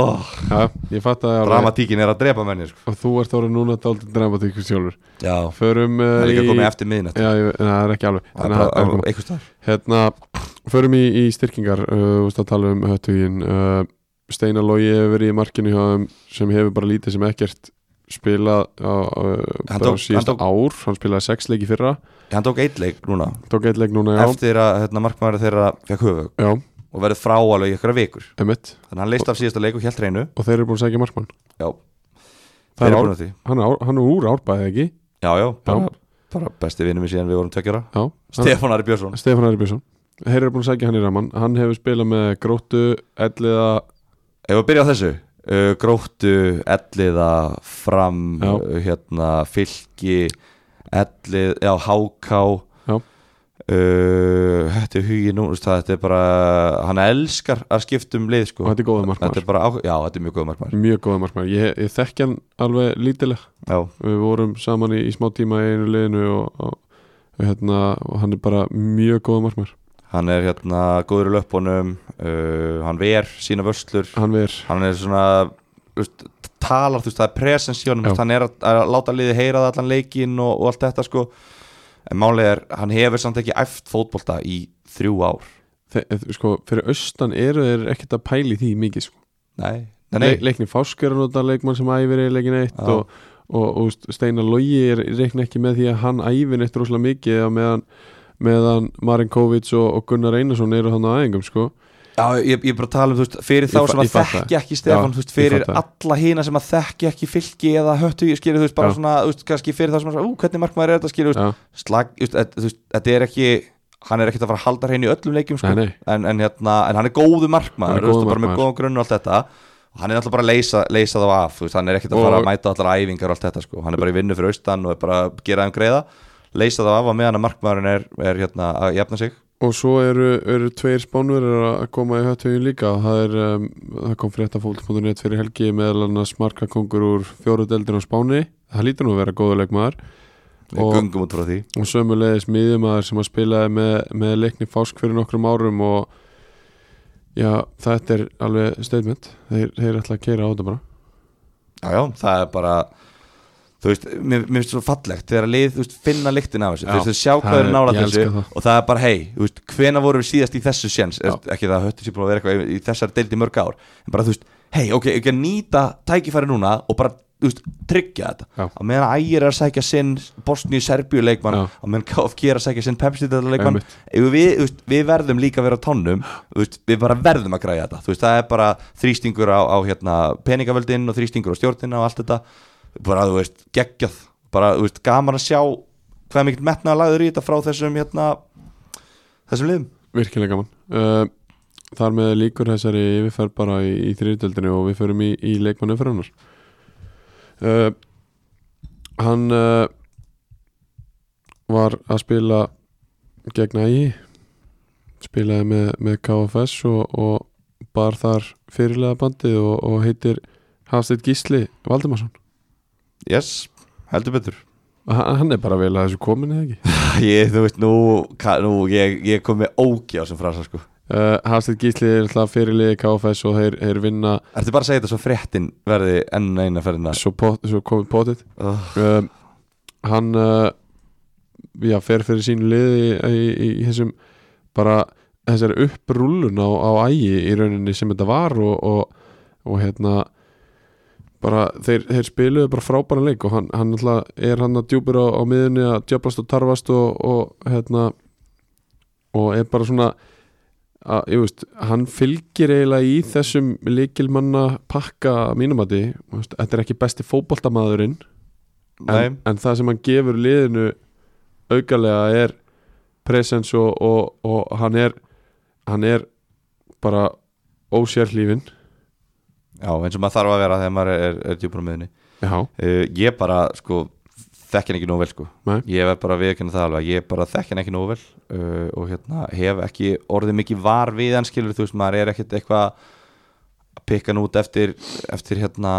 oh,
já, ég fatt að
dramatíkin er að drepa menni, sko
og þú ert orðin núna dálítið dramatíkur sjálfur
já,
förum uh,
það er líka
í-
komið eftir miðnætt
já, ég, en það er ekki alveg
það
en
er
það
bara
er komið.
eitthvað starf
hérna, förum í, í styrkingar uh, þú veist að tala um höttugin uh, Steinar Logi hefur verið í markinu hjá þeim sem hefur bara lítið sem ekkert spilað á, á, eh,
Hann
bara
tók-
á síðasta
hann tók-
ár hann spilaði sex leik í fyrra
hann tók eitt leik núna,
tók eitt leik núna, já,
eftir að hérna, markmaður þeirra fekk höfug
já,
og verið frá alveg í ykkur vikur
emitt
þannig að hann leist af síðasta leik og hjælt reynu
og þeir eru búin að segja markmann
já,
Það er
þeir
ár-
eru búin að því
hann, er ár- hann er úr árbæði ekki
Já, já, bara, bara besti vinnum í síðan við vorum tveggjara
já, hann-
Stefán Ari Björnsson
Stefán Ari Björnsson þeir eru búin að segja hann í ramann hann hefur spilað með gróttu, elliða
Ef við byrja á þessu uh, Gróttu, Elliða, Fram
Já.
uh, hérna, Fylki Ellið, já, Háká
Já.
Uh, Þetta er hugi nú þú veist það, Þetta er bara, hann elskar að skipta um lið
og
sko.
þetta er góða markmann
Þetta er bara, áhuga- já, þetta er mjög góð markmar
Mjög góða markmaður, ég, ég þekki hann alveg lítileg
Já,
Við vorum saman í, í smá tíma í einu liðinu og, og, og, hérna, og hann er bara mjög góða markmaður
hann er hérna góður í löpunum uh, Hann ver sína vörslur
Hann ver,
hann er svona þú veist, talar, þú veist, það er presens í honum
Já.
þú veist, hann er að, að láta liði heyra það allan leikin og, og allt þetta sko en málið er, hann hefur samt ekki æft fótbolta í þrjú ár
þe- eh, sko, fyrir austan eru þeir ekkert að pæli því mikið sko.
nei, nei, nei.
Le, Leikni Fásk er að nota leikmann sem æfir í leikin eitt
Já.
og, og, og úst, Steinar Logi er reikna ekki með því að hann æfir neitt rosalega mikið á meðan, meðan Marin Kovic og, og Gunnar Einarsson eru þannig aðeingum sko.
Já, ég, ég er bara að tala um, þú veist, fyrir þá
Ég fa-
sem að
ég fatt það.
þekki ekki Stefán,
Já,
þú veist,
ég fatt
fyrir
það.
alla hína sem að þekki ekki fylki eða höttu, ég skilur, þú veist, bara
Já.
svona, þú veist, kannski fyrir þá sem að, ú, hvernig markmaður er þetta, skilur, þú
Já,
veist, slag, þú veist, þetta- þú veist, þetta er ekki, hann er ekkert að fara að halda hreinu í öllum leikjum, sko,
nei, nei,
en, en, hérna, en hann er góðu markmaður
Hann er
þú veist,
góður
bara með
markmaður.
góðan grunn og allt þetta og hann er alltaf bara að leysa, leysa þá af þú veist, hann er ekkert að
Og-
fara að mæta allar æfingar og allt þetta sko. hann er bara í vinnu fyrir austan og er bara að gera þeim greiða leysa þá af að meðan að markmaðurinn er, er hérna, að jafna sig
Og svo eru, eru tveir spánverðar að koma í höttugin líka það, er, um, það kom frétta fólk.net fyrir helgi meðal annars markakongur úr fjóru deldin á Spáni það lítur nú að vera góður leikmaður
við
Og-
gungum út frá því
og sömulegis miðjumæður sem að spilaði með, með leikni fásk fyrir nokkrum árum og já, þetta er alveg statement þeir, þeir ætla að keira á þetta bara
já, já, það er bara þú veist, mér mér finnst svo fallegt þegar að lið, þú veist, finna lyktin af þessu
Já.
þú veist, þau sjá hvað
Það
eru
er-
nála
ég
þessu
elska það.
og það er bara, hei, þú veist, hvena voru við síðast í þessu séns,
Já.
ekki það að höttu sér búin að vera eitthvað í- í þessari deild í mörg ár en bara, þú veist, hei, ok, ekki að nýta tækifæri núna og bara, þú veist, tryggja þetta
Já.
á meðan ægir er að sækja sinn Bosníu-Serbíu leikmann,
Já.
á meðan KFG er að sækja sinn Pepsi leikmann,
Einmitt.
Ef við, þú veist, við verðum líka að vera á tónnum þú veist, við bara verðum að græja þetta Þú veist, það er bara þrýstingur á, á hérna, peningavöldin og þrýstingur á stjórnina og allt þetta bara þú veist, geggjað bara þú veist, gaman að sjá hvað er mikill metnaða lagður í þetta frá þessum hérna, þessum liðum
virkilega gaman uh, Þar með líkur þessari yfirferð bara í, í þriðdeldinu og við förum í, í leikmannu fyrir hennar uh, Hann uh, var að spila gegn ægi spilaði með, með KFS og, og bar þar fyrirlega bandið og, og heitir Hafsteinn Gísli Valdimarsson
Yes, heldur betur
Hann hann er bara vel að þessu komin eða ekki
ég, Þú veist, nú, ka, nú ég, ég kom með ógi á þessum frasa sko.
uh, Hafsteinn Gísli er alltaf fyrirlega KFS og þeir, þeir vinna
Ertu bara að segja þetta svo fréttin verði enn eina ferðina
svo, pot, svo komið potið
oh,
um, hann uh, já, fer fyrir sínu liði í, í, í, þessum bara þessari upprúlun á, á ægi í rauninni sem þetta var og, og, og hérna bara, þeir, þeir spiluðu bara frábæran leik og hann, hann alltaf er hann að djúpur á, á miðunni að djöflast og tarfast og, og hérna og er bara svona að, ég veist, hann fylgir eiginlega í þessum líkilmanna pakka mínumati, þetta er ekki besti fótboltamaðurinn en, en það sem hann gefur liðinu aukalega er presens og, og, og hann er hann er bara ósérhlífin
Já, eins og maður þarf að vera þegar maður er, er, er djúpur á miðunni
já,
uh, ég bara sko þekk hann ekki nógu vel sko
Nei.
ég verð bara að viðkynna það alveg ég bara þekk hann ekki nógu vel uh, og hérna hef ekki orðið mikið var við hann skilur þú veist maður er ekkert eitthvað að pikka hann út eftir eftir hérna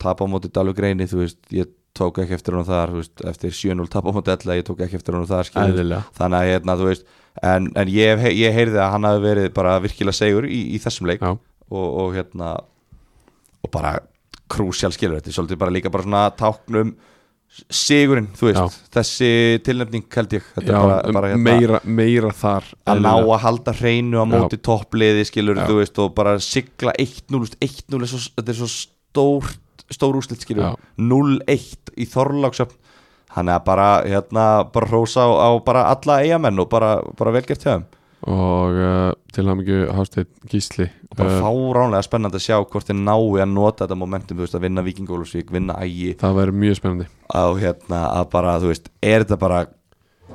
tap á móti Dalvi Greini þú veist ég tók ekki eftir hann þar þú veist eftir 7-0 tap á móti Ella ég tók ekki eftir hann þar skilur
eðlilega
þannig að hérna þú veist en, en ég, hef- ég heyrði að hann hafi verið bara virkilega segur í, í þessum leik
já,
og, og hérna og bara krúsjál skilur þetta er svolítið bara líka bara svona táknum sigurinn, þú veist þessi tilnefning held ég þetta
já
er bara,
um,
bara hérna,
meira, meira þar
að ná
eðlilega.
að halda hreinu á móti toppliði skilur
Já.
þú veist og bara sigla 1-0 veist, 1-0 er svo, þetta er svo stór stór úslit skilur,
Já.
0-1 í Þorláksöfn hann er bara hérna, bara hrósa á, á bara alla eigamenn og bara, bara velgert hjá þeim
og uh, til hann ekki Hásteinn Gísli
og bara
uh,
fáránlega spennandi að sjá hvort þið nái að nota þetta momentum, þú veist, að vinna vikingólusvík, vinna ægi
það væri mjög spennandi
á hérna að bara, þú veist, er þetta bara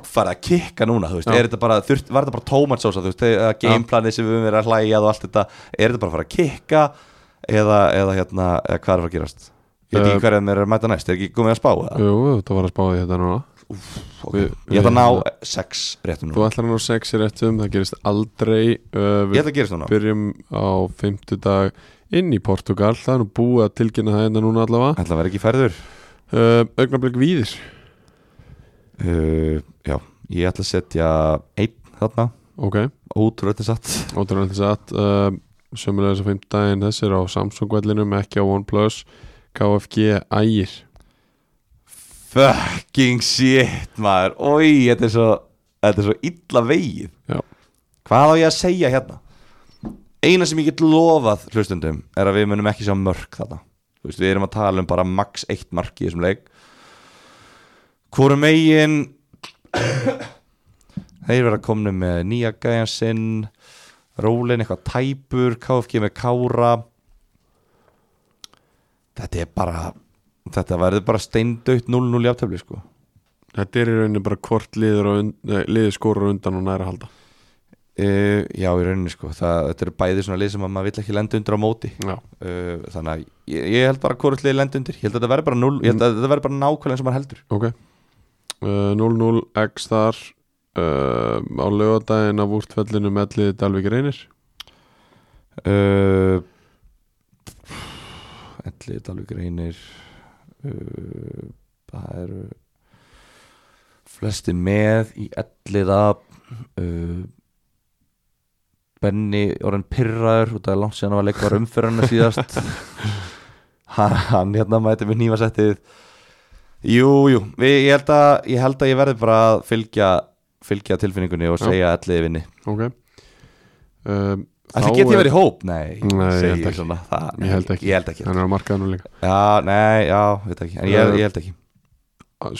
farið að kikka núna, þú veist,
Já.
er þetta bara, þurft, var þetta bara tómatsósa, þú veist, þegar gameplanið sem við höfum verið að hlæja að og allt þetta, er þetta bara að fara að kikka eða, eða hérna, eða hvað er að fara að gerast? Ég veit
Uh,
ekki hverja mér er að mæta næst, er ekki komið að spá það?
jú, þetta var að spáði þetta núna
Okay.
við-
Ég ætla að
við-
ná sex réttum
þú
núna,
ætlar hann á sexi réttum, það gerist aldrei uh,
ég ætla að gerast núna
byrjum á fimmtudag inn í Portugal, það er nú búið að tilkynna það hérna núna allavega
ætla að vera ekki færður
uh, augnablik víðir
uh, Já, ég ætla að setja einn þarna,
ok,
ótrúlega satt
ótrúlega þess að uh, sömulega þess að fimmtudaginn þess er á Samsung vellinum, ekki á OnePlus KFG ægir
Fucking shit maður Ói, þetta er svo Þetta er svo illa vegið
Já.
Hvað á ég að segja hérna? Eina sem ég get lofað hlustundum Er að við munum ekki sjá mörk þarna Þú veist, Við erum að tala um bara max eitt mark í þessum leik Hvorum megin Þeir verða komnu með nýja gæjan sinn Rólin eitthvað tæpur KFG með kára Þetta er bara Þetta verður bara steindaut 0-0 í aftöfli sko
þetta er í rauninni bara hvort liður, og und, eh, liður skorur undan og næra halda
uh, Já, í rauninni sko það, Þetta eru bæði svona lið sem að maður vill ekki lenda undir á móti
já,
uh, Þannig að ég, ég held bara hvort lið lenda undir Ég held að þetta verður bara 0 Ég held að þetta verður bara nákvæmlega eins og maður heldur
ok uh, 0-0x þar uh, á lögadaginn af úrtfellinu mellið Dalvik Reynir
uh, Elli, Dalvik reynir uh, Það eru Flesti með í elliða uh, Benni orðin pyrraður út af langt síðan hann var leikvar umferðarna síðast hann, hann hérna mæti með nýfasettið Jú, jú, við, ég, held að, ég held að ég verði bara að fylgja, fylgja tilfinningunni og
Já.
segja að liði vinni
ok um,
Ætli
þá
get ég
er-
verið í hóp? Nei,
Nei, ég
segi
held ekki.
svona, það,
Ég held ekki,
Ég held ekki
Hann er á markaðinu líka
Já, nei, já, veit ekki En ég,
Uh,
ég held ekki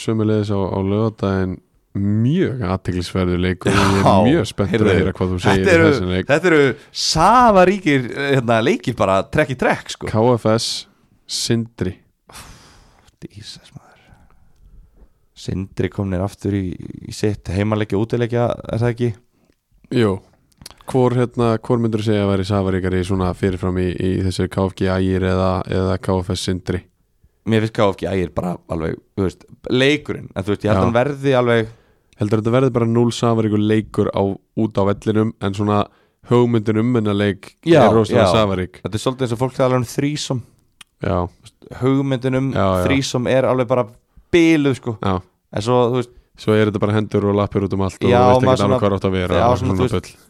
Sömulegis á, á lögadaginn Mjög aðtiklisverður leikur Ég er
Já,
mjög spenntur að
heyrðu,
heyra hvað þú segir
Þetta
í
eru,
þessum leik
þetta eru safaríkir hérna, leikir bara trekk í trekk sko
KFS Sindri
Jesus maður Sindri komnir aftur í, í sitt heimaleikja, útileikja, er það ekki?
Jó Hvor, hérna, hvor myndur þú segja að væri safaríkari svona fyrirfram í, í þessu KFG Ægir eða, eða KFS Sindri
Mér finnst KFG ægir bara alveg, þú veist, leikurinn En þú veist, ég held
Já.
að hann verði alveg
Heldur þetta verði bara 0 safaríkur leikur á, út á vellinum en svona hugmyndin um hennar leik
Já,
er rosalega
já.
safarík
Þetta er svolítið eins og fólk tala um þrísom
Já,
Hugmyndin um
Já, já.
þrísom er alveg bara biluð sko
já
En svo, þú veist,
Svo er þetta bara hendur og lappir út um allt
Já,
og þú veist ekki
maður
alveg
svona-
hvað átt að vera
Já,
og
svona, þú veist,
bull.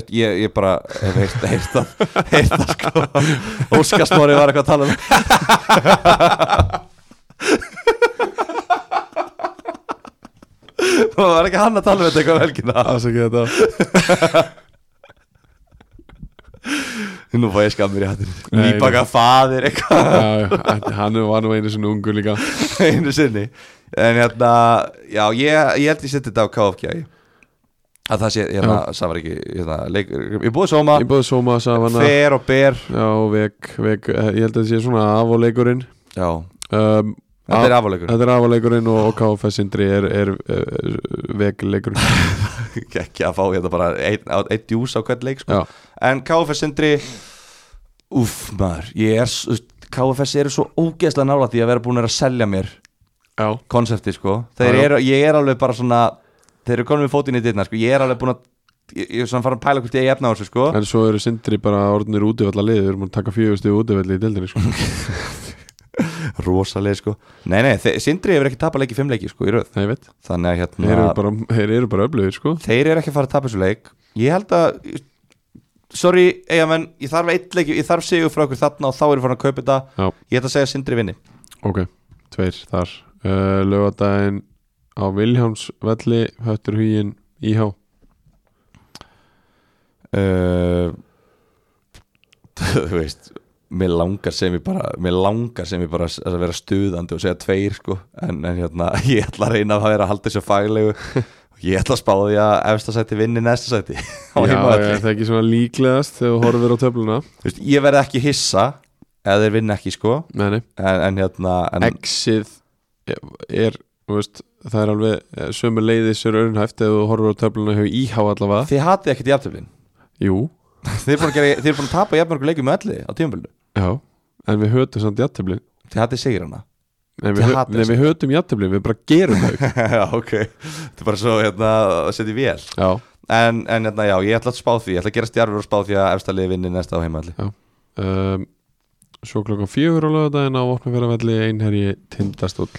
et- ég, ég bara hef heyrt heyrt það heyrt það sko Óskarsmári var eitthvað að tala um Það var ekki hann að tala um þetta eitthvað um helgina
Afsakið þetta
Nú fæ ég skammir í hattir
Nei,
Nýbaka faðir eitthvað
já, já, ætli- hann var nú einu sinni ungur líka
einu sinni En hérna, já ég, ég held ég seti þetta á KFG Að það sé, hérna, það var ekki hérna, leik, Ég búið sóma,
Ég búið Soma Savana
fer og ber
Já, vek, vek, eh, ég held að þetta sé svona afuleikurinn
Já,
um,
þetta er
af-
afalegur
Þetta er afuleikurinn og KFS Indri er, er uh, vekleikurinn
ekki að fá hérna bara einn ein djús á hvern leik sko.
Já,
en KFS Sindri uff maður ég er, s- þú veist, KFS eru svo ógeðslega nála því að vera búin að selja mér
já,
konsepti sko
Já, já.
þeir eru, ég er alveg bara svona þeir eru konum við fótinn í dyrna sko ég er alveg búin að ég, ég er svona farin að pæla hvort ég er efna á þessu sko
en svo eru Sindri bara orðnir útivalla liður, við erum að taka fjögustu útivalli í deildinni sko.
rosalega sko nei nei, þeir, Sindri hefur ekki tapað leik í fimm leiki sko í röð
Nei, ég veit,
þannig að
þeir eru
hérna
bara, þeir eru bara öflugir sko.
þeir eru ekki að fara að tapa þessu leik ég held að sorry, eiga menn, ég þarf eitt leik ég þarf sigur frá okkur þarna og þá erum farin að kaupa þetta
Já,
Ég ætla að segja að Sindri vinni
ok, tveir þar uh, Lögadaginn á Viljámsvelli Höttur Hugin Íhá
uh, Þú veist Mér langar sem ég bara Mér langar sem ég bara s- að vera stuðandi og segja tveir sko En, en hérna, ég ætla að reyna að vera að halda þessu faglegu Ég ætla að spá því að efsta sæti vinni næsta sæti á
Já,
heimavelli.
er það ekki svona líklegast þegar þú horfir á töfluna
Þú veist, Ég verð ekki hissa eða þeir vinna ekki sko
Nei, nei,
En, en hérna en,
exið er, þú veist, það er alveg eh, sömu leiðis er örnhæft ef þú horfir á töfluna hefur íhá allavega
Þið hatið ekkert jafntöflin
Jú,
Þið er búin að, gera, þið er búin að tapa jafnmörgur leikum með öllu á tímaböldu
já, en við hötum samt játtöflin
Þið hatið segir hana
Nei,
Þið
við, hö,
hatið
nei, við hötum játtöflin, við bara gerum þau
Já, ok Þetta er bara svo hérna að setja í vél
Já,
En, en hérna, já, ég ætla að spá því Ég ætla að gera stjarfur og spá því að efsta liði vinni næsta á heimalli
um, svo klokkan fjögur á lögadaginn á Vopnafjörðavelli einherji tindastóll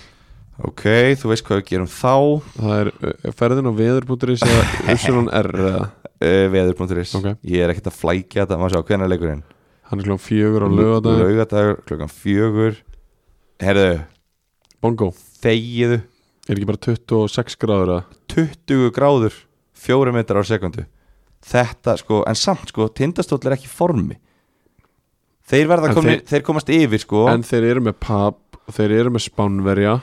Ok, þú veist hvað við gerum þá uh,
Það er eh, ferðin á veður.is eða Usunum R eða
eh, Veður.is
Ok.
Ég er ekkert að flækja þetta, maður sjá, hvernig er leikurinn
Hann er klokkan fjögur á lögadaginn
Laugadagur, klukkan fjögur Herðu,
Bongo,
þegiðu
er ekki bara 26 gráður að
20 gráður, 4 metrar á sekundu Þetta, sko, en samt, sko Tindastóll er ekki í formi Þeir verða
En
komin, þeir... komast yfir, sko
En þeir eru með pap og þeir eru með spánverja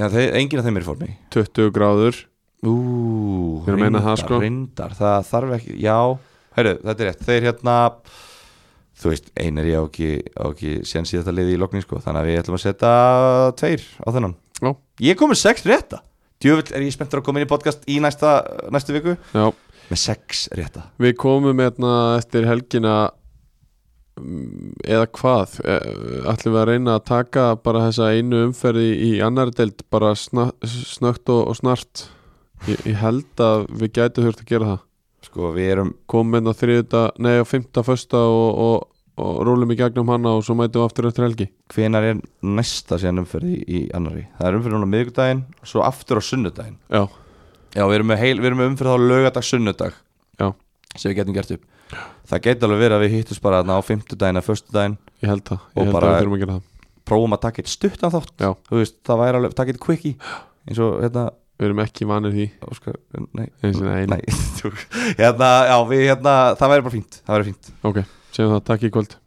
Já, þeir, enginn af þeim er í formi
20 gráður
Ú,
Ég er að meina það, sko.
reyndar, það þarf ekki, já Hörru, þetta er rétt, þeir hérna Þú veist, einar ég á ekki, á ekki Sén síðan þetta liði í loknin, sko Þannig að við ætlum að setja tveir á þennan
Já.
Ég kom með sex rétta Djöfull er ég spenntur að koma inn í podcast í næsta, næstu viku
Já,
Með sex rétta
við komum hérna eftir helgina mm, eða hvað eh, ætlum við að reyna að taka bara þessa einu umferði í annari deild bara sna, snögt og, og snart ég, ég held að við gætu þurft að gera það
Sko, við erum
komum hérna á þriðuta, nei á fymta, fösta og, og, og rúlum í gegnum hana og svo mætum við aftur eftir helgi
Hvenar er næsta síðan umferði í annari Það er umferð núna á miðvikudaginn Svo aftur á sunnudaginn
Já,
Já, við erum með, heil, við erum með umfyrir þá lögadag, sunnudag
Já.
Sem við getum gert upp Það geti alveg verið að við hittum bara þarna á fimmtudaginn eða föstudaginn
ég held það,
Og
ég held
bara-
að við þurfum að gera það
prófum að taka eitt stuttan þátt
Já.
þú veist, það væri alveg, taka eitt quickie eins og, hérna,
Við erum ekki vanir því
Óskar, nei
Eins og nei,
Nei, tjók. hérna, já, við, hérna, það væri bara fínt, það væri fínt
Ok, segjum það, takk í kvöld